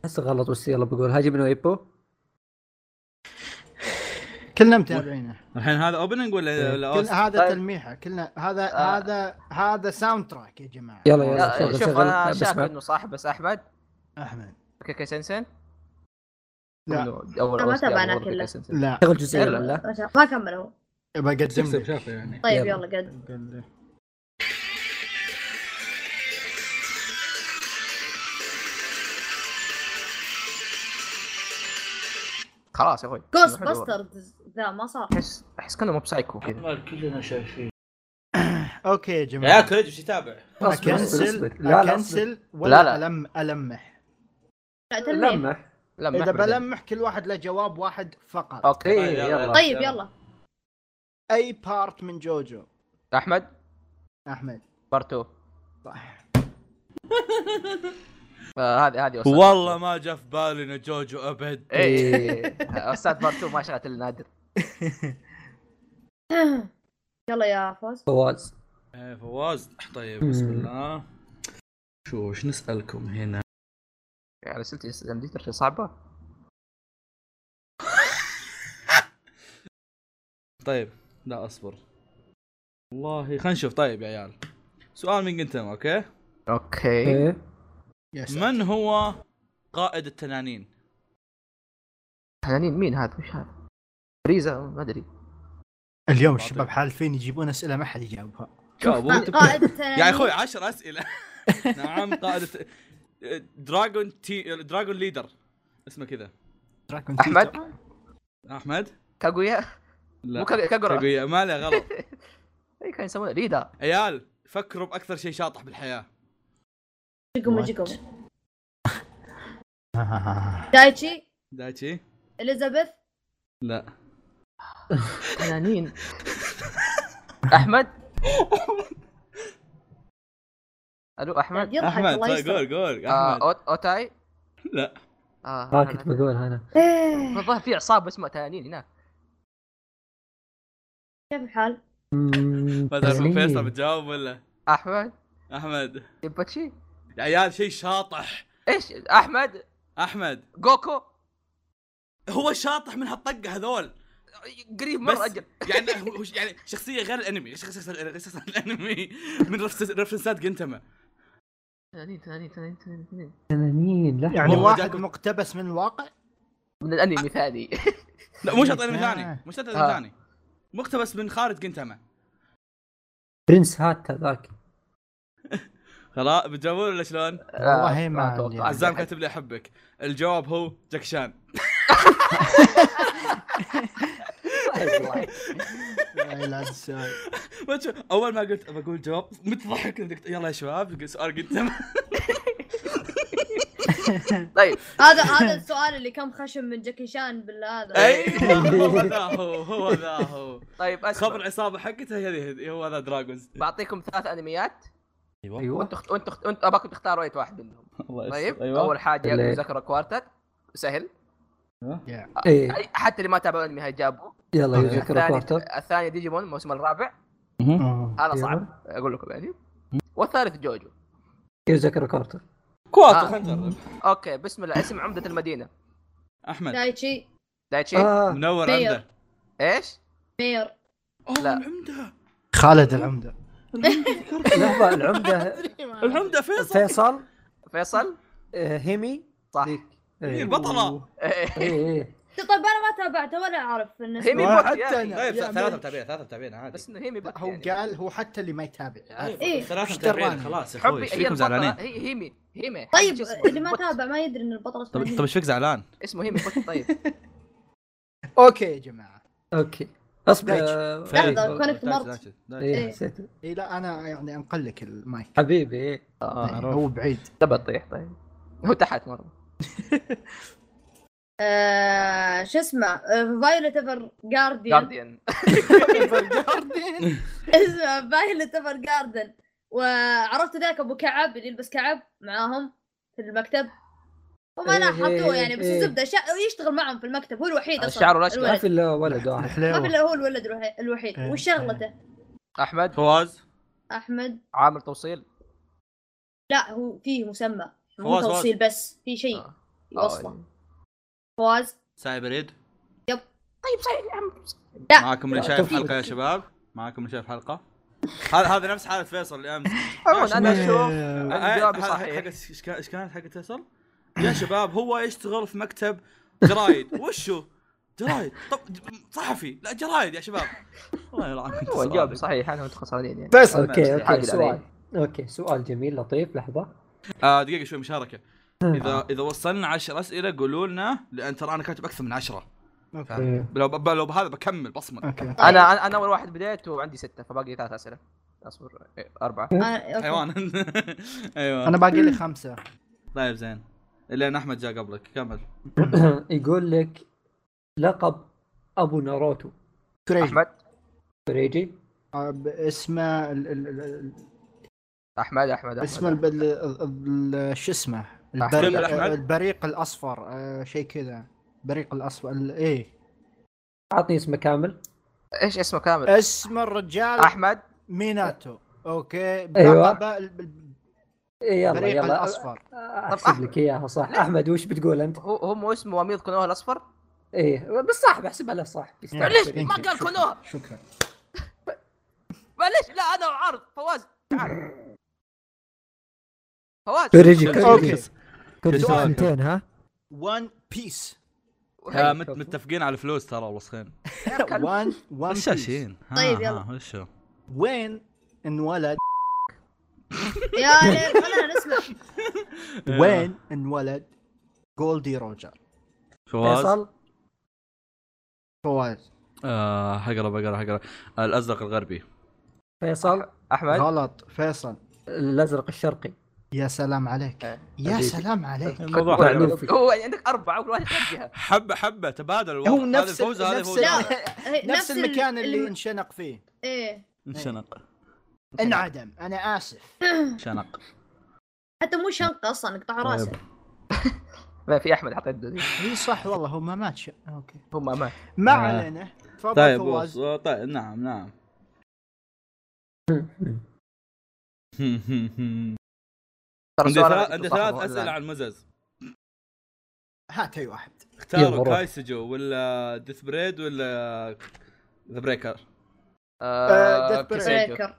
[SPEAKER 3] هسه غلط بس يلا بقول هاجي من ايبو
[SPEAKER 5] كلنا متابعينه
[SPEAKER 2] الحين هذا اوبننج ولا ولا
[SPEAKER 5] كل
[SPEAKER 2] أوست؟
[SPEAKER 5] هذا
[SPEAKER 1] طيب.
[SPEAKER 5] تلميحه كلنا هذا
[SPEAKER 1] آه.
[SPEAKER 5] هذا هذا ساوند تراك يا جماعه
[SPEAKER 3] يلا
[SPEAKER 1] لا،
[SPEAKER 3] يلا شغل
[SPEAKER 1] شوف
[SPEAKER 3] شغل
[SPEAKER 1] انا شاك
[SPEAKER 3] بسمع
[SPEAKER 1] انه صاحب بس احمد
[SPEAKER 5] احمد
[SPEAKER 1] كيكي سنسن
[SPEAKER 5] لا.
[SPEAKER 1] إنه اول
[SPEAKER 4] أنا ما
[SPEAKER 1] أوست جاب
[SPEAKER 4] تابعناه
[SPEAKER 1] أول كيكي
[SPEAKER 4] كله.
[SPEAKER 1] سنسن.
[SPEAKER 5] لا
[SPEAKER 3] شغل جزئيه
[SPEAKER 1] يلا.
[SPEAKER 3] ولا
[SPEAKER 4] ما كمل هو
[SPEAKER 5] بقدم
[SPEAKER 2] تكسب
[SPEAKER 5] لك
[SPEAKER 2] شافه يعني
[SPEAKER 4] طيب
[SPEAKER 3] يلا.
[SPEAKER 4] يلا قد
[SPEAKER 1] خلاص يا اخوي
[SPEAKER 4] جوست
[SPEAKER 1] حلو والله.
[SPEAKER 4] باسترز ذا ما صار
[SPEAKER 1] احس احس كانه مو بسايكو
[SPEAKER 2] إيه.
[SPEAKER 1] كذا
[SPEAKER 2] كلنا شايفين
[SPEAKER 5] اوكي يا
[SPEAKER 2] يا عيال
[SPEAKER 5] جماعه
[SPEAKER 2] كوريج وش يتابع؟
[SPEAKER 3] أصبر، أصبر،
[SPEAKER 5] اكنسل
[SPEAKER 3] أصبر. لا لا أصبر.
[SPEAKER 5] اكنسل ولا
[SPEAKER 1] لا.
[SPEAKER 5] ألم المح
[SPEAKER 4] لا، تلميح.
[SPEAKER 3] لمح
[SPEAKER 1] لا ما
[SPEAKER 5] اذا
[SPEAKER 1] أحمد.
[SPEAKER 5] بلمح كل واحد له جواب واحد فقط
[SPEAKER 1] اوكي
[SPEAKER 3] اي يلا
[SPEAKER 4] طيب يلا
[SPEAKER 5] اي بارت من جوجو
[SPEAKER 1] احمد
[SPEAKER 5] احمد
[SPEAKER 1] بارتو
[SPEAKER 5] صح
[SPEAKER 1] آه، هذه هذه أوستاذ.
[SPEAKER 2] والله ما جاء في بالي انه جوجو ابد
[SPEAKER 1] اي استاذ بارتو ما شغلت الا نادر
[SPEAKER 4] يلا يا فوز
[SPEAKER 3] فواز
[SPEAKER 2] إيه، فواز طيب بسم الله شو وش نسالكم هنا؟
[SPEAKER 1] يعني اسئلتي اسئلتي صعبه
[SPEAKER 2] طيب لا اصبر والله خلينا نشوف طيب يا عيال سؤال من قلت أنا، اوكي
[SPEAKER 1] اوكي
[SPEAKER 3] ايه
[SPEAKER 5] يا سلام.
[SPEAKER 2] من هو قائد التنانين؟
[SPEAKER 1] تنانين مين هذا وش هذا ريزا ما ادري
[SPEAKER 5] اليوم الشباب حالفين يجيبون اسئله ما حد يجاوبها
[SPEAKER 2] جاوبوا
[SPEAKER 4] آه، قائد التنانين.
[SPEAKER 2] يا اخوي 10 اسئله نعم قائد الت- دراجون تي دراجون ليدر اسمه كذا
[SPEAKER 5] تراكم
[SPEAKER 1] أحمد؟
[SPEAKER 5] تويتر.
[SPEAKER 2] احمد
[SPEAKER 1] كاغويا
[SPEAKER 2] لا
[SPEAKER 1] مو كاغ- كاغورا
[SPEAKER 2] تقوية. ما له غلط
[SPEAKER 1] اي كان يسمونه ريدا
[SPEAKER 2] عيال فكروا باكثر شيء شاطح بالحياه
[SPEAKER 4] جيكومو
[SPEAKER 5] What?
[SPEAKER 4] جيكومو
[SPEAKER 1] يعني
[SPEAKER 5] آه.
[SPEAKER 4] دايتشي
[SPEAKER 2] دايتشي
[SPEAKER 4] اليزابيث
[SPEAKER 2] لا
[SPEAKER 1] تنانين احمد الو احمد
[SPEAKER 4] يضحك
[SPEAKER 2] احمد
[SPEAKER 4] الله
[SPEAKER 2] طيب،
[SPEAKER 4] يستر.
[SPEAKER 2] قول قول
[SPEAKER 1] آه
[SPEAKER 2] احمد
[SPEAKER 1] أوت- اوتاي
[SPEAKER 2] لا
[SPEAKER 1] اه
[SPEAKER 3] ها
[SPEAKER 1] أنا-
[SPEAKER 3] آه، كنت بقول انا
[SPEAKER 4] إيه،
[SPEAKER 1] الظاهر في عصابه اسمها تنانين هناك
[SPEAKER 4] كيف الحال؟
[SPEAKER 3] مم،
[SPEAKER 2] ما تعرف
[SPEAKER 3] تنانين.
[SPEAKER 2] فيصل بتجاوب ولا
[SPEAKER 1] احمد
[SPEAKER 2] احمد
[SPEAKER 1] تيباتشي
[SPEAKER 2] يا عيال شيء شاطح
[SPEAKER 1] ايش احمد
[SPEAKER 2] احمد
[SPEAKER 1] جوكو
[SPEAKER 2] هو شاطح من هالطقه هذول
[SPEAKER 1] قريب
[SPEAKER 2] بس
[SPEAKER 1] مره اجل
[SPEAKER 2] يعني هو يعني شخصيه غير الانمي غير شخصيه غير شخصية الانمي من رفس- رفرنسات جنتما
[SPEAKER 1] تنانين تنانين تنانين تنانين تنانين.
[SPEAKER 3] تنانين لا
[SPEAKER 5] يعني
[SPEAKER 2] والله
[SPEAKER 5] واحد
[SPEAKER 2] جاكم-
[SPEAKER 5] مقتبس من الواقع
[SPEAKER 1] من الانمي ثاني
[SPEAKER 2] لا مو شرط انمي ثاني
[SPEAKER 5] آه.
[SPEAKER 2] مو شرط
[SPEAKER 1] آه.
[SPEAKER 2] انمي ثاني مقتبس من خارج جنتما
[SPEAKER 3] برنس هات هذاك
[SPEAKER 2] خلاص بتجاوبون ولا شلون؟
[SPEAKER 1] طيب،
[SPEAKER 5] والله ما
[SPEAKER 1] أتوقع.
[SPEAKER 5] عندي.
[SPEAKER 2] عزام كاتب لي احبك الجواب هو جكشان
[SPEAKER 5] لا لا تسوي.
[SPEAKER 2] ما تشوف- اول ما قلت بقول جواب متضحك يلا يا شباب سؤال جنتما
[SPEAKER 1] طيب
[SPEAKER 4] هذا هذا السؤال اللي كم خشم من جاكي شان بالهذا
[SPEAKER 2] ايوه هو ذا هو هو ذا هو
[SPEAKER 1] طيب
[SPEAKER 2] خبر
[SPEAKER 1] أسمع.
[SPEAKER 2] العصابه حقته هذه هذه- هو ذا دراجونز
[SPEAKER 1] بعطيكم ثلاث انميات
[SPEAKER 2] ايوه
[SPEAKER 3] ايوه
[SPEAKER 1] وانت اخت... وانت اخت... وانت اباكم تختاروا اي واحد منهم
[SPEAKER 2] الله يستر.
[SPEAKER 1] طيب
[SPEAKER 2] ايوه
[SPEAKER 1] اول حاجه
[SPEAKER 3] اللي-
[SPEAKER 1] مذاكره كوارتت سهل
[SPEAKER 3] ايه
[SPEAKER 1] أي- حتى اللي ما تابعوا الانمي هيجابوا
[SPEAKER 3] يلا
[SPEAKER 5] أوكي.
[SPEAKER 3] يذكر كوارتر
[SPEAKER 1] الثاني الثاني ديجيمون الموسم الرابع
[SPEAKER 2] مهم.
[SPEAKER 1] هذا
[SPEAKER 3] يلا.
[SPEAKER 1] صعب اقول لكم يعني والثالث جوجو
[SPEAKER 3] يذكر كوارتر
[SPEAKER 2] كوارتر
[SPEAKER 1] آه.
[SPEAKER 2] خلينا نجرب
[SPEAKER 1] اوكي بسم الله اسم عمده المدينه
[SPEAKER 2] احمد
[SPEAKER 4] دايتشي
[SPEAKER 1] دايتشي
[SPEAKER 3] اه
[SPEAKER 2] منور
[SPEAKER 4] مير.
[SPEAKER 2] عنده
[SPEAKER 1] ايش؟
[SPEAKER 4] مير
[SPEAKER 2] اوه
[SPEAKER 1] لا.
[SPEAKER 2] العمده
[SPEAKER 5] خالد العمده
[SPEAKER 3] لحظه العمده
[SPEAKER 5] أدري ما-
[SPEAKER 4] طيب،
[SPEAKER 2] العمده فيصل
[SPEAKER 3] فيصل
[SPEAKER 1] فيصل
[SPEAKER 3] آه، هيمي
[SPEAKER 1] صح
[SPEAKER 3] ذيك
[SPEAKER 2] هي
[SPEAKER 1] إيه،
[SPEAKER 3] ايه
[SPEAKER 2] البطله
[SPEAKER 3] ايه إيه.
[SPEAKER 4] طيب انا ما تابعته ولا اعرف الناس
[SPEAKER 1] هيمي
[SPEAKER 5] ما
[SPEAKER 1] بوت
[SPEAKER 5] حتى
[SPEAKER 1] يا أخي.
[SPEAKER 5] أنا.
[SPEAKER 2] طيب
[SPEAKER 5] يا
[SPEAKER 2] ثلاثه
[SPEAKER 5] ملك.
[SPEAKER 2] متابعين ثلاثه متابعين عادي
[SPEAKER 1] بس انه هيمي بط
[SPEAKER 5] هو
[SPEAKER 1] يعني.
[SPEAKER 5] قال هو حتى اللي ما يتابع عارف.
[SPEAKER 4] إيه.
[SPEAKER 2] ثلاثه
[SPEAKER 5] إيش دراني؟
[SPEAKER 2] متابعين خلاص يا اخوي
[SPEAKER 1] حبي
[SPEAKER 2] ايش
[SPEAKER 1] هي
[SPEAKER 2] فيكم
[SPEAKER 1] البطله
[SPEAKER 2] زعلانين؟
[SPEAKER 1] هي هيمي هيمي
[SPEAKER 4] طيب
[SPEAKER 1] شو اسمه؟
[SPEAKER 4] اللي ما
[SPEAKER 1] بوت.
[SPEAKER 4] تابع ما يدري ان البطل
[SPEAKER 2] طب
[SPEAKER 4] اسمه
[SPEAKER 2] طب ايش فيك زعلان؟
[SPEAKER 1] اسمه هيمي بوت طيب
[SPEAKER 5] اوكي يا جماعه
[SPEAKER 3] اوكي اصبر
[SPEAKER 5] دايتش.
[SPEAKER 3] آه،
[SPEAKER 4] لحظة،
[SPEAKER 3] إيه.
[SPEAKER 4] كونك مرت.
[SPEAKER 2] طيب، مرت
[SPEAKER 3] ايه
[SPEAKER 4] إيه.
[SPEAKER 3] حسيت
[SPEAKER 5] اي لا انا يعني انقلك المايك يعني
[SPEAKER 3] حبيبي ايه
[SPEAKER 5] هو بعيد
[SPEAKER 1] ده بطيح طيب هو تحت مره
[SPEAKER 4] آه، شو اسمه فايولت ايفر جارديان
[SPEAKER 1] جارديان
[SPEAKER 4] اسمه فايولت ايفر جاردن وعرفت ذاك ابو كعب اللي يلبس كعب معاهم في المكتب وما
[SPEAKER 3] إيه،
[SPEAKER 4] لاحظوه
[SPEAKER 3] إيه،
[SPEAKER 4] يعني بس
[SPEAKER 3] إيه.
[SPEAKER 4] الزبده شا... يشتغل معهم في المكتب هو الوحيد اصلا
[SPEAKER 1] شعره رشقة.
[SPEAKER 3] ما
[SPEAKER 4] الولد.
[SPEAKER 3] في الا ولد واحد
[SPEAKER 4] ما في
[SPEAKER 5] الحلاوه
[SPEAKER 4] إلا هو الولد الوحي- الوحيد
[SPEAKER 5] إيه،
[SPEAKER 4] وش شغلته
[SPEAKER 1] احمد
[SPEAKER 2] فواز
[SPEAKER 4] احمد
[SPEAKER 1] عامل توصيل
[SPEAKER 4] لا هو فيه مسمى مو
[SPEAKER 2] فواز، فواز.
[SPEAKER 4] توصيل بس في شيء
[SPEAKER 1] آه.
[SPEAKER 4] يوصله فواز
[SPEAKER 2] سايبريد
[SPEAKER 1] طيب صحيح يا عم
[SPEAKER 4] لا.
[SPEAKER 2] معاكم اللي
[SPEAKER 3] لا،
[SPEAKER 2] شايف
[SPEAKER 3] تفضل.
[SPEAKER 2] حلقه يا شباب معاكم اللي شايف حلقه هذا هذا نفس حاله فيصل اللي امس
[SPEAKER 1] عموماً انا
[SPEAKER 5] إيه.
[SPEAKER 1] اشوف
[SPEAKER 2] آه،
[SPEAKER 1] أنا
[SPEAKER 2] آه،
[SPEAKER 1] جوابي
[SPEAKER 2] حق-
[SPEAKER 1] صحيح.
[SPEAKER 2] حق- ايش كان- إيش كانت حقت فيصل؟ يا شباب هو يشتغل في مكتب جرايد وشو؟ جرايد طب صحفي لا جرايد يا شباب الله يلعنكم
[SPEAKER 1] هو الجواب صحيح انا وانتم خسرانين يعني
[SPEAKER 5] فيصل
[SPEAKER 1] حاجة
[SPEAKER 3] اوكي اوكي إيه، سؤال
[SPEAKER 1] علي.
[SPEAKER 3] اوكي سؤال جميل لطيف لحظه
[SPEAKER 2] آه دقيقه شوي مشاركه اذا اذا وصلنا 10 اسئله قولوا لنا لان ترى انا كاتب اكثر من 10
[SPEAKER 5] اوكي
[SPEAKER 1] آه.
[SPEAKER 3] إيه.
[SPEAKER 2] لو ب- لو بهذا بكمل بصمه
[SPEAKER 5] اوكي
[SPEAKER 1] انا انا اول واحد بديت وعندي سته فباقي ثلاث اسئله اصبر إيه، اربعه
[SPEAKER 4] آه، أوكي.
[SPEAKER 2] حيوان ايوه
[SPEAKER 5] انا باقي لي خمسه
[SPEAKER 2] طيب زين لان احمد جاء قبلك كمل
[SPEAKER 3] آه، يقول لك لقب ابو ناروتو
[SPEAKER 5] كريجي
[SPEAKER 1] احمد
[SPEAKER 3] فريجي
[SPEAKER 5] آه، اسمه ال- ال- ال- ال-
[SPEAKER 1] احمد احمد
[SPEAKER 5] اسم
[SPEAKER 1] أحمد.
[SPEAKER 5] الب... ال... ال... ال... شو اسمه البر...
[SPEAKER 1] أحمد.
[SPEAKER 2] أحمد.
[SPEAKER 5] البريق الاصفر آه شيء كذا بريق الاصفر ال- ايه
[SPEAKER 3] اعطني اسمه كامل
[SPEAKER 1] ايش اسمه كامل
[SPEAKER 5] اسم الرجال
[SPEAKER 1] احمد
[SPEAKER 5] ميناتو اوكي
[SPEAKER 3] أيوة.
[SPEAKER 5] بلقبه ال- ال-
[SPEAKER 3] إيه، يلا إيه.
[SPEAKER 5] البريق
[SPEAKER 3] يلا
[SPEAKER 5] الاصفر
[SPEAKER 3] احسب لك اياها صح احمد وش بتقول انت؟
[SPEAKER 1] هو هو مو اسمه وميض كونوه الاصفر
[SPEAKER 3] ايه بس صح بحسبها له صح يستاهل.
[SPEAKER 1] معليش،
[SPEAKER 5] ثانك
[SPEAKER 1] ما قال
[SPEAKER 5] يو. طيب، شكراً،
[SPEAKER 1] كونوها.
[SPEAKER 5] شكرا
[SPEAKER 1] معليش لا انا عارض فواز تعال فواز
[SPEAKER 3] فريجي
[SPEAKER 5] اوكي
[SPEAKER 3] فريجي كنت
[SPEAKER 2] سؤال.
[SPEAKER 3] سنتين ها؟
[SPEAKER 5] ون بيس
[SPEAKER 2] آه، مت- متفقين على فلوس ترى والوسخين
[SPEAKER 5] ون ون بيس
[SPEAKER 2] غشاشين ها،
[SPEAKER 4] طيب، يلا.
[SPEAKER 2] ها، وشو
[SPEAKER 5] وين انولد
[SPEAKER 4] يا ليل خلينا نسمع
[SPEAKER 3] آه.
[SPEAKER 5] وين انولد جولدي روجر
[SPEAKER 2] فواز
[SPEAKER 3] فيصل
[SPEAKER 5] فواز
[SPEAKER 2] آه، حقرا بقرا حقرا الازرق الغربي
[SPEAKER 3] فيصل
[SPEAKER 1] احمد
[SPEAKER 5] غلط فيصل
[SPEAKER 3] الازرق الشرقي
[SPEAKER 5] يا سلام عليك
[SPEAKER 1] إيه.
[SPEAKER 5] يا
[SPEAKER 3] حبيبي.
[SPEAKER 5] سلام عليك
[SPEAKER 2] الموضوع
[SPEAKER 3] كنت
[SPEAKER 2] حلو.
[SPEAKER 3] معلوم.
[SPEAKER 1] هو عندك اربعه وكل واحد يوجهها
[SPEAKER 2] حبه حبه تبادل الوضع.
[SPEAKER 5] هو
[SPEAKER 2] هذا
[SPEAKER 5] نفس
[SPEAKER 2] فوز هذا
[SPEAKER 5] نفس
[SPEAKER 2] فوز
[SPEAKER 4] لا.
[SPEAKER 2] هذا.
[SPEAKER 4] هي-
[SPEAKER 5] نفس
[SPEAKER 4] إيه، ال-
[SPEAKER 5] المكان اللي انشنق فيه
[SPEAKER 4] ايه
[SPEAKER 5] نعم.
[SPEAKER 2] انشنق
[SPEAKER 5] انعدم انا اسف
[SPEAKER 2] انشنق
[SPEAKER 4] حتى مو شنقه اصلا قطع راسه
[SPEAKER 5] طيب.
[SPEAKER 1] ما في احمد حطيت دودي
[SPEAKER 5] اي صح والله هو ما مات شيء اوكي
[SPEAKER 1] هو ما مات
[SPEAKER 5] ما
[SPEAKER 2] آه.
[SPEAKER 5] علينا تفضل
[SPEAKER 2] طيب
[SPEAKER 5] فواز
[SPEAKER 2] بص، آه، طيب نعم نعم
[SPEAKER 1] ترى
[SPEAKER 2] عندي
[SPEAKER 1] سؤال
[SPEAKER 2] ثلاث
[SPEAKER 1] أنا
[SPEAKER 2] عندي
[SPEAKER 1] كنت
[SPEAKER 2] ثلاث
[SPEAKER 1] صاحبه
[SPEAKER 2] اسئله
[SPEAKER 1] الآن.
[SPEAKER 2] عن مزز
[SPEAKER 5] هات اي واحد
[SPEAKER 3] يلا
[SPEAKER 2] اختاروا
[SPEAKER 3] روح.
[SPEAKER 2] كايسجو ولا ديث بريد ولا ذا بريكر
[SPEAKER 1] آه،
[SPEAKER 5] Death Break.
[SPEAKER 1] كيسيجو.
[SPEAKER 4] بريكر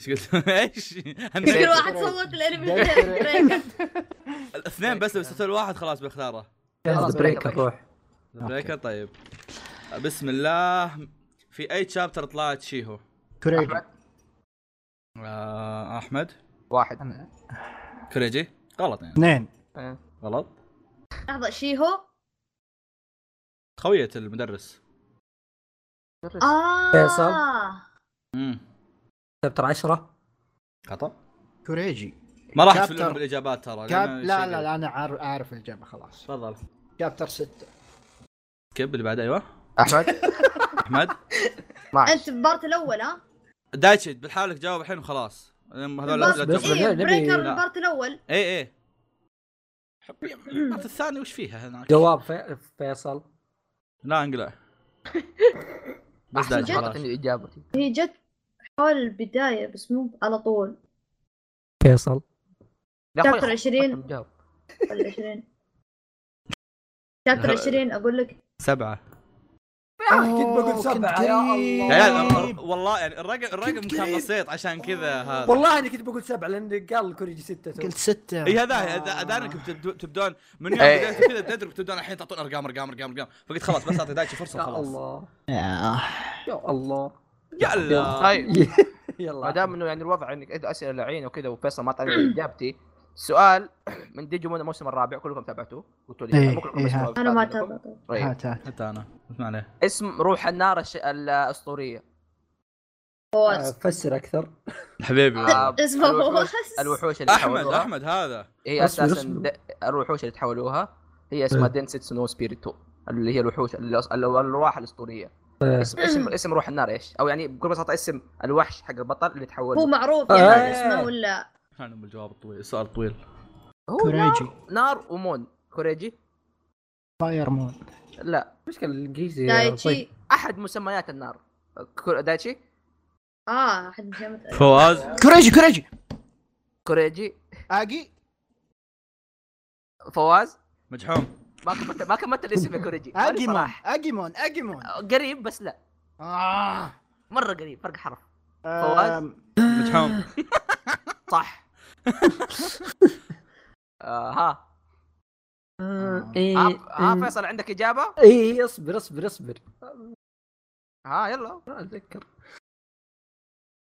[SPEAKER 2] ايش قلت؟ ايش؟
[SPEAKER 4] كل
[SPEAKER 2] هنيت.
[SPEAKER 4] واحد صوت الانمي
[SPEAKER 5] Death
[SPEAKER 4] بتاعه،
[SPEAKER 5] Break.
[SPEAKER 4] بريكر
[SPEAKER 2] الاثنين بس لو استثنت الواحد خلاص بختاره
[SPEAKER 1] خلاص،
[SPEAKER 3] بريكر روح
[SPEAKER 2] ذا بريكر طيب بسم الله في اي شابتر طلعت شيهو؟
[SPEAKER 5] كريجي
[SPEAKER 2] آه، احمد
[SPEAKER 1] واحد
[SPEAKER 5] أنا-
[SPEAKER 2] كريجي غلط يعني
[SPEAKER 5] اثنين
[SPEAKER 1] آه.
[SPEAKER 2] غلط
[SPEAKER 4] لحظه شيهو
[SPEAKER 2] خوية المدرس
[SPEAKER 4] اه
[SPEAKER 3] فيصل.
[SPEAKER 2] امم
[SPEAKER 3] شابتر 10
[SPEAKER 2] خطا
[SPEAKER 5] كريجي
[SPEAKER 2] ما راح
[SPEAKER 5] Chapter-
[SPEAKER 2] تفلون بالاجابات ترى
[SPEAKER 5] كاب...
[SPEAKER 2] لأن
[SPEAKER 5] لا
[SPEAKER 2] شيء
[SPEAKER 5] لا
[SPEAKER 2] غريب.
[SPEAKER 5] لا انا عارف اعرف الاجابه خلاص
[SPEAKER 2] تفضل
[SPEAKER 5] شابتر ستة
[SPEAKER 2] سكيب اللي بعد ايوه
[SPEAKER 1] احمد
[SPEAKER 2] احمد
[SPEAKER 1] ما
[SPEAKER 4] انت في البارت الاول ها
[SPEAKER 2] دايتشي بالحالك جاوب الحين وخلاص لأن هذول
[SPEAKER 4] بس
[SPEAKER 2] لا
[SPEAKER 3] بس
[SPEAKER 2] تجرب.
[SPEAKER 4] إيه
[SPEAKER 3] لا، نبي-
[SPEAKER 4] بريكر
[SPEAKER 2] لا.
[SPEAKER 4] البارت الاول
[SPEAKER 2] اي اي حبي- البارت إيه. الثاني وش فيها هناك؟
[SPEAKER 3] جواب في- فيصل
[SPEAKER 2] لا انقلع بس
[SPEAKER 1] احسن
[SPEAKER 2] داج
[SPEAKER 1] شيء
[SPEAKER 2] خلاص
[SPEAKER 1] اعطني اجابتي
[SPEAKER 4] هي جت حول البدايه بس مو على طول
[SPEAKER 3] فيصل
[SPEAKER 1] يا
[SPEAKER 4] شابتر
[SPEAKER 1] أخوي،
[SPEAKER 4] 20.
[SPEAKER 1] جاوب.
[SPEAKER 4] ولا 20 شابتر 20 اقول لك
[SPEAKER 2] سبعة
[SPEAKER 3] كنت بقول سبعة يا
[SPEAKER 2] يا
[SPEAKER 3] الله
[SPEAKER 2] عيال الر- والله يعني الرقم الرقم كان بسيط عشان كذا هذا
[SPEAKER 3] والله اني كنت بقول سبعة لان قال الكوريجي ستة تو.
[SPEAKER 5] قلت ستة
[SPEAKER 2] اي هذا ادانكم تبدو- تبدون من يوم
[SPEAKER 1] إيه.
[SPEAKER 2] بديتوا كذا تدرب تبدون الحين تعطون ارقام ارقام ارقام ارقام فقلت خلاص بس اعطي دايتشي فرصه
[SPEAKER 3] يا
[SPEAKER 2] خلاص
[SPEAKER 3] الله يا الله
[SPEAKER 2] يلا
[SPEAKER 1] طيب
[SPEAKER 3] يلا
[SPEAKER 1] ما دام انه يعني الوضع انك انت اسئله لعينه وكذا وفيصل ما طلع اجابتي سؤال من ديجيمون الموسم الرابع كلكم تابعتوه قلتوا لي
[SPEAKER 5] إيه،
[SPEAKER 1] مو كلكم
[SPEAKER 5] إيه،
[SPEAKER 1] بس
[SPEAKER 5] ها.
[SPEAKER 1] بعض
[SPEAKER 4] انا ما
[SPEAKER 1] منكم.
[SPEAKER 4] تابعت
[SPEAKER 1] طيب.
[SPEAKER 5] هات هات
[SPEAKER 2] حتى انا اسمع عليه
[SPEAKER 1] اسم روح النار الش... الاسطوريه
[SPEAKER 4] فواز
[SPEAKER 3] آه، فسر اكثر
[SPEAKER 2] حبيبي والله.
[SPEAKER 1] آه،
[SPEAKER 4] اسمه
[SPEAKER 1] الوحوش-
[SPEAKER 4] فواز
[SPEAKER 1] الوحوش اللي
[SPEAKER 2] احمد
[SPEAKER 1] تحولوها
[SPEAKER 2] احمد هذا
[SPEAKER 1] هي
[SPEAKER 3] أصبر،
[SPEAKER 1] اساسا
[SPEAKER 3] أصبر.
[SPEAKER 1] د... الوحوش اللي تحولوها هي اسمها
[SPEAKER 5] إيه.
[SPEAKER 1] دنسيتسو نو سبيريتو اللي هي الوحوش اللي... اللي... الارواح الاسطوريه
[SPEAKER 5] إيه.
[SPEAKER 1] اسم اسم اسم روح النار ايش؟ او يعني بكل بساطه اسم الوحش حق البطل اللي تحول
[SPEAKER 4] هو معروف
[SPEAKER 3] آه.
[SPEAKER 4] يعني هذا اسمه ولا
[SPEAKER 2] انا بالجواب الطويل السؤال الطويل
[SPEAKER 1] هو نار...
[SPEAKER 5] كوريجي
[SPEAKER 1] نار ومون كوريجي
[SPEAKER 5] فاير مون
[SPEAKER 1] لا
[SPEAKER 3] المشكلة الانجليزي
[SPEAKER 4] دايتشي
[SPEAKER 1] احد مسميات النار كور... دايتشي
[SPEAKER 4] اه احد مش عارف.
[SPEAKER 2] فواز
[SPEAKER 5] كوريجي كوريجي
[SPEAKER 1] كوريجي
[SPEAKER 5] اجي
[SPEAKER 1] فواز
[SPEAKER 2] مجحوم
[SPEAKER 1] ما كملت ما كملت الاسم يا كوريجي ماني
[SPEAKER 5] اجيمون
[SPEAKER 1] صراحة.
[SPEAKER 5] اجيمون اجيمون
[SPEAKER 1] قريب بس لا
[SPEAKER 5] آه.
[SPEAKER 1] مره قريب فرق حرف فواز.
[SPEAKER 5] آم،
[SPEAKER 2] مجحوم
[SPEAKER 1] صح آه ها
[SPEAKER 4] آه،
[SPEAKER 1] ها- ها
[SPEAKER 3] اي
[SPEAKER 1] فيصل عندك اجابه؟
[SPEAKER 3] اي اصبر اصبر اصبر
[SPEAKER 1] ها يلا
[SPEAKER 3] ما اتذكر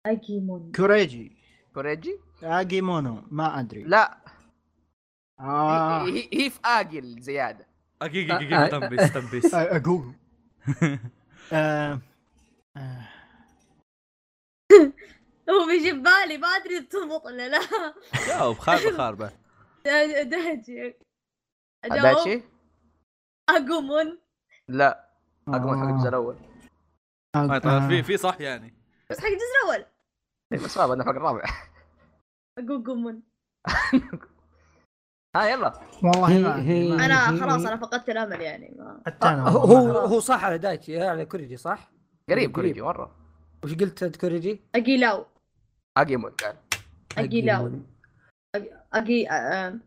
[SPEAKER 4] اجيمون
[SPEAKER 5] كوريجي
[SPEAKER 1] كوريجي
[SPEAKER 5] اجيمونو ما ادري
[SPEAKER 1] لا
[SPEAKER 5] آه.
[SPEAKER 1] هي- هي هي في اجل زياده
[SPEAKER 2] دقيقة دقيقة تنبيس تنبيس
[SPEAKER 5] آه، اقول آه، آه،
[SPEAKER 4] هو بيجي بالي ما ادري تضبط ولا لا
[SPEAKER 2] جاوب خاربة خاربة
[SPEAKER 4] دا- دايتشي اجاوب
[SPEAKER 1] دايتشي؟
[SPEAKER 4] اجومون
[SPEAKER 1] لا اقوى حق الجزء الاول
[SPEAKER 2] ما
[SPEAKER 5] آه.
[SPEAKER 2] يطلع طيب، في في صح يعني
[SPEAKER 4] بس حق الجزء الاول
[SPEAKER 1] إيه، بس صعب انا حق الرابع
[SPEAKER 4] اجوجومون
[SPEAKER 1] ها يلا
[SPEAKER 5] والله ما
[SPEAKER 3] هي-
[SPEAKER 5] أدري، ما أدري.
[SPEAKER 4] انا خلاص انا فقدت الامل يعني ما
[SPEAKER 5] حتى انا
[SPEAKER 3] هو
[SPEAKER 5] والله.
[SPEAKER 3] هو- هو صح على دايتشي على كوريجي صح؟
[SPEAKER 1] قريب
[SPEAKER 3] قريب.
[SPEAKER 1] كوريجي مره
[SPEAKER 3] وش قلت أنت كوريجي؟
[SPEAKER 4] اجيلاو
[SPEAKER 1] اجيمون قال
[SPEAKER 4] اجيلاو
[SPEAKER 3] أجيمون.
[SPEAKER 4] اجي آه،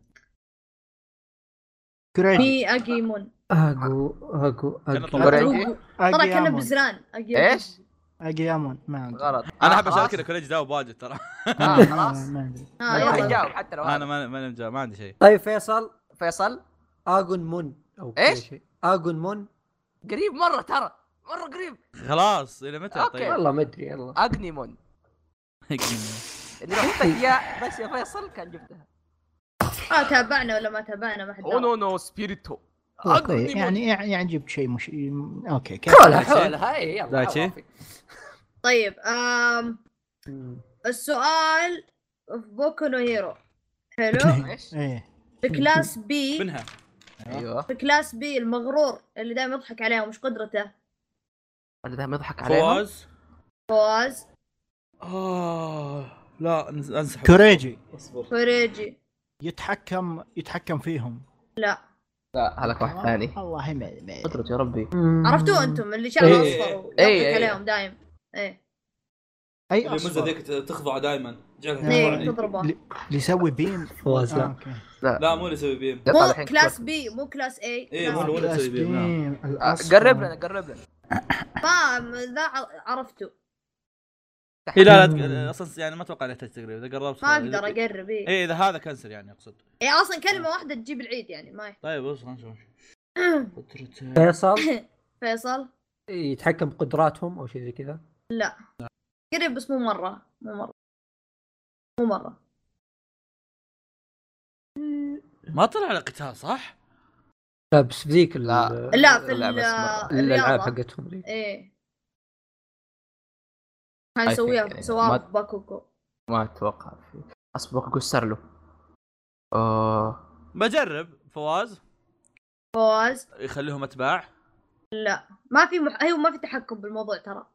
[SPEAKER 5] كوريجي
[SPEAKER 4] مي اجيمون
[SPEAKER 3] اجو اجو
[SPEAKER 2] كان
[SPEAKER 3] اجو
[SPEAKER 2] طبعاً.
[SPEAKER 1] كوريجي
[SPEAKER 4] ترى كنا
[SPEAKER 5] اجيامون
[SPEAKER 4] بزران أجي-
[SPEAKER 1] ايش؟
[SPEAKER 5] اجيامون ما ادري
[SPEAKER 1] غلط
[SPEAKER 2] انا
[SPEAKER 1] آه،
[SPEAKER 2] احب
[SPEAKER 1] خلاص؟
[SPEAKER 2] اشارك كوريجي جاوب واجد ترى
[SPEAKER 1] آه،
[SPEAKER 5] ما-
[SPEAKER 1] خلاص.
[SPEAKER 5] ما ادري
[SPEAKER 4] آه،
[SPEAKER 1] لا،
[SPEAKER 4] يلا.
[SPEAKER 1] تجاوب حتى لو
[SPEAKER 2] انا
[SPEAKER 1] انا
[SPEAKER 2] ما ما نجا- ما عندي شيء
[SPEAKER 3] طيب فيصل
[SPEAKER 1] فيصل
[SPEAKER 3] اجون مون او كذا
[SPEAKER 1] إيش؟
[SPEAKER 3] شيء. اجون مون
[SPEAKER 1] قريب مره ترى مره قريب
[SPEAKER 2] خلاص الى متى
[SPEAKER 1] أوكي.
[SPEAKER 2] طيب
[SPEAKER 3] والله ما ادري يلا
[SPEAKER 1] اجنيمون اللي لو قلت اياه بس يا فيصل كان جبتها
[SPEAKER 4] اه تابعنا ولا ما تابعنا ما حد دار.
[SPEAKER 1] اونو نو سبيريتو
[SPEAKER 5] اوكي يعني يعني جبت شيء مش اوكي كيف
[SPEAKER 3] حولها حولها اي يلا
[SPEAKER 2] دايتشي؟
[SPEAKER 3] عوافي.
[SPEAKER 4] طيب آم
[SPEAKER 3] مم.
[SPEAKER 4] السؤال في بوكو نو هيرو حلو
[SPEAKER 1] ايش؟
[SPEAKER 5] ايه
[SPEAKER 4] في كلاس بي
[SPEAKER 2] منها
[SPEAKER 1] ايوه
[SPEAKER 4] في كلاس بي المغرور اللي دائما يضحك عليهم مش قدرته
[SPEAKER 1] انا دائما يضحك عليهم
[SPEAKER 2] فواز
[SPEAKER 4] فواز
[SPEAKER 2] آه لا نز- انسحب
[SPEAKER 5] كوريجي
[SPEAKER 2] اصبر
[SPEAKER 4] فريجي
[SPEAKER 5] يتحكم يتحكم فيهم
[SPEAKER 1] لا هلك واحد
[SPEAKER 3] يعني.
[SPEAKER 1] ثاني
[SPEAKER 5] والله ما ما-
[SPEAKER 1] قدرت يا ربي
[SPEAKER 4] عرفتوه انتم اللي شعره
[SPEAKER 3] إيه.
[SPEAKER 4] اصفر ويضحك
[SPEAKER 1] إيه، إيه.
[SPEAKER 4] عليهم دايم ايه
[SPEAKER 5] اي
[SPEAKER 2] اللي مزة
[SPEAKER 5] أصفر.
[SPEAKER 2] ذيك ت- تخضع دائما
[SPEAKER 4] ايه تضربه
[SPEAKER 5] اللي اللي يسوي بيم
[SPEAKER 3] فواز
[SPEAKER 5] آه،
[SPEAKER 3] لا
[SPEAKER 5] اوكي
[SPEAKER 2] لا مو اللي يسوي بيم
[SPEAKER 1] يطلع
[SPEAKER 4] مو
[SPEAKER 1] الحين
[SPEAKER 4] كلاس بي مو كلاس اي
[SPEAKER 2] إيه،
[SPEAKER 4] كلاس
[SPEAKER 2] مو
[SPEAKER 4] بي.
[SPEAKER 2] الولد يسوي بيم، نعم.
[SPEAKER 5] بيم،
[SPEAKER 1] آه،
[SPEAKER 5] الأصفر.
[SPEAKER 1] قرب لنا قرب لنا
[SPEAKER 4] ما ذا ع- عرفته
[SPEAKER 2] هي إيه، لا لا تق- اصلا يعني ما اتوقع انها تحتاج تقريب اذا قربت
[SPEAKER 4] ما اقدر اقرب
[SPEAKER 1] إيه.
[SPEAKER 4] ايه
[SPEAKER 2] اي اذا هذا كنسل يعني اقصد
[SPEAKER 4] إيه،
[SPEAKER 1] آه.
[SPEAKER 4] اصلا كلمه واحده تجيب العيد يعني ما يح-
[SPEAKER 2] طيب بص خلنا نشوف قدرته
[SPEAKER 3] فيصل
[SPEAKER 4] فيصل
[SPEAKER 3] يتحكم بقدراتهم او شيء زي كذا
[SPEAKER 4] قريب بس مو مره مو مره مو مره
[SPEAKER 2] ما طلع على قتال صح؟
[SPEAKER 3] لا طيب، بس ذيك
[SPEAKER 1] لا.
[SPEAKER 4] لا في
[SPEAKER 1] اللعبة اسمها-
[SPEAKER 4] ال-
[SPEAKER 3] الالعاب
[SPEAKER 4] الرياضه
[SPEAKER 3] حقتهم ذي
[SPEAKER 4] ايه
[SPEAKER 1] I think
[SPEAKER 4] هنسويها
[SPEAKER 1] يعني
[SPEAKER 4] سواها
[SPEAKER 1] ما-
[SPEAKER 4] في باكوكو
[SPEAKER 1] ما اتوقع في اصبر قصر له اوه
[SPEAKER 2] بجرب فواز
[SPEAKER 4] فواز
[SPEAKER 2] يخليهم اتباع
[SPEAKER 4] أيوة، ما في مح... ايوه ما في تحكم بالموضوع ترى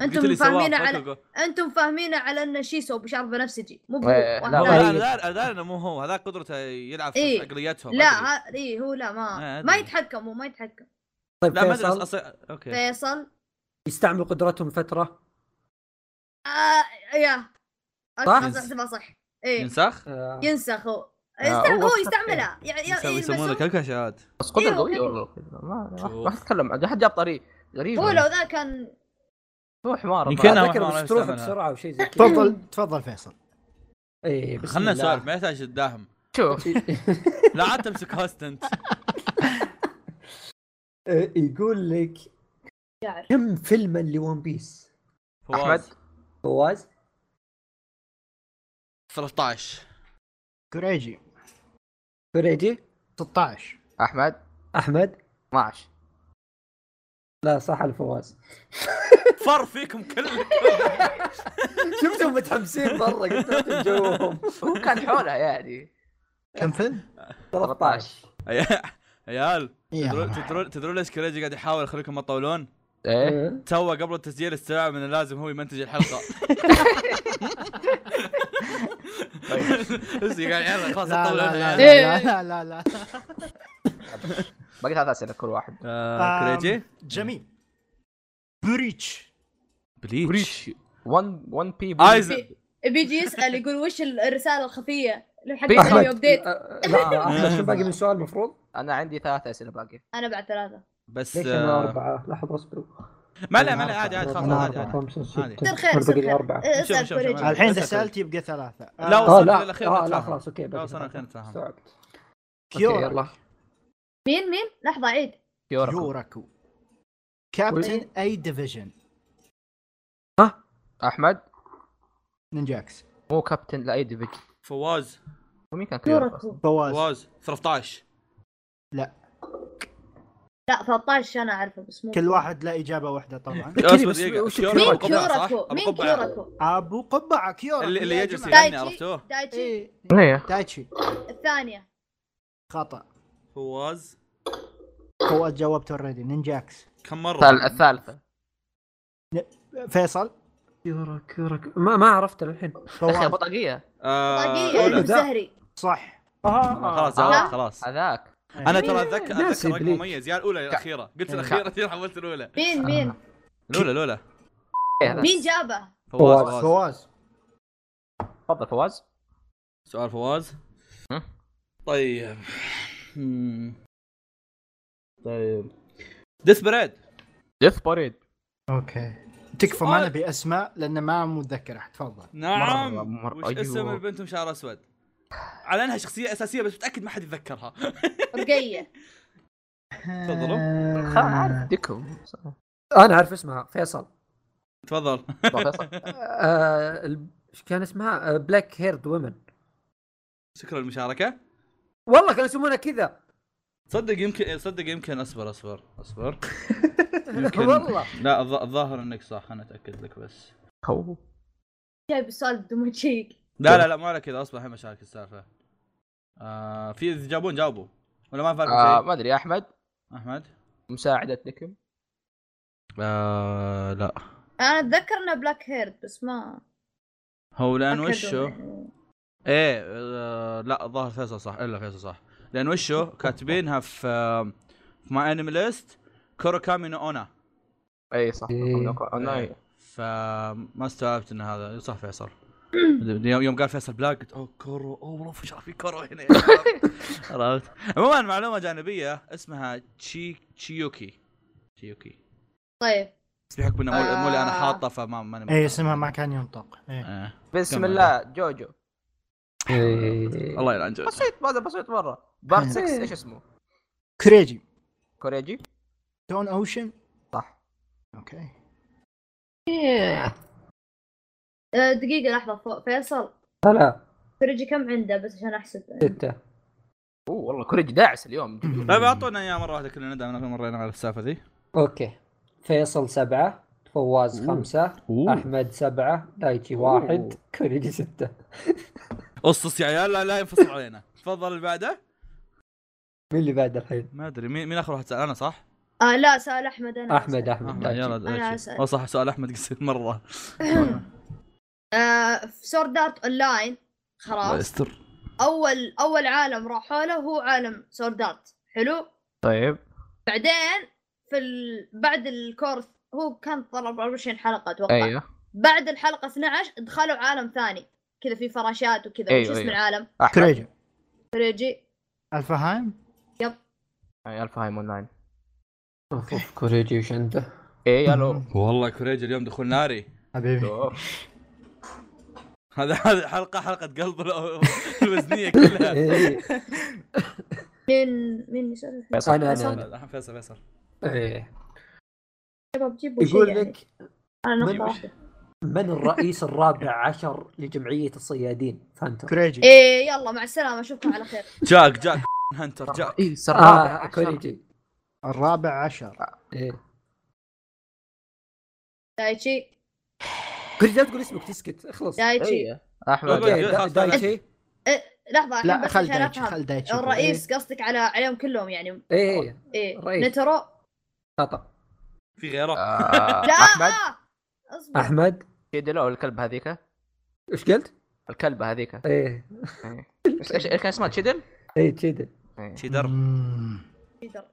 [SPEAKER 4] انتم فاهمين على انتم فاهمين على انه شيسو بشعر بنفسجي مو بهو.
[SPEAKER 1] إيه،
[SPEAKER 4] واحد
[SPEAKER 1] لا،
[SPEAKER 4] ثاني.
[SPEAKER 2] لا لا لا انه مو هو هذا قدرته يلعب في
[SPEAKER 4] إيه.
[SPEAKER 2] عقليتهم
[SPEAKER 4] لا
[SPEAKER 2] أدري.
[SPEAKER 4] ها- اي هو لا
[SPEAKER 2] آه،
[SPEAKER 4] ما
[SPEAKER 2] أدري.
[SPEAKER 4] ما يتحكم هو ما يتحكم
[SPEAKER 3] طيب
[SPEAKER 2] لا ما ادري
[SPEAKER 3] فيصل
[SPEAKER 2] أص- أص-
[SPEAKER 1] إيه.
[SPEAKER 4] إيه.
[SPEAKER 2] اوكي
[SPEAKER 4] فيصل
[SPEAKER 3] يستعمل قدرتهم فتره
[SPEAKER 4] آه يا
[SPEAKER 3] صح؟
[SPEAKER 4] صح صح صح إيه، اي
[SPEAKER 2] ينسخ
[SPEAKER 3] آه،
[SPEAKER 4] ينسخ هو
[SPEAKER 1] آه،
[SPEAKER 4] يستعمل
[SPEAKER 1] هو
[SPEAKER 4] هو
[SPEAKER 1] صح.
[SPEAKER 4] يستعملها يعني
[SPEAKER 2] يسوي-
[SPEAKER 4] يلبسه.
[SPEAKER 2] يسمونه كلكشات
[SPEAKER 1] بس قدره
[SPEAKER 4] إيه،
[SPEAKER 1] قويه
[SPEAKER 4] أوكي.
[SPEAKER 1] والله ما- ما
[SPEAKER 2] شوف.
[SPEAKER 1] راح اتكلم عن حد جاب طريق غريب
[SPEAKER 4] هو لو ذا كان
[SPEAKER 1] هو حمار
[SPEAKER 2] يمكن-
[SPEAKER 1] بعد.
[SPEAKER 2] ما- ما
[SPEAKER 3] اتذكر بس تروح
[SPEAKER 2] يستعملها.
[SPEAKER 3] بسرعه وشيء زي كذا
[SPEAKER 5] تفضل تفضل فيصل
[SPEAKER 3] اي بسم
[SPEAKER 2] خلنا
[SPEAKER 3] الله.
[SPEAKER 2] نسولف ما يحتاج تداهم
[SPEAKER 1] شوف
[SPEAKER 2] لا عاد تمسك هوست انت
[SPEAKER 3] آه، يقول لك
[SPEAKER 4] شاعر.
[SPEAKER 3] كم فيلما لون بيس
[SPEAKER 1] احمد
[SPEAKER 2] فواز
[SPEAKER 3] فواز
[SPEAKER 2] 13
[SPEAKER 5] كريجي
[SPEAKER 3] فريدي
[SPEAKER 5] 16
[SPEAKER 1] احمد
[SPEAKER 3] احمد
[SPEAKER 1] 12
[SPEAKER 3] لا صح الفواز
[SPEAKER 2] فر فيكم كلكم
[SPEAKER 3] شفتهم متحمسين مره قلت لا تجوهم
[SPEAKER 1] هو كان حولها يعني
[SPEAKER 5] كم فيلم؟
[SPEAKER 1] 13
[SPEAKER 2] يا- عيال
[SPEAKER 5] يا
[SPEAKER 2] تدرون
[SPEAKER 5] الله.
[SPEAKER 2] تدرون تدرون ليش كريجي قاعد يحاول يخليكم ما تطولون؟
[SPEAKER 3] إيه،
[SPEAKER 1] ايه
[SPEAKER 2] تو قبل التسجيل استوعب انه لازم هو يمنتج الحلقه
[SPEAKER 1] طيب،
[SPEAKER 2] بس قاعد يلا خلاص
[SPEAKER 5] لا
[SPEAKER 2] اطول
[SPEAKER 5] لا لا
[SPEAKER 2] انا
[SPEAKER 5] لا لا لا لا
[SPEAKER 1] باقي ثلاث اسئله كل واحد
[SPEAKER 2] آه، كريجي
[SPEAKER 5] جميل بريتش
[SPEAKER 2] بليتش
[SPEAKER 1] 1 1 بي
[SPEAKER 4] آه.
[SPEAKER 2] ايزن
[SPEAKER 4] بيجي يسال يقول وش ال- الرساله الخفيه اللي حق
[SPEAKER 1] بيحمد.
[SPEAKER 4] اليوم
[SPEAKER 3] احمد
[SPEAKER 4] ابديت
[SPEAKER 3] آه، لا احمد شو باقي من سؤال المفروض؟
[SPEAKER 1] انا عندي ثلاث اسئله باقي
[SPEAKER 4] انا بعد ثلاثه
[SPEAKER 2] بس
[SPEAKER 3] ليش
[SPEAKER 2] آه،
[SPEAKER 3] انا اربعه؟ لحظه اصبروا
[SPEAKER 2] ما لا ما لا عادي عادي خلاص
[SPEAKER 3] أنا
[SPEAKER 2] عادي
[SPEAKER 3] أربعة،
[SPEAKER 2] عادي
[SPEAKER 3] خمسة، ستة.
[SPEAKER 2] عادي.
[SPEAKER 4] صار خير
[SPEAKER 3] بقي
[SPEAKER 4] صار
[SPEAKER 3] لي
[SPEAKER 4] خير
[SPEAKER 3] أربعة.
[SPEAKER 4] آه،
[SPEAKER 2] شوف-
[SPEAKER 4] اسال
[SPEAKER 2] شوف- شوف.
[SPEAKER 4] كوريجي.
[SPEAKER 2] على
[SPEAKER 5] الحين
[SPEAKER 2] أسأل
[SPEAKER 5] تسالت يبقى ثلاثة آه،
[SPEAKER 2] لا،
[SPEAKER 3] اه
[SPEAKER 2] وصلت
[SPEAKER 3] لا
[SPEAKER 2] للأخير،
[SPEAKER 3] آه، لا
[SPEAKER 2] أتفهم.
[SPEAKER 3] خلاص اوكي
[SPEAKER 2] لا
[SPEAKER 3] باقي
[SPEAKER 2] وصلنا الحين أتفهم.
[SPEAKER 3] استوعبت اوكي
[SPEAKER 5] كيورا
[SPEAKER 3] يلا
[SPEAKER 4] مين مين لحظه عيد
[SPEAKER 1] يورا
[SPEAKER 5] يوراكو كابتن اي ديفيجن
[SPEAKER 1] احمد
[SPEAKER 5] نينجاكس
[SPEAKER 1] مو كابتن لاي ديفيجن
[SPEAKER 2] فواز
[SPEAKER 1] ومين كان كيورا
[SPEAKER 4] كوركو
[SPEAKER 5] فواز
[SPEAKER 2] فواز 13
[SPEAKER 4] لا 13 انا اعرفه بس مو
[SPEAKER 5] كل واحد له اجابه واحده طبعا
[SPEAKER 2] يا أصبر
[SPEAKER 3] بس-
[SPEAKER 2] دقيقة.
[SPEAKER 3] وش
[SPEAKER 2] كيورا
[SPEAKER 4] مين
[SPEAKER 2] أبو قبعة، صح؟
[SPEAKER 4] كيوركو
[SPEAKER 2] أبو
[SPEAKER 4] مين
[SPEAKER 2] قبعة.
[SPEAKER 4] كيوركو
[SPEAKER 5] ابو قبعه كيورا
[SPEAKER 2] اللي اللي
[SPEAKER 5] يا
[SPEAKER 2] يجلس
[SPEAKER 5] جماعة.
[SPEAKER 2] يغني
[SPEAKER 4] دايتشي.
[SPEAKER 2] عرفتوه
[SPEAKER 4] دايتشي
[SPEAKER 5] إيه،
[SPEAKER 1] ايه
[SPEAKER 5] دايتشي
[SPEAKER 4] الثانيه
[SPEAKER 5] خطا
[SPEAKER 2] فواز
[SPEAKER 5] فواز جاوبت اوريدي نينجاكس
[SPEAKER 2] كم مره؟
[SPEAKER 1] الثال- الثالثه
[SPEAKER 5] فيصل
[SPEAKER 3] كيورا كيورا ما ما عرفت للحين
[SPEAKER 1] يا اخي
[SPEAKER 5] فواز
[SPEAKER 1] بطاقيه
[SPEAKER 2] آه،
[SPEAKER 4] طاقية
[SPEAKER 2] أولى.
[SPEAKER 4] زهري
[SPEAKER 5] صح
[SPEAKER 2] آه، خلاص
[SPEAKER 1] آه. إيه.
[SPEAKER 2] عرفت، خلاص
[SPEAKER 1] هذاك
[SPEAKER 2] انا ترى اتذكر
[SPEAKER 3] ناسي
[SPEAKER 2] اتذكر رقم
[SPEAKER 3] بليتش.
[SPEAKER 2] مميز يا الاولى يا الاخيره قلت الاخيره تصير حولت الاولى
[SPEAKER 4] مين مين
[SPEAKER 2] الاولى الاولى
[SPEAKER 1] إيه هذاك.
[SPEAKER 4] مين جابه؟
[SPEAKER 2] فواز فواز.
[SPEAKER 3] فواز.
[SPEAKER 5] فواز
[SPEAKER 1] تفضل فواز
[SPEAKER 2] سؤال فواز
[SPEAKER 1] هم؟
[SPEAKER 2] طيب مم. طيب ديسبريد
[SPEAKER 1] ديث باريد
[SPEAKER 5] اوكي تكفى ما نبي اسماء لان ما متذكر احد تفضل
[SPEAKER 2] نعم
[SPEAKER 1] مرة- مرة-
[SPEAKER 2] وش اسم
[SPEAKER 1] أيوه.
[SPEAKER 2] البنت شعر اسود على انها شخصيه اساسيه بس متاكد ما حد يتذكرها
[SPEAKER 4] رقيه
[SPEAKER 2] تفضلوا.
[SPEAKER 1] خلاص
[SPEAKER 5] آه.
[SPEAKER 1] عارف ديكو صح.
[SPEAKER 3] انا عارف اسمها فيصل
[SPEAKER 2] تفضل
[SPEAKER 1] فيصل.
[SPEAKER 3] آه، ال- ايش كان اسمها؟ آه، بلاك هيرد ومن
[SPEAKER 2] شكرا للمشاركه
[SPEAKER 3] والله كانوا يسمونها كذا
[SPEAKER 2] صدق يمكن صدق يمكن اصبر اصبر اصبر يمكن.
[SPEAKER 3] والله
[SPEAKER 2] لا الظ- الظاهر انك صح انا اتاكد لك بس
[SPEAKER 1] هو
[SPEAKER 4] جايب السؤال بدون شيك
[SPEAKER 2] لا لا لا ما على كذا اصبر الحين مشاكل السالفه آه في اذا جابون جاوبوا ولا ما فارق
[SPEAKER 1] آه،
[SPEAKER 2] شيء
[SPEAKER 1] ما ادري احمد
[SPEAKER 2] احمد
[SPEAKER 1] مساعده نكم
[SPEAKER 2] آه لا
[SPEAKER 4] انا اتذكر انه بلاك هيرد بس ما
[SPEAKER 2] هو لان
[SPEAKER 4] أتأكد
[SPEAKER 2] وشو
[SPEAKER 4] منه.
[SPEAKER 2] ايه آه لا الظاهر فيصل صح الا فيصل صح لان وشو كاتبينها في آه في ماي انمي ليست كوروكامي نو اونا
[SPEAKER 1] اي صح
[SPEAKER 3] إيه.
[SPEAKER 1] انا
[SPEAKER 2] فما استوعبت ان هذا صح فيصل يوم يوم قال فيصل بلاك قلت اوه كورو اوه والله ايش في كورو هنا يا شباب. عرفت عموما معلومه جانبيه اسمها تشي تشيوكي تشيوكي
[SPEAKER 4] طيب
[SPEAKER 2] بس بحكم انه مو مو اللي انا
[SPEAKER 4] آه.
[SPEAKER 2] حاطه فما ماني
[SPEAKER 5] اي إيه، اسمها ما كان ينطق إيه.
[SPEAKER 2] آه.
[SPEAKER 1] بسم
[SPEAKER 2] كمل.
[SPEAKER 1] الله جوجو
[SPEAKER 2] الله يلعن جوز
[SPEAKER 1] بسيط هذا بسيط مره بارت 6 ايش اسمه؟
[SPEAKER 5] كريجي
[SPEAKER 1] كوريجي
[SPEAKER 5] تون اوشن
[SPEAKER 1] صح
[SPEAKER 5] اوكي
[SPEAKER 2] إيه.
[SPEAKER 4] آه، دقيقه لحظه ف- فيصل
[SPEAKER 3] هلا
[SPEAKER 4] فرجي كم عنده بس عشان احسب
[SPEAKER 3] ستة
[SPEAKER 1] اوه والله كوريجي داعس اليوم
[SPEAKER 2] طيب اعطونا اياه مره واحده كلنا دامنا مرينا على السالفه ذي
[SPEAKER 3] اوكي فيصل سبعة فواز خمسة
[SPEAKER 2] أوه.
[SPEAKER 3] احمد سبعة دايتشي واحد كوريجي ستة
[SPEAKER 2] قصص يا عيال لا لا ينفصل علينا تفضل اللي بعده
[SPEAKER 3] مين اللي بعد الحين؟
[SPEAKER 2] ما ادري مين مين اخر واحد سال انا صح؟
[SPEAKER 4] آه لا سأل احمد انا
[SPEAKER 3] احمد احمد
[SPEAKER 2] أحمد،
[SPEAKER 3] دايتشي.
[SPEAKER 2] يلا
[SPEAKER 4] أنا
[SPEAKER 2] دايتشي.
[SPEAKER 4] أسأل.
[SPEAKER 2] أو صح سؤال احمد قصير مره
[SPEAKER 4] آه في سورد ارت اون لاين
[SPEAKER 2] الله
[SPEAKER 4] خلاص
[SPEAKER 2] يستر
[SPEAKER 4] اول اول عالم راحوا له هو عالم سورد ارت حلو
[SPEAKER 1] طيب
[SPEAKER 4] بعدين في ال... بعد الكورس هو كان طلع 24 حلقه اتوقع
[SPEAKER 1] ايوه
[SPEAKER 3] أيوه.
[SPEAKER 4] بعد الحلقه 12 دخلوا عالم ثاني كذا في فراشات وكذا
[SPEAKER 1] أيوة،
[SPEAKER 4] وش اسم
[SPEAKER 1] أيوة.
[SPEAKER 4] العالم
[SPEAKER 1] احمد
[SPEAKER 5] تريجن
[SPEAKER 4] فريجي
[SPEAKER 5] الفهايم
[SPEAKER 1] اي الفا هايم اون لاين
[SPEAKER 3] اوف اوف كوريجي وش عنده؟
[SPEAKER 1] اي الو
[SPEAKER 2] والله كوريج اليوم دخول ناري
[SPEAKER 5] حبيبي
[SPEAKER 2] هذا هذا حلقه حلقه قلب ال- الوزنيه كلها
[SPEAKER 3] إيه،
[SPEAKER 4] مين مين يسولف
[SPEAKER 3] انا انا
[SPEAKER 4] فيصل.
[SPEAKER 3] أنا.
[SPEAKER 2] الحين فيصل فيصل
[SPEAKER 3] إيه.
[SPEAKER 4] شباب جيبوا شيء
[SPEAKER 3] يقول
[SPEAKER 4] يعني.
[SPEAKER 3] لك
[SPEAKER 4] انا نقطه
[SPEAKER 3] جيبوا
[SPEAKER 4] واحده
[SPEAKER 3] من الرئيس الرابع عشر لجمعيه الصيادين فانتوم
[SPEAKER 5] كريجي
[SPEAKER 4] ايه يلا مع السلامه اشوفكم على خير
[SPEAKER 2] جاك جاك هنتر جاك
[SPEAKER 1] اي سراب
[SPEAKER 3] آه كوريجي
[SPEAKER 5] الرابع عشر
[SPEAKER 3] إيه.
[SPEAKER 4] دايتشي
[SPEAKER 3] كوريجي لا تقول اسمك تسكت اخلص
[SPEAKER 1] إيه.
[SPEAKER 5] إيه.
[SPEAKER 4] دايتشي
[SPEAKER 1] احمد
[SPEAKER 3] أوكي،
[SPEAKER 2] لا،
[SPEAKER 3] دا-
[SPEAKER 2] خلاص،
[SPEAKER 3] دايتشي
[SPEAKER 4] لحظه الحين
[SPEAKER 5] لا
[SPEAKER 4] بس
[SPEAKER 5] خل
[SPEAKER 4] عشان
[SPEAKER 5] دايتشي
[SPEAKER 4] افهم
[SPEAKER 5] خل إيه. دايتشي
[SPEAKER 4] الرئيس قصدك على عليهم كلهم يعني
[SPEAKER 3] ايه
[SPEAKER 4] ايه
[SPEAKER 3] الرئيس.
[SPEAKER 4] نترو
[SPEAKER 3] خطا
[SPEAKER 2] في غيره
[SPEAKER 1] آه،
[SPEAKER 4] لا
[SPEAKER 1] احمد
[SPEAKER 4] آه. اصبر
[SPEAKER 3] احمد
[SPEAKER 1] شيدلو الكلب هذيك
[SPEAKER 3] وش قلت؟
[SPEAKER 1] الكلبه هذيك
[SPEAKER 3] ايه
[SPEAKER 1] ايش إيش- إيش كان اسمها تشيدل؟
[SPEAKER 3] ايه كذا
[SPEAKER 1] إيه.
[SPEAKER 2] شيدر
[SPEAKER 5] مم.
[SPEAKER 4] شيدر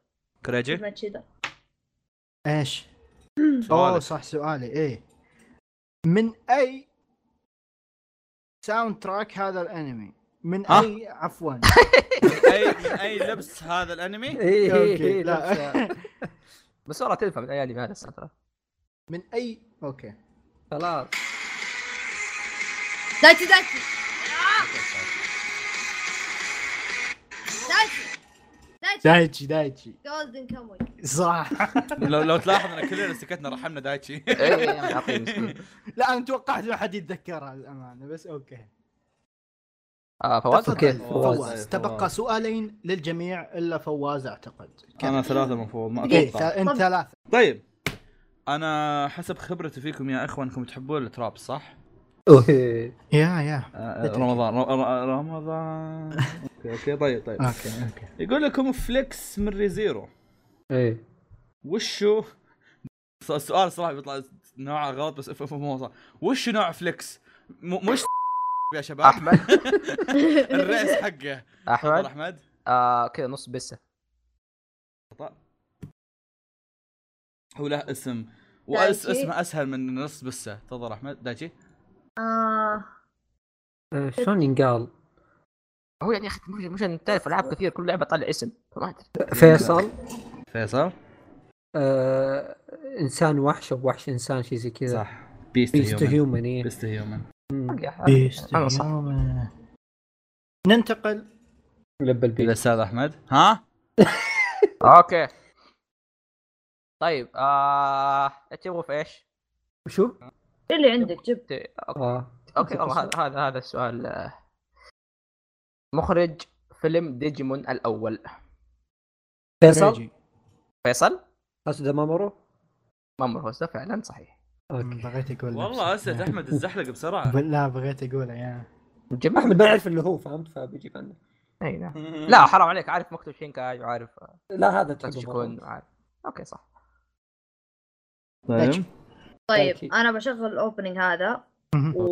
[SPEAKER 2] كوريجي
[SPEAKER 4] اسمه شيدر
[SPEAKER 5] ايش؟ اوه
[SPEAKER 2] سؤالك.
[SPEAKER 5] صح سؤالي ايه من اي ساوند تراك هذا الانمي؟ من
[SPEAKER 2] ها؟
[SPEAKER 5] اي عفوا
[SPEAKER 2] اي من اي لبس هذا الانمي
[SPEAKER 3] ايه ايه
[SPEAKER 5] أوكي،
[SPEAKER 3] إيه،
[SPEAKER 5] لا.
[SPEAKER 3] لابسة.
[SPEAKER 1] بس والله تنفع من اي انمي هذا السنه
[SPEAKER 5] من اي اوكي
[SPEAKER 3] خلاص
[SPEAKER 4] دايتشي دايتشي آه. دايتشي دايتشي
[SPEAKER 5] دايتشي دايتشي
[SPEAKER 4] جولدن كاموي
[SPEAKER 5] صح
[SPEAKER 2] لو لو تلاحظ ان كلنا سكتنا رحمنا دايتشي
[SPEAKER 1] اي يعطيه مسكين
[SPEAKER 5] لا انا توقعت ما حد يتذكرها للامانه بس اوكي
[SPEAKER 1] آه، فواز
[SPEAKER 5] تفضل،
[SPEAKER 3] أوكي، فواز.
[SPEAKER 5] فواز تبقى
[SPEAKER 2] فواز.
[SPEAKER 5] سؤالين للجميع الا فواز اعتقد
[SPEAKER 2] انا ثلاثه مفروض ما
[SPEAKER 5] اوكي
[SPEAKER 2] اتوقع
[SPEAKER 5] ثا- انت ثلاثة
[SPEAKER 2] طيب انا حسب خبرتي فيكم يا اخوان انكم تحبون التراب صح؟
[SPEAKER 3] اوكي
[SPEAKER 5] يا يا
[SPEAKER 2] آه،
[SPEAKER 5] أتأكد.
[SPEAKER 2] رمضان ر- ر- رمضان اوكي اوكي طيب طيب
[SPEAKER 5] اوكي اوكي
[SPEAKER 2] يقول لكم فليكس من ريزيرو
[SPEAKER 3] ايه
[SPEAKER 2] وشو س- السؤال صراحه بيطلع نوعه غلط بس افهموه صح وش نوع فليكس؟ م- مش يا شباب
[SPEAKER 1] احمد
[SPEAKER 2] الرئيس حقه تفضل
[SPEAKER 1] احمد
[SPEAKER 2] احمد
[SPEAKER 1] آه كذا نص بسه
[SPEAKER 2] هو له اسم
[SPEAKER 4] دايتشي.
[SPEAKER 2] واسمه اسهل من نص بسه تفضل احمد دايتشي
[SPEAKER 4] آه.
[SPEAKER 3] آه، شلون ينقال؟
[SPEAKER 1] هو يعني يا اخي مش مش إن تعرف العاب كثير كل لعبه طلع اسم فما ادري
[SPEAKER 3] فيصل
[SPEAKER 2] فيصل
[SPEAKER 3] آه، انسان وحش او وحش انسان شيء زي كذا
[SPEAKER 2] صح بيست
[SPEAKER 3] بيست
[SPEAKER 2] هيومن
[SPEAKER 3] هيومن إيه.
[SPEAKER 2] بيست هيومن
[SPEAKER 3] مم.
[SPEAKER 1] يا أخي.
[SPEAKER 5] إيه،
[SPEAKER 1] أنا صح.
[SPEAKER 5] بيستهيومن. آه، ننتقل
[SPEAKER 3] لب البيت
[SPEAKER 2] الاستاذ احمد ها
[SPEAKER 3] إيه.
[SPEAKER 1] اوكي طيب آه تبغوا في ايش؟
[SPEAKER 3] شو؟
[SPEAKER 4] إيه اللي عندك جبت
[SPEAKER 1] ت-
[SPEAKER 3] اه
[SPEAKER 1] اوكي والله هذا هذا هذا السؤال آه. مخرج فيلم ديجيمون الاول
[SPEAKER 3] فيصل
[SPEAKER 5] ريجي.
[SPEAKER 1] فيصل
[SPEAKER 3] اسد مامورو
[SPEAKER 1] مامور هوستا فعلا صحيح
[SPEAKER 3] اوكي
[SPEAKER 5] بغيت اقول نفسي.
[SPEAKER 2] والله اسد احمد الزحلق بسرعه
[SPEAKER 5] ب- لا بغيت اقوله يا
[SPEAKER 1] جميل
[SPEAKER 3] احمد ما يعرف اللي هو فهمت فبيجي عنه
[SPEAKER 1] اي نعم لا حرام عليك عارف مكتوب شينكاي وعارف آه،
[SPEAKER 3] لا هذا تحبه
[SPEAKER 1] تاتشيكون
[SPEAKER 3] مرة.
[SPEAKER 1] وعارف اوكي صح
[SPEAKER 2] طيب
[SPEAKER 4] طيب
[SPEAKER 3] دايتشي.
[SPEAKER 4] انا بشغل الاوبننج هذا
[SPEAKER 5] مهم.
[SPEAKER 4] و...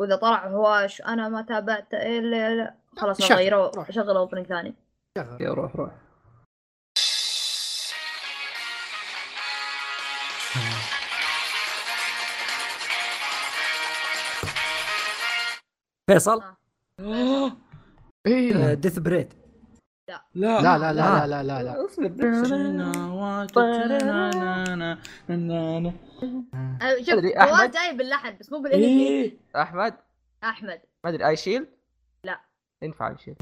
[SPEAKER 4] واذا طلع هواش انا ما تابعت الا لا- خلاص
[SPEAKER 5] شغل،
[SPEAKER 4] اغيره
[SPEAKER 5] روح.
[SPEAKER 4] اشغل اوبننج ثاني
[SPEAKER 3] يا روح روح فيصل
[SPEAKER 2] إيه.
[SPEAKER 1] إيه،
[SPEAKER 3] إيه. آه،
[SPEAKER 1] اي
[SPEAKER 3] ديث بريد
[SPEAKER 2] لا
[SPEAKER 5] لا لا لا لا لا لا
[SPEAKER 4] أه، شوف
[SPEAKER 1] أدري،
[SPEAKER 4] هو
[SPEAKER 1] أحمد؟
[SPEAKER 4] جاي باللحن
[SPEAKER 5] إيه.
[SPEAKER 4] بس مو بالانجليزي
[SPEAKER 3] إيه.
[SPEAKER 1] احمد
[SPEAKER 4] احمد
[SPEAKER 1] ما ادري اي شيلد؟
[SPEAKER 4] لا.
[SPEAKER 1] ينفع اي شيلد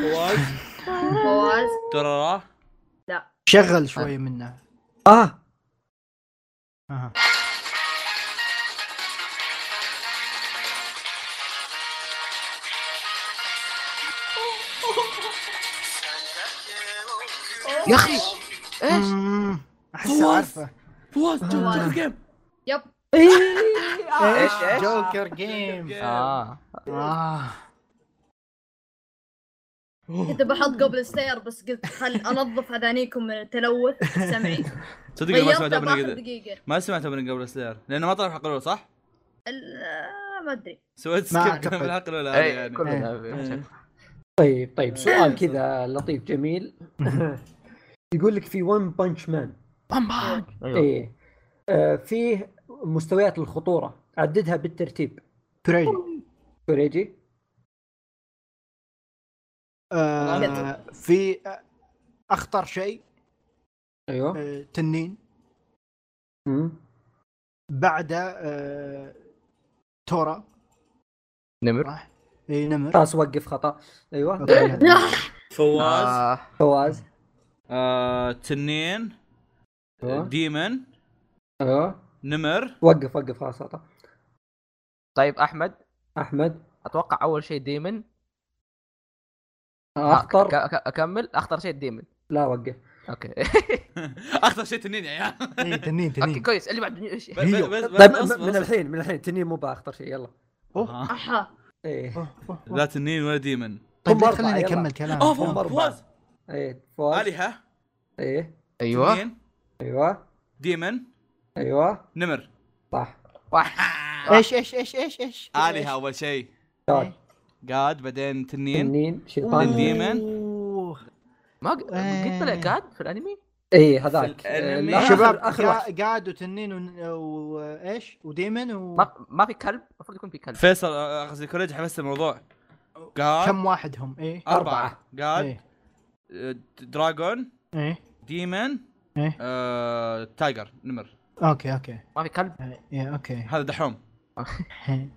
[SPEAKER 2] فواز
[SPEAKER 4] فواز
[SPEAKER 2] ترى
[SPEAKER 5] شغل شوي منه
[SPEAKER 3] اه
[SPEAKER 5] أها.
[SPEAKER 1] يا اخي ايش؟
[SPEAKER 5] مم. احس
[SPEAKER 2] فواز.
[SPEAKER 5] عارفه
[SPEAKER 2] فواز
[SPEAKER 4] فواز.
[SPEAKER 2] جيم
[SPEAKER 4] يب
[SPEAKER 5] ايش
[SPEAKER 1] إيش؟ آه.
[SPEAKER 5] جوكر جيم
[SPEAKER 1] اه
[SPEAKER 5] آه.
[SPEAKER 4] كنت بحط قبل ستير بس قلت خل انظف اذانيكم من التلوث السمعي
[SPEAKER 2] صدق أنا ما سمعت
[SPEAKER 4] غيرتها
[SPEAKER 2] اوبننج
[SPEAKER 4] باخر
[SPEAKER 2] قد-
[SPEAKER 4] دقيقه
[SPEAKER 2] ما سمعت اوبننج قبل سلاير لانه ما طلع الحلقه الاولى صح؟
[SPEAKER 4] ال- آه، ما ادري
[SPEAKER 2] سويت
[SPEAKER 5] ما
[SPEAKER 2] سكيب
[SPEAKER 5] أعتقد.
[SPEAKER 2] من الحلقه الاولى هذه
[SPEAKER 1] اي
[SPEAKER 2] يعني
[SPEAKER 1] إيه، كلنا
[SPEAKER 2] إيه.
[SPEAKER 3] طيب طيب سؤال كذا لطيف جميل يقول لك في ون بانش مان
[SPEAKER 1] ايوه
[SPEAKER 3] ايه آه، فيه مستويات الخطوره عددها بالترتيب
[SPEAKER 5] تريجي
[SPEAKER 3] كوريجي
[SPEAKER 5] آه في آه، اخطر شيء
[SPEAKER 2] إيه.
[SPEAKER 3] ايوه
[SPEAKER 5] آه تنين
[SPEAKER 3] مم.
[SPEAKER 5] بعده آه تورا
[SPEAKER 1] نمر
[SPEAKER 5] راح اي نمر
[SPEAKER 3] خلاص وقف خطا ايوه
[SPEAKER 1] إيه.
[SPEAKER 2] فواز
[SPEAKER 1] آه،
[SPEAKER 3] فواز
[SPEAKER 2] آه، تنين
[SPEAKER 3] ايوه
[SPEAKER 2] ديمن
[SPEAKER 3] ايوه
[SPEAKER 2] نمر
[SPEAKER 3] وقف وقف خلاص خطا
[SPEAKER 1] طيب احمد
[SPEAKER 3] احمد
[SPEAKER 1] اتوقع اول شيء ديمن آه،
[SPEAKER 3] اخطر
[SPEAKER 1] ك- ك- اكمل اخطر شيء ديمن
[SPEAKER 3] لا وقف
[SPEAKER 1] اوكي
[SPEAKER 2] اخطر شيء تنين يا عيال
[SPEAKER 5] اي تنين
[SPEAKER 1] اوكي
[SPEAKER 5] تنين
[SPEAKER 1] كويس اللي بعد ايش
[SPEAKER 2] بس- بس- بس- بس-
[SPEAKER 3] طيب م-
[SPEAKER 2] أصبر،
[SPEAKER 3] من
[SPEAKER 2] أصبر.
[SPEAKER 3] الحين من الحين تنين مو باخطر شيء يلا
[SPEAKER 2] آه.
[SPEAKER 4] احا
[SPEAKER 3] ايه
[SPEAKER 5] أوه، أوه، أوه.
[SPEAKER 2] لا تنين ولا ديمن
[SPEAKER 5] طيب لا،
[SPEAKER 3] أربعة،
[SPEAKER 5] خليني
[SPEAKER 3] يلا.
[SPEAKER 5] اكمل كلام
[SPEAKER 2] اوه
[SPEAKER 3] فوز.
[SPEAKER 2] فوز فوز
[SPEAKER 3] ايه فواز
[SPEAKER 2] الهه
[SPEAKER 3] ايه
[SPEAKER 1] ايوه
[SPEAKER 2] تنين
[SPEAKER 3] ايوه
[SPEAKER 2] ديمن
[SPEAKER 3] ايوه
[SPEAKER 2] نمر
[SPEAKER 3] صح
[SPEAKER 1] واحد
[SPEAKER 2] آه.
[SPEAKER 5] ايش ايش ايش ايش ايش
[SPEAKER 2] الهه اول شيء
[SPEAKER 3] قاد
[SPEAKER 2] قاد بعدين تنين
[SPEAKER 3] تنين
[SPEAKER 2] بعدين
[SPEAKER 3] شيطان
[SPEAKER 2] ديمن.
[SPEAKER 5] أوه.
[SPEAKER 1] ما قد
[SPEAKER 5] إيه.
[SPEAKER 1] طلع قاد في الانمي
[SPEAKER 3] اي هذاك
[SPEAKER 2] في الأنمي.
[SPEAKER 3] آه، لا،
[SPEAKER 5] شباب
[SPEAKER 3] آخر- آخر
[SPEAKER 5] قا-
[SPEAKER 3] واحد.
[SPEAKER 5] قاد وتنين ون- وايش وديمن و
[SPEAKER 1] ما ما في كلب المفروض يكون في كلب
[SPEAKER 2] فيصل آه، قصدي كوريج حبست الموضوع قاد
[SPEAKER 5] كم واحد هم ايه
[SPEAKER 2] اربعه قاد
[SPEAKER 5] ايه
[SPEAKER 2] آه، دراجون
[SPEAKER 5] ايه
[SPEAKER 2] ديمن
[SPEAKER 5] إيه.
[SPEAKER 2] آه، تايجر نمر
[SPEAKER 5] اوكي اوكي
[SPEAKER 1] ما في كلب
[SPEAKER 5] ايه اوكي
[SPEAKER 2] هذا دحوم
[SPEAKER 5] إيه.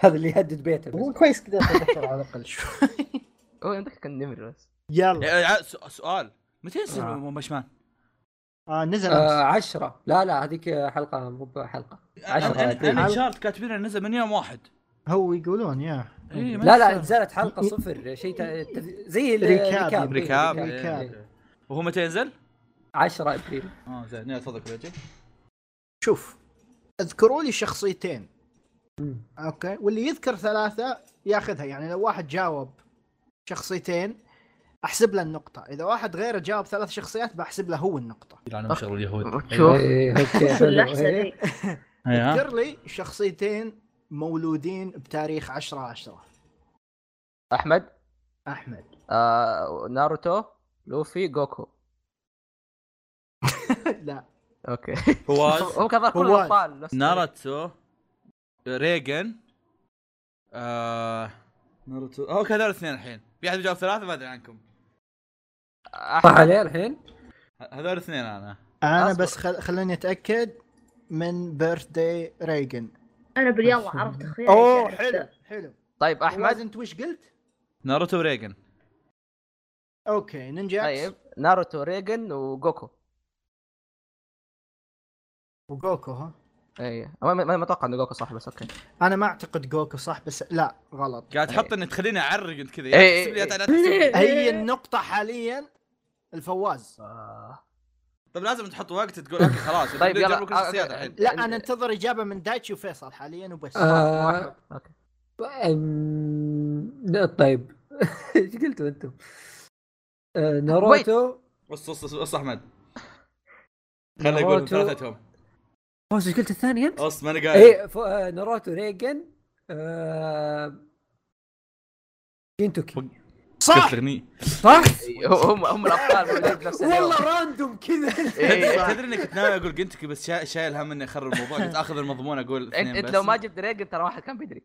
[SPEAKER 3] هذا اللي يهدد بيته
[SPEAKER 5] هو
[SPEAKER 3] بس. آه،
[SPEAKER 5] كويس كذا تذكر على الاقل شوي
[SPEAKER 1] هو عندك كان نمر بس
[SPEAKER 5] يلا
[SPEAKER 2] يا- يا- سؤ- سؤال متى يصير
[SPEAKER 5] آه.
[SPEAKER 2] ون بنش مان؟
[SPEAKER 5] آه نزل
[SPEAKER 3] آه
[SPEAKER 5] امس
[SPEAKER 3] عشرة لا لا هذيك حلقة مو بحلقة عشرة
[SPEAKER 2] انا
[SPEAKER 3] تقريباً.
[SPEAKER 2] آه، أنا شارت كاتبين إنه نزل من يوم واحد
[SPEAKER 5] هو يقولون يا
[SPEAKER 2] إيه، ما
[SPEAKER 3] لا لا
[SPEAKER 2] يصير.
[SPEAKER 3] نزلت حلقة صفر شيء ت- ت- زي ال-
[SPEAKER 5] ريكاب.
[SPEAKER 3] الركاب.
[SPEAKER 2] ركاب
[SPEAKER 3] إيه،
[SPEAKER 2] إيه،
[SPEAKER 5] ريكاب.
[SPEAKER 3] إيه.
[SPEAKER 2] أوكي. وهو متى ينزل؟
[SPEAKER 3] 10 ابريل
[SPEAKER 2] اه زين يلا تفضل كوريجي
[SPEAKER 5] شوف اذكروا لي شخصيتين
[SPEAKER 3] مم.
[SPEAKER 5] اوكي واللي يذكر ثلاثه ياخذها يعني لو واحد جاوب شخصيتين احسب له النقطه اذا واحد غيره جاوب ثلاث شخصيات بحسب له هو النقطه
[SPEAKER 2] يلعنهم شغل اليهود
[SPEAKER 1] شوف
[SPEAKER 3] إيه، اوكي حلو
[SPEAKER 4] اللحسه
[SPEAKER 3] إيه.
[SPEAKER 4] ذي
[SPEAKER 2] ايوه
[SPEAKER 5] اذكر لي شخصيتين مولودين بتاريخ 10 10
[SPEAKER 1] احمد
[SPEAKER 5] احمد
[SPEAKER 1] آه ناروتو لوفي جوكو
[SPEAKER 5] لا
[SPEAKER 1] اوكي
[SPEAKER 2] فواز
[SPEAKER 1] هو كذا كل
[SPEAKER 5] فواز.
[SPEAKER 1] الابطال نفس
[SPEAKER 2] ناروتو ريجن آه ناروتو اوكي هذول اثنين الحين في احد جاوب ثلاثه ما ادري عنكم
[SPEAKER 3] صح
[SPEAKER 1] احمد
[SPEAKER 3] عليه الحين
[SPEAKER 2] ه- هذول اثنين انا
[SPEAKER 5] انا
[SPEAKER 1] أصبر.
[SPEAKER 5] بس خل... خليني اتاكد من بيرث داي ريجن
[SPEAKER 4] انا باليلا عرفت اخويا
[SPEAKER 5] اوه حلو حلو
[SPEAKER 1] طيب
[SPEAKER 5] احمد
[SPEAKER 1] احمد
[SPEAKER 5] انت وش قلت؟
[SPEAKER 2] ناروتو وريجن
[SPEAKER 5] اوكي نينجاكس
[SPEAKER 1] طيب ناروتو ريجن وجوكو
[SPEAKER 5] وجوكو ها
[SPEAKER 1] اي ما ما ما اتوقع انه جوكو صح بس اوكي
[SPEAKER 5] انا ما اعتقد جوكو صح بس لا غلط
[SPEAKER 2] قاعد تحط ان تخليني اعرق انت كذا
[SPEAKER 1] إيه،
[SPEAKER 2] يا تحسب لي يا
[SPEAKER 1] إيه.
[SPEAKER 2] تعال تحسب لي.
[SPEAKER 5] هي النقطة حاليا الفواز
[SPEAKER 1] آه،
[SPEAKER 2] طب طيب، لازم تحط وقت تقول اوكي خلاص
[SPEAKER 1] طيب، يلا.
[SPEAKER 2] جربوا كل الشخصيات الحين
[SPEAKER 5] لا انا انتظر اجابة من دايتشي وفيصل حاليا وبس
[SPEAKER 3] آه،
[SPEAKER 1] اوكي
[SPEAKER 3] أم، لا، طيب ايش قلتوا انتم؟ آه، ناروتو
[SPEAKER 2] بص بص بص احمد خليني
[SPEAKER 3] ناروتو.
[SPEAKER 2] اقول ثلاثتهم
[SPEAKER 3] فوز ايش قلت الثاني انت؟
[SPEAKER 2] بص ماني قايل
[SPEAKER 1] إيه،
[SPEAKER 3] ايه ف- آه، ناروتو ريجن آه، جينتوكي
[SPEAKER 5] صح
[SPEAKER 2] كفرني
[SPEAKER 3] صح؟
[SPEAKER 1] إي، هم هم الابطال موجودين في نفس اليوم إيه.
[SPEAKER 3] والله راندوم كذا
[SPEAKER 1] إي، إي، إي.
[SPEAKER 2] تدري اني كنت ناوي اقول جنتك بس شا- شايل هم اني اخرب الموضوع كنت اخذ المضمون اقول
[SPEAKER 1] انت
[SPEAKER 2] اثنين
[SPEAKER 1] انت
[SPEAKER 2] بس
[SPEAKER 1] لو ما جبت ريجن ترى واحد كان بيدري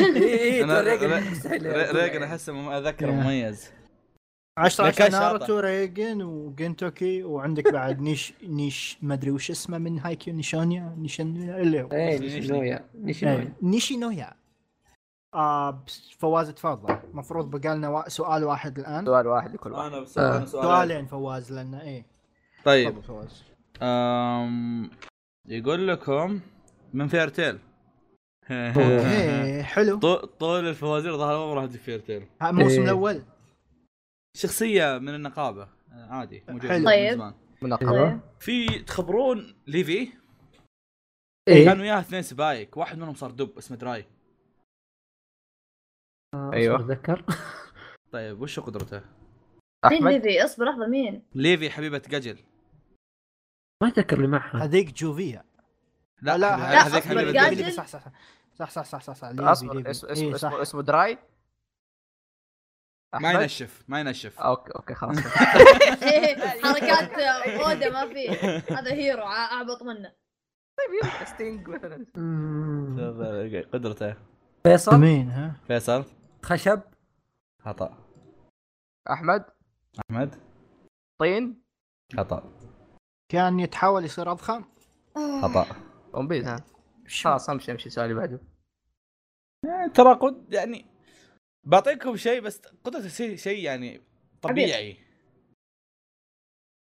[SPEAKER 3] اي
[SPEAKER 2] أنا-
[SPEAKER 3] ريجن
[SPEAKER 2] ر-
[SPEAKER 3] إيه، مستحيل
[SPEAKER 2] ري-
[SPEAKER 3] يقول
[SPEAKER 2] ريجن
[SPEAKER 3] يعني.
[SPEAKER 2] احسه مم- اذكر
[SPEAKER 1] إيه.
[SPEAKER 5] يا.
[SPEAKER 2] مميز
[SPEAKER 5] 10
[SPEAKER 2] ذكاء
[SPEAKER 5] 10
[SPEAKER 2] شاطر.
[SPEAKER 5] ناروتو ريجن وجنتوكي وعندك بعد نيش نيش ما ادري وش اسمه من هايكيو نيشونيا نيشانيا اللي هو
[SPEAKER 3] ايه نيشينويا نيشينويا
[SPEAKER 5] إيه، نيشينويا آه بس فواز تفضل المفروض بقى لنا وا- سؤال واحد الان
[SPEAKER 1] سؤال واحد لكل واحد
[SPEAKER 2] بس
[SPEAKER 3] آه.
[SPEAKER 5] سؤالين فواز لنا ايه
[SPEAKER 2] طيب
[SPEAKER 5] تفضل فواز
[SPEAKER 2] أم... يقول لكم من فيرتيل
[SPEAKER 5] ايه حلو
[SPEAKER 2] طو- طول الفوازير ظهر اول مره في فيرتيل
[SPEAKER 5] ها، الموسم
[SPEAKER 3] إيه.
[SPEAKER 5] الاول
[SPEAKER 2] شخصيه من النقابه عادي موجوده
[SPEAKER 5] حلو.
[SPEAKER 2] من
[SPEAKER 4] طيب.
[SPEAKER 2] زمان
[SPEAKER 1] مناقضه
[SPEAKER 4] طيب
[SPEAKER 2] في تخبرون ليفي كانوا
[SPEAKER 3] ايه
[SPEAKER 2] وياه اثنين سبايك واحد منهم صار دب اسمه دراي أيوه.
[SPEAKER 1] أيوة.
[SPEAKER 3] اتذكر
[SPEAKER 2] طيب وش قدرته؟
[SPEAKER 4] مين
[SPEAKER 1] احمد
[SPEAKER 4] ليفي اصبر لحظه مين
[SPEAKER 2] ليفي حبيبه قجل
[SPEAKER 3] ما اتذكر اللي معها
[SPEAKER 5] هذيك جوفيا
[SPEAKER 2] لا
[SPEAKER 5] لا
[SPEAKER 2] هذي-
[SPEAKER 5] لا،
[SPEAKER 2] هذيك
[SPEAKER 4] أصبر،
[SPEAKER 2] حبيبه
[SPEAKER 4] قاعد-
[SPEAKER 2] قجل
[SPEAKER 5] ليفي، صح صح صح صح صح صح صح, صح. ليفي،
[SPEAKER 1] اصبر
[SPEAKER 5] ليفي.
[SPEAKER 1] اسمه
[SPEAKER 5] إيه،
[SPEAKER 1] اسمه
[SPEAKER 5] صح.
[SPEAKER 1] اسمه اسمه دراي
[SPEAKER 2] ما
[SPEAKER 1] أحمد؟
[SPEAKER 2] ينشف ما ينشف
[SPEAKER 1] اوكي اوكي خلاص
[SPEAKER 4] حركات اودا ما فيه هذا هيرو ع- اعبط منه
[SPEAKER 1] طيب، ستينج مثلا
[SPEAKER 3] مم.
[SPEAKER 2] قدرته
[SPEAKER 3] فيصل
[SPEAKER 5] مين ها؟
[SPEAKER 2] فيصل
[SPEAKER 3] خشب
[SPEAKER 2] خطا
[SPEAKER 1] احمد
[SPEAKER 2] احمد
[SPEAKER 1] طين
[SPEAKER 2] خطا
[SPEAKER 5] كان يتحاول يصير اضخم
[SPEAKER 2] خطا
[SPEAKER 1] ون بيس ها خلاص امشي امشي السؤال اللي بعده
[SPEAKER 2] تراقد يعني بعطيكم شيء بس قدرته شيء شيء يعني طبيعي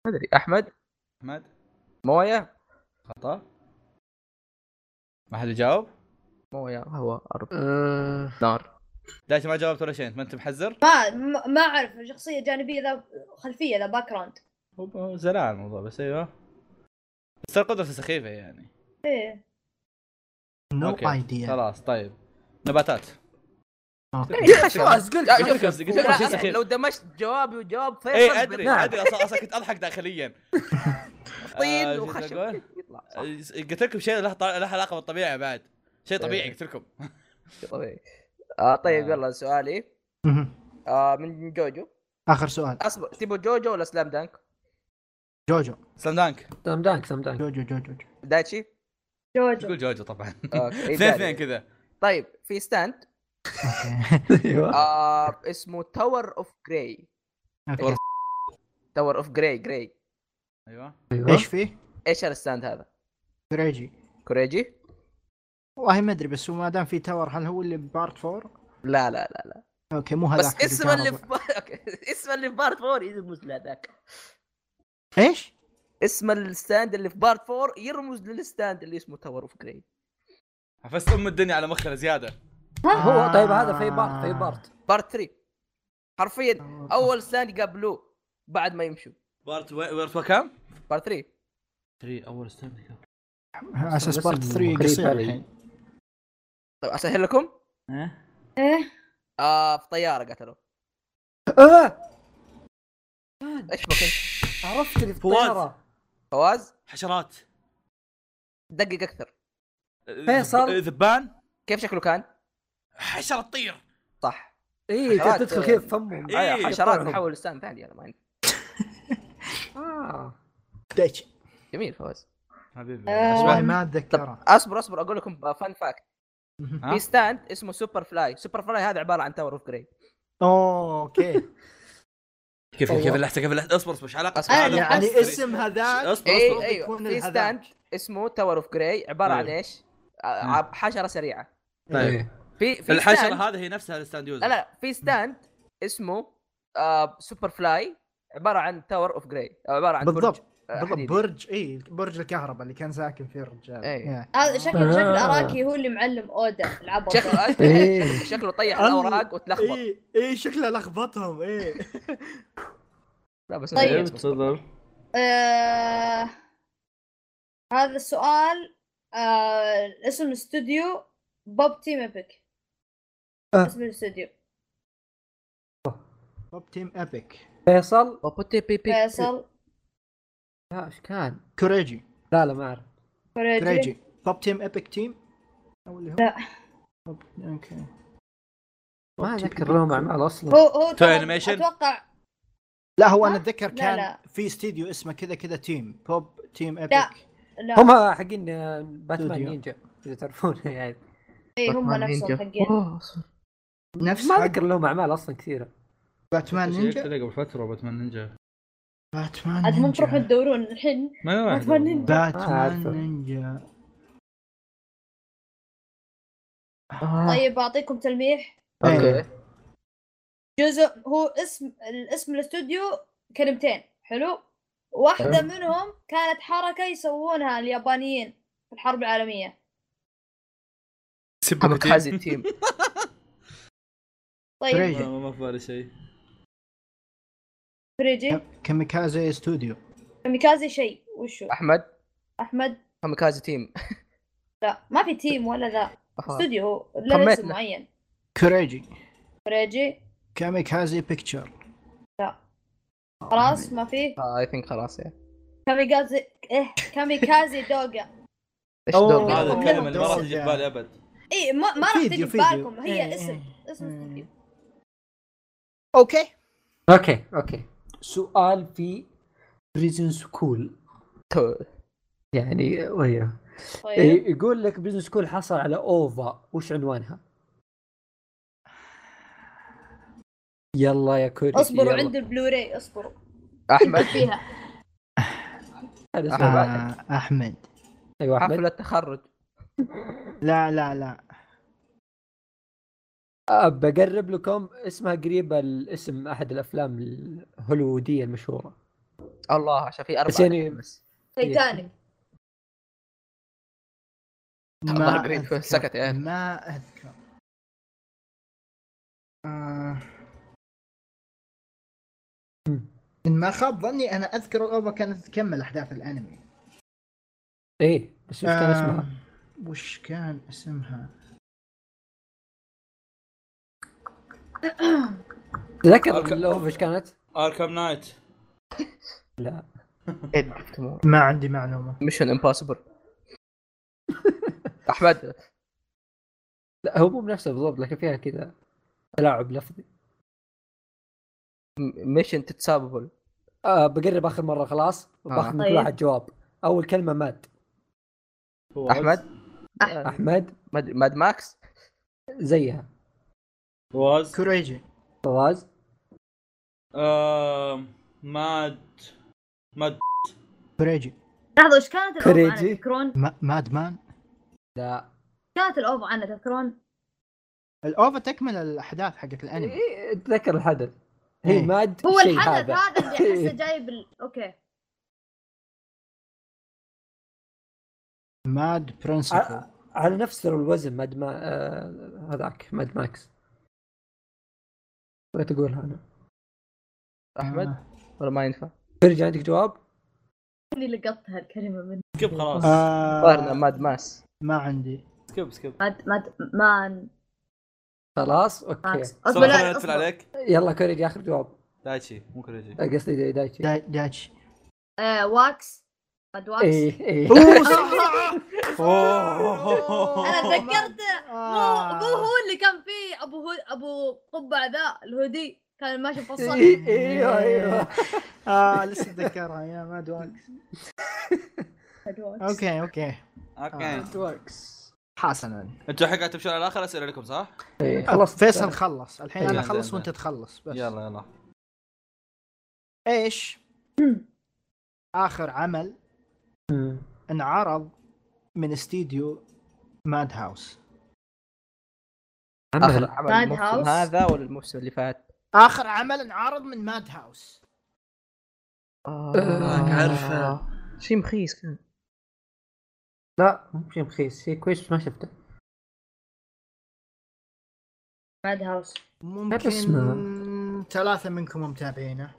[SPEAKER 1] ما ادري احمد
[SPEAKER 2] احمد
[SPEAKER 1] مويه
[SPEAKER 2] خطا ما حد يجاوب؟
[SPEAKER 1] مويه هو ارض
[SPEAKER 3] آه،
[SPEAKER 1] نار
[SPEAKER 2] دايتي ما جاوبت ولا شيء انت ما انت محزر؟
[SPEAKER 4] ما آه، ما- ما اعرف شخصيه جانبيه ذا خلفيه ذا باك جراوند
[SPEAKER 2] هو زلع الموضوع بس ايوه بس ترى قدرته سخيفه يعني
[SPEAKER 4] ايه
[SPEAKER 5] نو
[SPEAKER 2] أوكي.
[SPEAKER 5] ايديا
[SPEAKER 2] خلاص طيب نباتات
[SPEAKER 3] خلاص قلت
[SPEAKER 2] لا، قلت-
[SPEAKER 3] خشب.
[SPEAKER 2] قلت- قلت-
[SPEAKER 1] لا، لو دمجت جوابي وجواب فيصل
[SPEAKER 2] اي ادري
[SPEAKER 1] بالنار.
[SPEAKER 2] ادري اصلا اصلا كنت اضحك داخليا آه،
[SPEAKER 1] طين
[SPEAKER 2] شو
[SPEAKER 1] وخشب
[SPEAKER 2] تقول؟ آه،
[SPEAKER 1] يطلع صح،
[SPEAKER 2] قلت لكم شيء له طا- له علاقه بالطبيعه بعد شيء طبيعي قلت لكم
[SPEAKER 1] طبيعي آه طيب
[SPEAKER 2] آه.
[SPEAKER 1] يلا سؤالي
[SPEAKER 5] مهم.
[SPEAKER 1] آه من جوجو
[SPEAKER 5] اخر سؤال
[SPEAKER 1] اصبر تبوا جوجو ولا سلام دانك؟
[SPEAKER 5] جوجو
[SPEAKER 2] سلام دانك
[SPEAKER 3] سلام دانك سلام دانك
[SPEAKER 5] جوجو جوجو جوجو.
[SPEAKER 1] دايتشي؟
[SPEAKER 4] جوجو
[SPEAKER 2] تقول جوجو طبعا
[SPEAKER 1] اوكي
[SPEAKER 2] اثنين
[SPEAKER 1] إيطالي.
[SPEAKER 2] اثنين كذا
[SPEAKER 1] طيب في ستاند
[SPEAKER 5] أوكي.
[SPEAKER 3] ايوه
[SPEAKER 1] آه اسمه تاور اوف جراي
[SPEAKER 5] أوكي.
[SPEAKER 1] تاور اوف جراي جراي
[SPEAKER 2] ايوه
[SPEAKER 3] ايوه
[SPEAKER 5] ايش فيه؟
[SPEAKER 1] ايش الستاند هذا؟
[SPEAKER 5] كريجي
[SPEAKER 1] كوريجي؟
[SPEAKER 5] والله ما ادري بس هو ما دام في تاور هل هو اللي بارت 4؟
[SPEAKER 1] لا لا لا لا
[SPEAKER 5] اوكي مو هذا
[SPEAKER 1] بس اسم اللي في بار- أوكي. اسم اللي في بارت 4 يرمز لهذاك
[SPEAKER 5] ايش؟
[SPEAKER 1] اسم الستاند اللي في بارت 4 يرمز للستاند اللي اسمه تاور اوف جراي
[SPEAKER 2] حفزت ام الدنيا على مخنا زياده
[SPEAKER 3] هو طيب هذا في بارت في
[SPEAKER 5] آه،
[SPEAKER 3] بارت
[SPEAKER 1] بارت 3 حرفيا اول ستاند قابلوه بعد ما يمشوا
[SPEAKER 2] بارت بارت كم؟
[SPEAKER 1] بارت 3
[SPEAKER 2] 3 اول ستاند
[SPEAKER 5] على اساس
[SPEAKER 3] بس
[SPEAKER 5] بارت 3
[SPEAKER 3] قريب
[SPEAKER 5] قصير
[SPEAKER 3] علي.
[SPEAKER 5] الحين
[SPEAKER 1] طيب اسهل لكم
[SPEAKER 4] ايه
[SPEAKER 1] آه في طياره قتلوا
[SPEAKER 3] آه،
[SPEAKER 1] ايش بك انت
[SPEAKER 3] عرفت اللي في
[SPEAKER 2] فواز.
[SPEAKER 3] الطياره
[SPEAKER 1] فواز
[SPEAKER 2] حشرات
[SPEAKER 1] دقق اكثر
[SPEAKER 3] فيصل.
[SPEAKER 2] آه، ذبان
[SPEAKER 1] كيف شكله كان؟
[SPEAKER 2] حشره تطير
[SPEAKER 1] صح
[SPEAKER 3] اي
[SPEAKER 1] حشرات.
[SPEAKER 3] إيه، تدخل كيف فمهم
[SPEAKER 2] إيه.
[SPEAKER 1] آه، حشرات
[SPEAKER 3] يقطعهم.
[SPEAKER 1] تحول لستاند ثاني انا ما عندي.
[SPEAKER 3] آه.
[SPEAKER 5] دايتشي.
[SPEAKER 1] جميل فواز
[SPEAKER 2] حبيبي
[SPEAKER 4] آه.
[SPEAKER 5] والله
[SPEAKER 2] أشبه.
[SPEAKER 5] ما
[SPEAKER 1] طب
[SPEAKER 5] اتذكره
[SPEAKER 1] اصبر اصبر اقول لكم فان فاكت
[SPEAKER 5] مهم.
[SPEAKER 2] ها؟
[SPEAKER 1] في ستاند اسمه سوبر فلاي سوبر فلاي هذا عباره عن تاور اوف جراي
[SPEAKER 5] أوه، اوكي
[SPEAKER 2] كيف كيف اللحسه كيف اللحسه اصبر اصبر ايش علاقه
[SPEAKER 1] أصبر.
[SPEAKER 2] أصبر.
[SPEAKER 4] أنا-
[SPEAKER 5] يعني
[SPEAKER 4] أصبر.
[SPEAKER 5] اسم هذاك أيوه،
[SPEAKER 2] اصبر
[SPEAKER 1] اي
[SPEAKER 2] اصبر
[SPEAKER 1] ايوه
[SPEAKER 5] يكون
[SPEAKER 1] في
[SPEAKER 5] الهذاك.
[SPEAKER 1] ستاند اسمه تاور اوف جراي عباره عن
[SPEAKER 2] أيوه.
[SPEAKER 1] ايش؟ آه، عب- حشره سريعه
[SPEAKER 2] طيب.
[SPEAKER 3] إيه.
[SPEAKER 1] في في
[SPEAKER 2] الحشره
[SPEAKER 1] ستاند-
[SPEAKER 2] هذه هي نفسها الستاند يوزر
[SPEAKER 1] لا لا في ستاند اسمه آه سوبر فلاي عباره عن تاور اوف جراي عباره عن برج،
[SPEAKER 5] بالضبط
[SPEAKER 1] آه،
[SPEAKER 5] بالضبط
[SPEAKER 1] حديدي.
[SPEAKER 5] برج اي برج الكهرباء اللي كان ساكن فيه الرجال
[SPEAKER 1] إيه.
[SPEAKER 5] يا.
[SPEAKER 4] هذا شكل
[SPEAKER 3] آه.
[SPEAKER 4] شكل اراكي هو اللي معلم اودا العبط
[SPEAKER 1] شكله
[SPEAKER 3] إيه.
[SPEAKER 1] شكله طيح الاوراق وتلخبط
[SPEAKER 5] اي اي شكله لخبطهم اي
[SPEAKER 1] لا بس
[SPEAKER 4] طيب.
[SPEAKER 1] إنه جيد.
[SPEAKER 2] تفضل
[SPEAKER 4] آه... هذا السؤال آه... اسم الاستوديو بوب تيم ايبك
[SPEAKER 3] آه.
[SPEAKER 4] اسم الاستوديو
[SPEAKER 5] توب تيم ابيك
[SPEAKER 3] فيصل
[SPEAKER 1] وبوتي بي بي
[SPEAKER 4] فيصل
[SPEAKER 3] لا ايش كان
[SPEAKER 5] كوريجي
[SPEAKER 3] لا لا ما اعرف
[SPEAKER 4] كوريجي
[SPEAKER 5] كوريجي توب تيم ابيك تيم او اللي هو
[SPEAKER 4] لا.
[SPEAKER 5] Bob- اوكي
[SPEAKER 3] ما اذكر لهم اعمال اصلا
[SPEAKER 4] هو هو
[SPEAKER 2] تو
[SPEAKER 4] أتوقع-
[SPEAKER 2] أنيميشن؟
[SPEAKER 4] اتوقع
[SPEAKER 5] لا هو انا
[SPEAKER 4] ها؟
[SPEAKER 5] اتذكر
[SPEAKER 4] لا،
[SPEAKER 5] كان
[SPEAKER 4] لا.
[SPEAKER 5] في استديو اسمه كذا كذا تيم بوب تيم ابيك
[SPEAKER 4] لا. لا هم
[SPEAKER 3] هم حقين آه، باتمان
[SPEAKER 5] استوديو.
[SPEAKER 3] نينجا اذا تعرفون يعني
[SPEAKER 4] اي هم نفسهم حقين
[SPEAKER 5] نفس
[SPEAKER 3] ما
[SPEAKER 5] حق
[SPEAKER 3] اذكر لهم اعمال اصلا كثيره
[SPEAKER 5] باتمان نينجا
[SPEAKER 2] قبل فتره باتمان نينجا
[SPEAKER 5] باتمان
[SPEAKER 4] عاد المفروض
[SPEAKER 5] نينجا
[SPEAKER 4] تدورون الحين
[SPEAKER 2] ما
[SPEAKER 4] باتمان نينجا.
[SPEAKER 1] آه،
[SPEAKER 3] ما أعرفه.
[SPEAKER 5] باتمان نينجا
[SPEAKER 1] آه.
[SPEAKER 4] طيب بعطيكم تلميح
[SPEAKER 5] اوكي
[SPEAKER 1] اوكي
[SPEAKER 4] جزء هو اسم الاسم الاستوديو كلمتين حلو واحدة منهم كانت حركة يسوونها اليابانيين في الحرب العالمية
[SPEAKER 1] حبك حازي التيم
[SPEAKER 4] طيب
[SPEAKER 5] كريجي.
[SPEAKER 2] ما ما في بالي شيء
[SPEAKER 4] فريجي
[SPEAKER 5] كاميكازي استوديو
[SPEAKER 4] كاميكازي شيء وشو
[SPEAKER 1] احمد
[SPEAKER 4] احمد
[SPEAKER 1] كاميكازي تيم
[SPEAKER 4] لا ما
[SPEAKER 1] طيب.
[SPEAKER 4] في تيم ولا ذا استوديو هو لا
[SPEAKER 1] خميتنا.
[SPEAKER 4] اسم معين
[SPEAKER 5] كوريجي
[SPEAKER 4] فريجي
[SPEAKER 5] كاميكازي بيكتشر
[SPEAKER 4] لا. خلاص ما فيه
[SPEAKER 1] اي ثينك خلاص يعني
[SPEAKER 4] كاميكازي إيه كاميكازي دوغا
[SPEAKER 1] ايش
[SPEAKER 5] أوه.
[SPEAKER 1] دور
[SPEAKER 2] هذا
[SPEAKER 4] أوه.
[SPEAKER 2] الكلمه اللي ما راح
[SPEAKER 5] أوه.
[SPEAKER 2] تجي في بالي ابد
[SPEAKER 4] اي إيه، ما ما راح
[SPEAKER 5] فيديو-
[SPEAKER 4] تجي في
[SPEAKER 5] فيديو.
[SPEAKER 4] بالكم هي
[SPEAKER 5] إيه،
[SPEAKER 4] اسم
[SPEAKER 5] إيه.
[SPEAKER 4] اسم
[SPEAKER 5] اوكي
[SPEAKER 3] اوكي اوكي سؤال في بريزن سكول يعني وهي
[SPEAKER 4] طيب
[SPEAKER 3] إيه، يقول لك بريزن سكول حصل على اوفا وش عنوانها؟ يلا يا كوري
[SPEAKER 4] اصبروا
[SPEAKER 3] يلا.
[SPEAKER 4] عند البلوراي اصبروا
[SPEAKER 1] احمد
[SPEAKER 4] فيها
[SPEAKER 3] هذا
[SPEAKER 1] أحمد.
[SPEAKER 3] سؤال.
[SPEAKER 5] آه احمد
[SPEAKER 3] ايوه احمد
[SPEAKER 1] حفله تخرج
[SPEAKER 5] لا لا لا
[SPEAKER 3] آه، بقرب لكم اسمها قريبه الاسم احد الافلام الهوليووديه المشهوره
[SPEAKER 1] الله عشان في اربعه
[SPEAKER 3] بس يعني-
[SPEAKER 1] بس
[SPEAKER 4] تايتانيك
[SPEAKER 1] الله قريب، سكت يا أخي.
[SPEAKER 5] ما اذكر آه. إن ما خاب ظني انا اذكر الاوفا كانت تكمل احداث الانمي
[SPEAKER 3] ايه بس وش كان اسمها؟
[SPEAKER 5] آه، وش كان اسمها؟
[SPEAKER 3] تذكر
[SPEAKER 2] أوكي.
[SPEAKER 3] الاوفا ايش كانت؟
[SPEAKER 2] اركم نايت
[SPEAKER 3] لا
[SPEAKER 5] ما عندي معلومه
[SPEAKER 1] ميشن امبوسيبل احمد
[SPEAKER 3] لا هو مو بنفسه بالضبط لكن فيها كذا تلاعب لفظي
[SPEAKER 1] ميشن تتسابل
[SPEAKER 3] آه بقرب اخر مره
[SPEAKER 5] آه.
[SPEAKER 3] خلاص باخذ من كل
[SPEAKER 4] طيب.
[SPEAKER 3] واحد جواب اول كلمه ماد
[SPEAKER 1] احمد
[SPEAKER 3] احمد
[SPEAKER 1] ماد ماد ماكس
[SPEAKER 3] زيها
[SPEAKER 2] واز
[SPEAKER 5] كوريجي
[SPEAKER 3] طراز
[SPEAKER 2] آم، ماد ماد
[SPEAKER 5] كوريجي
[SPEAKER 4] لحظه ايش كانت الاوفا عنها
[SPEAKER 3] كريجي.
[SPEAKER 4] تذكرون؟
[SPEAKER 5] ما- مادمان
[SPEAKER 3] لا
[SPEAKER 4] كانت الاوفا عنها تذكرون؟
[SPEAKER 5] الاوفا تكمل الاحداث حقت الانمي
[SPEAKER 3] إيه، اتذكر الحدث هي
[SPEAKER 5] إيه.
[SPEAKER 3] ماد
[SPEAKER 4] هو
[SPEAKER 3] شيء
[SPEAKER 4] الحدث آه،
[SPEAKER 3] هذا
[SPEAKER 4] هذا اللي احسه جايب ال... اوكي
[SPEAKER 5] ماد برنسبل
[SPEAKER 3] ع- على نفس الوزن ماد ما آه، هذاك ماد ماكس بغيت اقولها انا
[SPEAKER 1] احمد
[SPEAKER 5] آه.
[SPEAKER 1] ولا ما ينفع
[SPEAKER 3] ترجع عندك جواب
[SPEAKER 4] اللي لقطت هالكلمه منه
[SPEAKER 2] سكيب خلاص
[SPEAKER 1] ظهرنا
[SPEAKER 5] آه
[SPEAKER 1] ماد ماس
[SPEAKER 5] ما عندي
[SPEAKER 2] سكيب سكيب
[SPEAKER 4] ماد ماد مان
[SPEAKER 3] خلاص اوكي
[SPEAKER 4] ماكس
[SPEAKER 2] صراحة أنا اقفل عليك
[SPEAKER 3] يلا كوريجي اخر جواب
[SPEAKER 2] دايتشي مو كريجي
[SPEAKER 3] آه، قصدي داي- دايتشي
[SPEAKER 5] دا- داتشي
[SPEAKER 4] آه، واكس ماد واكس
[SPEAKER 3] ايه ايه
[SPEAKER 5] اوه صح
[SPEAKER 4] انا تذكرته مو
[SPEAKER 5] آه.
[SPEAKER 4] مو هو اللي كان فيه ابو هو ابو قبع ذا الهودي كان ماشي مفصل
[SPEAKER 3] إيه، ايوه ايوه
[SPEAKER 5] اه لسه اتذكرها يا ماد واكس اوكي اوكي
[SPEAKER 2] اوكي
[SPEAKER 5] واكس حسنا
[SPEAKER 2] انتوا الحين قاعد تمشون على اخر اسئله لكم صح؟
[SPEAKER 3] إيه،
[SPEAKER 5] خلاص
[SPEAKER 3] خلاص
[SPEAKER 5] فيصل خلص الحين
[SPEAKER 2] يلا،
[SPEAKER 5] انا اخلص
[SPEAKER 2] يلا.
[SPEAKER 5] وانت تخلص بس
[SPEAKER 2] يلا يلا
[SPEAKER 5] ايش اخر عمل
[SPEAKER 3] مم.
[SPEAKER 5] انعرض من استديو ماد هاوس
[SPEAKER 1] اخر
[SPEAKER 3] عمل
[SPEAKER 1] عمل
[SPEAKER 4] Mad
[SPEAKER 1] الموسم
[SPEAKER 4] House.
[SPEAKER 1] هذا ولا الموسم اللي فات؟
[SPEAKER 5] اخر عمل انعرض من ماد هاوس
[SPEAKER 1] آه
[SPEAKER 2] عارفة.
[SPEAKER 1] شيء مخيس كان
[SPEAKER 3] لا مو شيء رخيص شيء كويس بس ما شفته
[SPEAKER 4] ماد هاوس
[SPEAKER 5] ممكن
[SPEAKER 3] اسمه؟
[SPEAKER 5] ثلاثة منكم متابعينه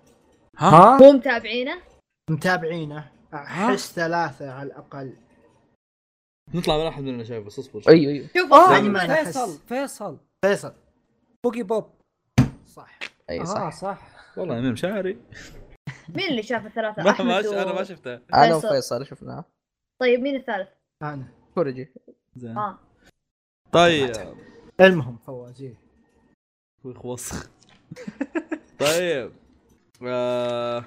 [SPEAKER 3] ها
[SPEAKER 4] مو متابعينه؟
[SPEAKER 5] متابعينه
[SPEAKER 4] آه.
[SPEAKER 5] احس ثلاثة على الاقل
[SPEAKER 2] نطلع من احد مننا شايف بس اصبر
[SPEAKER 1] ايوه ايوه
[SPEAKER 4] شوف
[SPEAKER 5] يعني
[SPEAKER 4] آه.
[SPEAKER 5] ما أنا أحس.
[SPEAKER 3] فيصل فيصل
[SPEAKER 5] فيصل
[SPEAKER 3] بوكي بوب
[SPEAKER 5] صح
[SPEAKER 1] اي
[SPEAKER 3] اه
[SPEAKER 1] أيوة، صح
[SPEAKER 3] صح
[SPEAKER 2] والله يمين مشاعري
[SPEAKER 4] مين اللي شاف الثلاثة؟
[SPEAKER 2] ما
[SPEAKER 4] أحمد
[SPEAKER 2] ما
[SPEAKER 4] و-
[SPEAKER 2] انا ما شفته
[SPEAKER 1] انا
[SPEAKER 4] فيصل.
[SPEAKER 1] وفيصل شفناه
[SPEAKER 4] طيب مين الثالث؟
[SPEAKER 5] انا
[SPEAKER 1] كوريجي
[SPEAKER 2] زين
[SPEAKER 4] اه
[SPEAKER 2] طيب
[SPEAKER 5] المهم فوازير
[SPEAKER 2] ويخ وسخ طيب آه...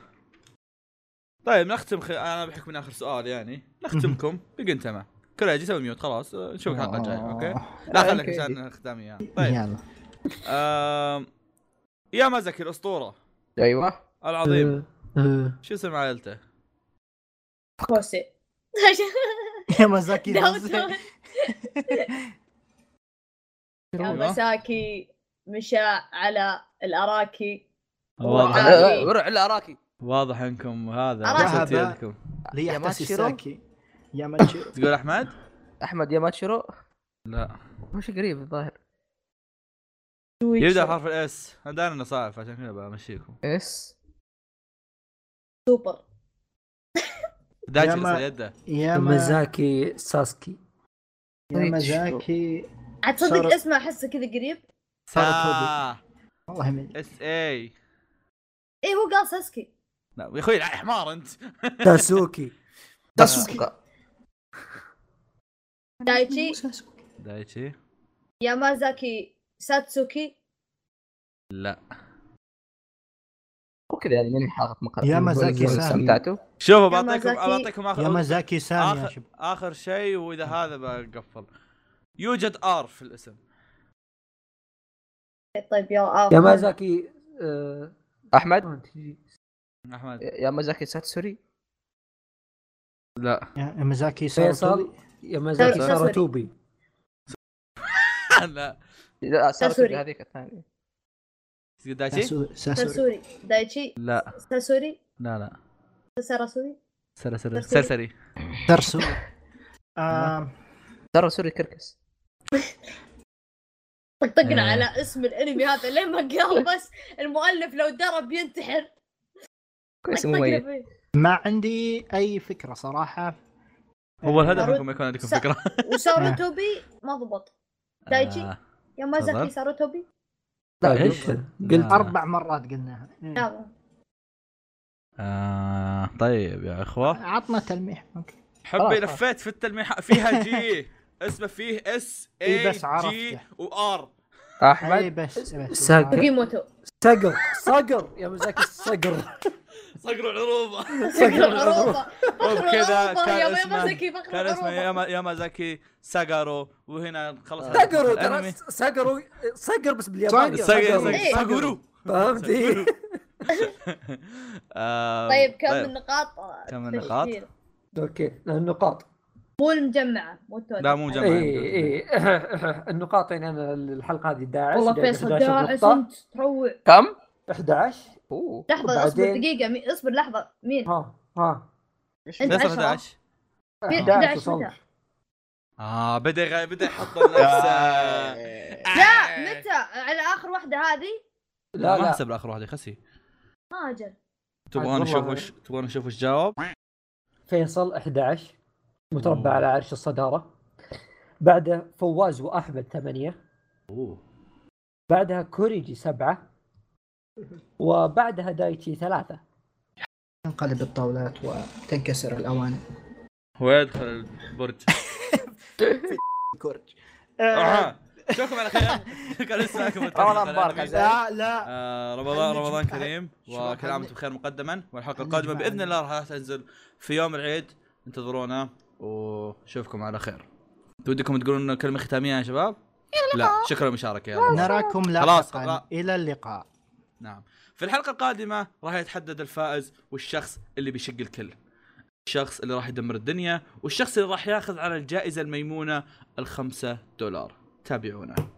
[SPEAKER 2] طيب نختم خي... انا بحكم من اخر سؤال يعني نختمكم بقنتمه كل اجي سوي ميوت خلاص آه، نشوفك الحلقه الجايه اوكي لا خليك
[SPEAKER 1] أوكي.
[SPEAKER 2] عشان ختامي يعني. طيب
[SPEAKER 5] يلا
[SPEAKER 2] آه... يا مزكي الاسطوره
[SPEAKER 4] آه،
[SPEAKER 1] ايوه
[SPEAKER 2] العظيم
[SPEAKER 1] آه.
[SPEAKER 2] شو اسم عائلته؟
[SPEAKER 4] كوسي
[SPEAKER 5] يا مزاكي
[SPEAKER 4] داوتون يا
[SPEAKER 2] أيوة.
[SPEAKER 4] مساكي مشى على الأراكي
[SPEAKER 2] واضح
[SPEAKER 4] عادي.
[SPEAKER 1] آه، ورع الاراكي
[SPEAKER 2] واضح انكم هذا
[SPEAKER 4] أراك.
[SPEAKER 2] وصلت يدكم
[SPEAKER 1] يا
[SPEAKER 5] ليحتسي
[SPEAKER 1] ماتشيرو.
[SPEAKER 5] ساكي يا ماتشيرو
[SPEAKER 2] تقول احمد؟
[SPEAKER 1] احمد ياماتشيرو
[SPEAKER 2] لا
[SPEAKER 1] مش قريب الظاهر
[SPEAKER 2] يبدا حرف الاس انا داري انه صعب عشان كذا بمشيكم
[SPEAKER 1] اس
[SPEAKER 4] سوبر
[SPEAKER 2] دايتشي
[SPEAKER 5] يا ما-
[SPEAKER 2] غسل يده
[SPEAKER 5] يا ما-
[SPEAKER 3] مزاكي ساسكي
[SPEAKER 5] يا مزاكي
[SPEAKER 4] عاد
[SPEAKER 5] صار-
[SPEAKER 4] تصدق اسمه أحسه كذا قريب
[SPEAKER 5] صارت
[SPEAKER 2] آه.
[SPEAKER 5] والله ما أدري.
[SPEAKER 2] اس اي
[SPEAKER 4] ايه هو قال ساسكي
[SPEAKER 2] لا يا اخوي لا حمار انت
[SPEAKER 3] تاسوكي
[SPEAKER 5] داسوكي
[SPEAKER 4] دايتشي
[SPEAKER 2] دايتشي
[SPEAKER 4] يامازاكي ساتسوكي
[SPEAKER 2] لا
[SPEAKER 1] وكذا يعني من حلقه مقر
[SPEAKER 5] يا مزاكي سامي.
[SPEAKER 1] استمتعتوا
[SPEAKER 2] شوفوا بعطيكم
[SPEAKER 4] يامازاكي-
[SPEAKER 2] بعطيكم اخر
[SPEAKER 5] يامازاكي سامي يا
[SPEAKER 2] اخر
[SPEAKER 5] شباب
[SPEAKER 2] اخر شيء واذا هذا بقفل يوجد ار في الاسم
[SPEAKER 4] طيب يا آه.
[SPEAKER 3] يامازاكي آه،
[SPEAKER 1] احمد
[SPEAKER 2] احمد
[SPEAKER 1] يا مزاكي ساتسوري
[SPEAKER 2] لا
[SPEAKER 5] يامازاكي سامي
[SPEAKER 3] فيصل
[SPEAKER 4] سوري،
[SPEAKER 3] يامازاكي
[SPEAKER 4] سوري.
[SPEAKER 3] ساراتوبي
[SPEAKER 2] لا
[SPEAKER 1] لا
[SPEAKER 4] ساتسوري.
[SPEAKER 1] ساتسوري هذيك الثانيه
[SPEAKER 2] دايتشي
[SPEAKER 5] ساسوري
[SPEAKER 4] ساسوري دايتشي
[SPEAKER 2] لا
[SPEAKER 4] ساسوري
[SPEAKER 2] لا لا
[SPEAKER 4] ساراسوري
[SPEAKER 2] سلسلة
[SPEAKER 4] سلسلة.
[SPEAKER 2] سلسلة
[SPEAKER 5] درسو آه،
[SPEAKER 1] ترى سوري كركس
[SPEAKER 4] طقطقنا
[SPEAKER 2] إيه.
[SPEAKER 4] على اسم الانمي هذا لين ما قال بس المؤلف لو درب ينتحر
[SPEAKER 1] كويس
[SPEAKER 4] طقطقنا
[SPEAKER 2] إيه؟
[SPEAKER 1] مميز
[SPEAKER 4] فيه.
[SPEAKER 5] ما عندي اي فكره صراحه إيه.
[SPEAKER 2] هو الهدف
[SPEAKER 4] مرة-
[SPEAKER 2] انكم يكون عندكم
[SPEAKER 4] س-
[SPEAKER 2] فكرة
[SPEAKER 4] وساروتوبي ما ضبط دايتشي
[SPEAKER 2] آه.
[SPEAKER 4] يامازاكي
[SPEAKER 2] تفضل.
[SPEAKER 4] ساروتوبي
[SPEAKER 1] لا،
[SPEAKER 3] ايش؟
[SPEAKER 1] قلت-
[SPEAKER 3] قلت
[SPEAKER 2] آه.
[SPEAKER 5] اربع مرات قلناها إيه.
[SPEAKER 4] نعم.
[SPEAKER 2] آه طيب يا اخوه
[SPEAKER 5] عطنا تلميح اوكي
[SPEAKER 2] حبي
[SPEAKER 5] آه. خلاص.
[SPEAKER 2] لفيت في التلميح فيها جي اسمه فيه اس
[SPEAKER 5] إي
[SPEAKER 2] اي
[SPEAKER 5] بس عرفته.
[SPEAKER 2] جي وار
[SPEAKER 5] اي
[SPEAKER 1] احمد
[SPEAKER 5] إيه، بس بس
[SPEAKER 3] ساق.
[SPEAKER 4] بوكيموتو
[SPEAKER 3] صقر صقر يامازاكي صقر
[SPEAKER 2] صقروا العروبه
[SPEAKER 4] فقر العروبة
[SPEAKER 2] وبكذا كان
[SPEAKER 4] يا
[SPEAKER 2] اسمه
[SPEAKER 4] مازاكي فقر
[SPEAKER 2] كان اسمه
[SPEAKER 4] العروبة
[SPEAKER 2] ياما يامازاكي ساجارو وهنا خلص
[SPEAKER 3] صقر ترى
[SPEAKER 2] الأنمي.
[SPEAKER 3] صقر صقر بس بالياباني
[SPEAKER 5] صقر.
[SPEAKER 2] ساجا-
[SPEAKER 3] صقر.
[SPEAKER 2] ساجا-
[SPEAKER 4] إيه.
[SPEAKER 2] ساجورو
[SPEAKER 3] فهمت إيه؟
[SPEAKER 2] آه،
[SPEAKER 4] طيب كم النقاط آه،
[SPEAKER 2] كم النقاط؟
[SPEAKER 4] تسجيل.
[SPEAKER 3] اوكي النقاط
[SPEAKER 4] مو المجمعة مو التوتال
[SPEAKER 2] لا مو جمع
[SPEAKER 3] اي
[SPEAKER 2] إيه.
[SPEAKER 3] اي النقاط يعني انا الحلقه هذه داعس
[SPEAKER 4] والله
[SPEAKER 3] جايب
[SPEAKER 4] فيصل
[SPEAKER 3] 11
[SPEAKER 4] داعس
[SPEAKER 3] نقطة.
[SPEAKER 4] انت تروع
[SPEAKER 1] كم؟
[SPEAKER 3] 11
[SPEAKER 1] اوه
[SPEAKER 4] لحظة
[SPEAKER 3] وبعدين-
[SPEAKER 4] اصبر دقيقة مي- اصبر لحظة مين؟
[SPEAKER 3] ها ها
[SPEAKER 2] فيصل
[SPEAKER 4] انت 10
[SPEAKER 2] 11
[SPEAKER 4] في
[SPEAKER 3] 11
[SPEAKER 4] 11 متى؟
[SPEAKER 3] وصلت.
[SPEAKER 2] اه بدا يغ- بدا يحط نفسه
[SPEAKER 4] لا متى؟ على اخر واحدة هذه؟
[SPEAKER 3] لا
[SPEAKER 2] ما
[SPEAKER 3] لا
[SPEAKER 2] احسب اخر واحد يا خسي
[SPEAKER 4] ما اجل
[SPEAKER 2] تبغون
[SPEAKER 3] والله.
[SPEAKER 2] نشوف وش تبغون نشوف وش جاوب
[SPEAKER 3] فيصل 11 متربع
[SPEAKER 2] أوه.
[SPEAKER 3] على عرش الصداره بعده فواز واحمد 8 بعدها كوريجي 7 وبعدها دايتشي 3
[SPEAKER 5] تنقلب الطاولات وتنكسر الاواني
[SPEAKER 2] ويدخل البرج
[SPEAKER 5] كورج
[SPEAKER 2] آه. اشوفكم على خير كان اسمعكم
[SPEAKER 1] رمضان مبارك عزيز.
[SPEAKER 5] لا لا
[SPEAKER 2] آه، رمضان
[SPEAKER 5] حنجي
[SPEAKER 2] رمضان
[SPEAKER 5] بعد.
[SPEAKER 2] كريم
[SPEAKER 5] شو راح
[SPEAKER 2] وكل عام
[SPEAKER 5] حنجي؟
[SPEAKER 2] وانتم بخير مقدما والحلقه
[SPEAKER 5] حنجي
[SPEAKER 2] القادمه
[SPEAKER 5] بعد.
[SPEAKER 2] باذن الله راح تنزل في يوم العيد انتظرونا وشوفكم على خير تودكم تقولون كلمه ختاميه يا شباب لا شكرا للمشاركه يلا
[SPEAKER 5] نراكم
[SPEAKER 2] خلاص،
[SPEAKER 5] لاحقا
[SPEAKER 2] لا.
[SPEAKER 5] الى اللقاء
[SPEAKER 2] نعم في الحلقه القادمه راح يتحدد الفائز والشخص اللي بيشق الكل الشخص اللي راح يدمر الدنيا والشخص اللي راح ياخذ على الجائزه الميمونه الخمسة دولار تابعونا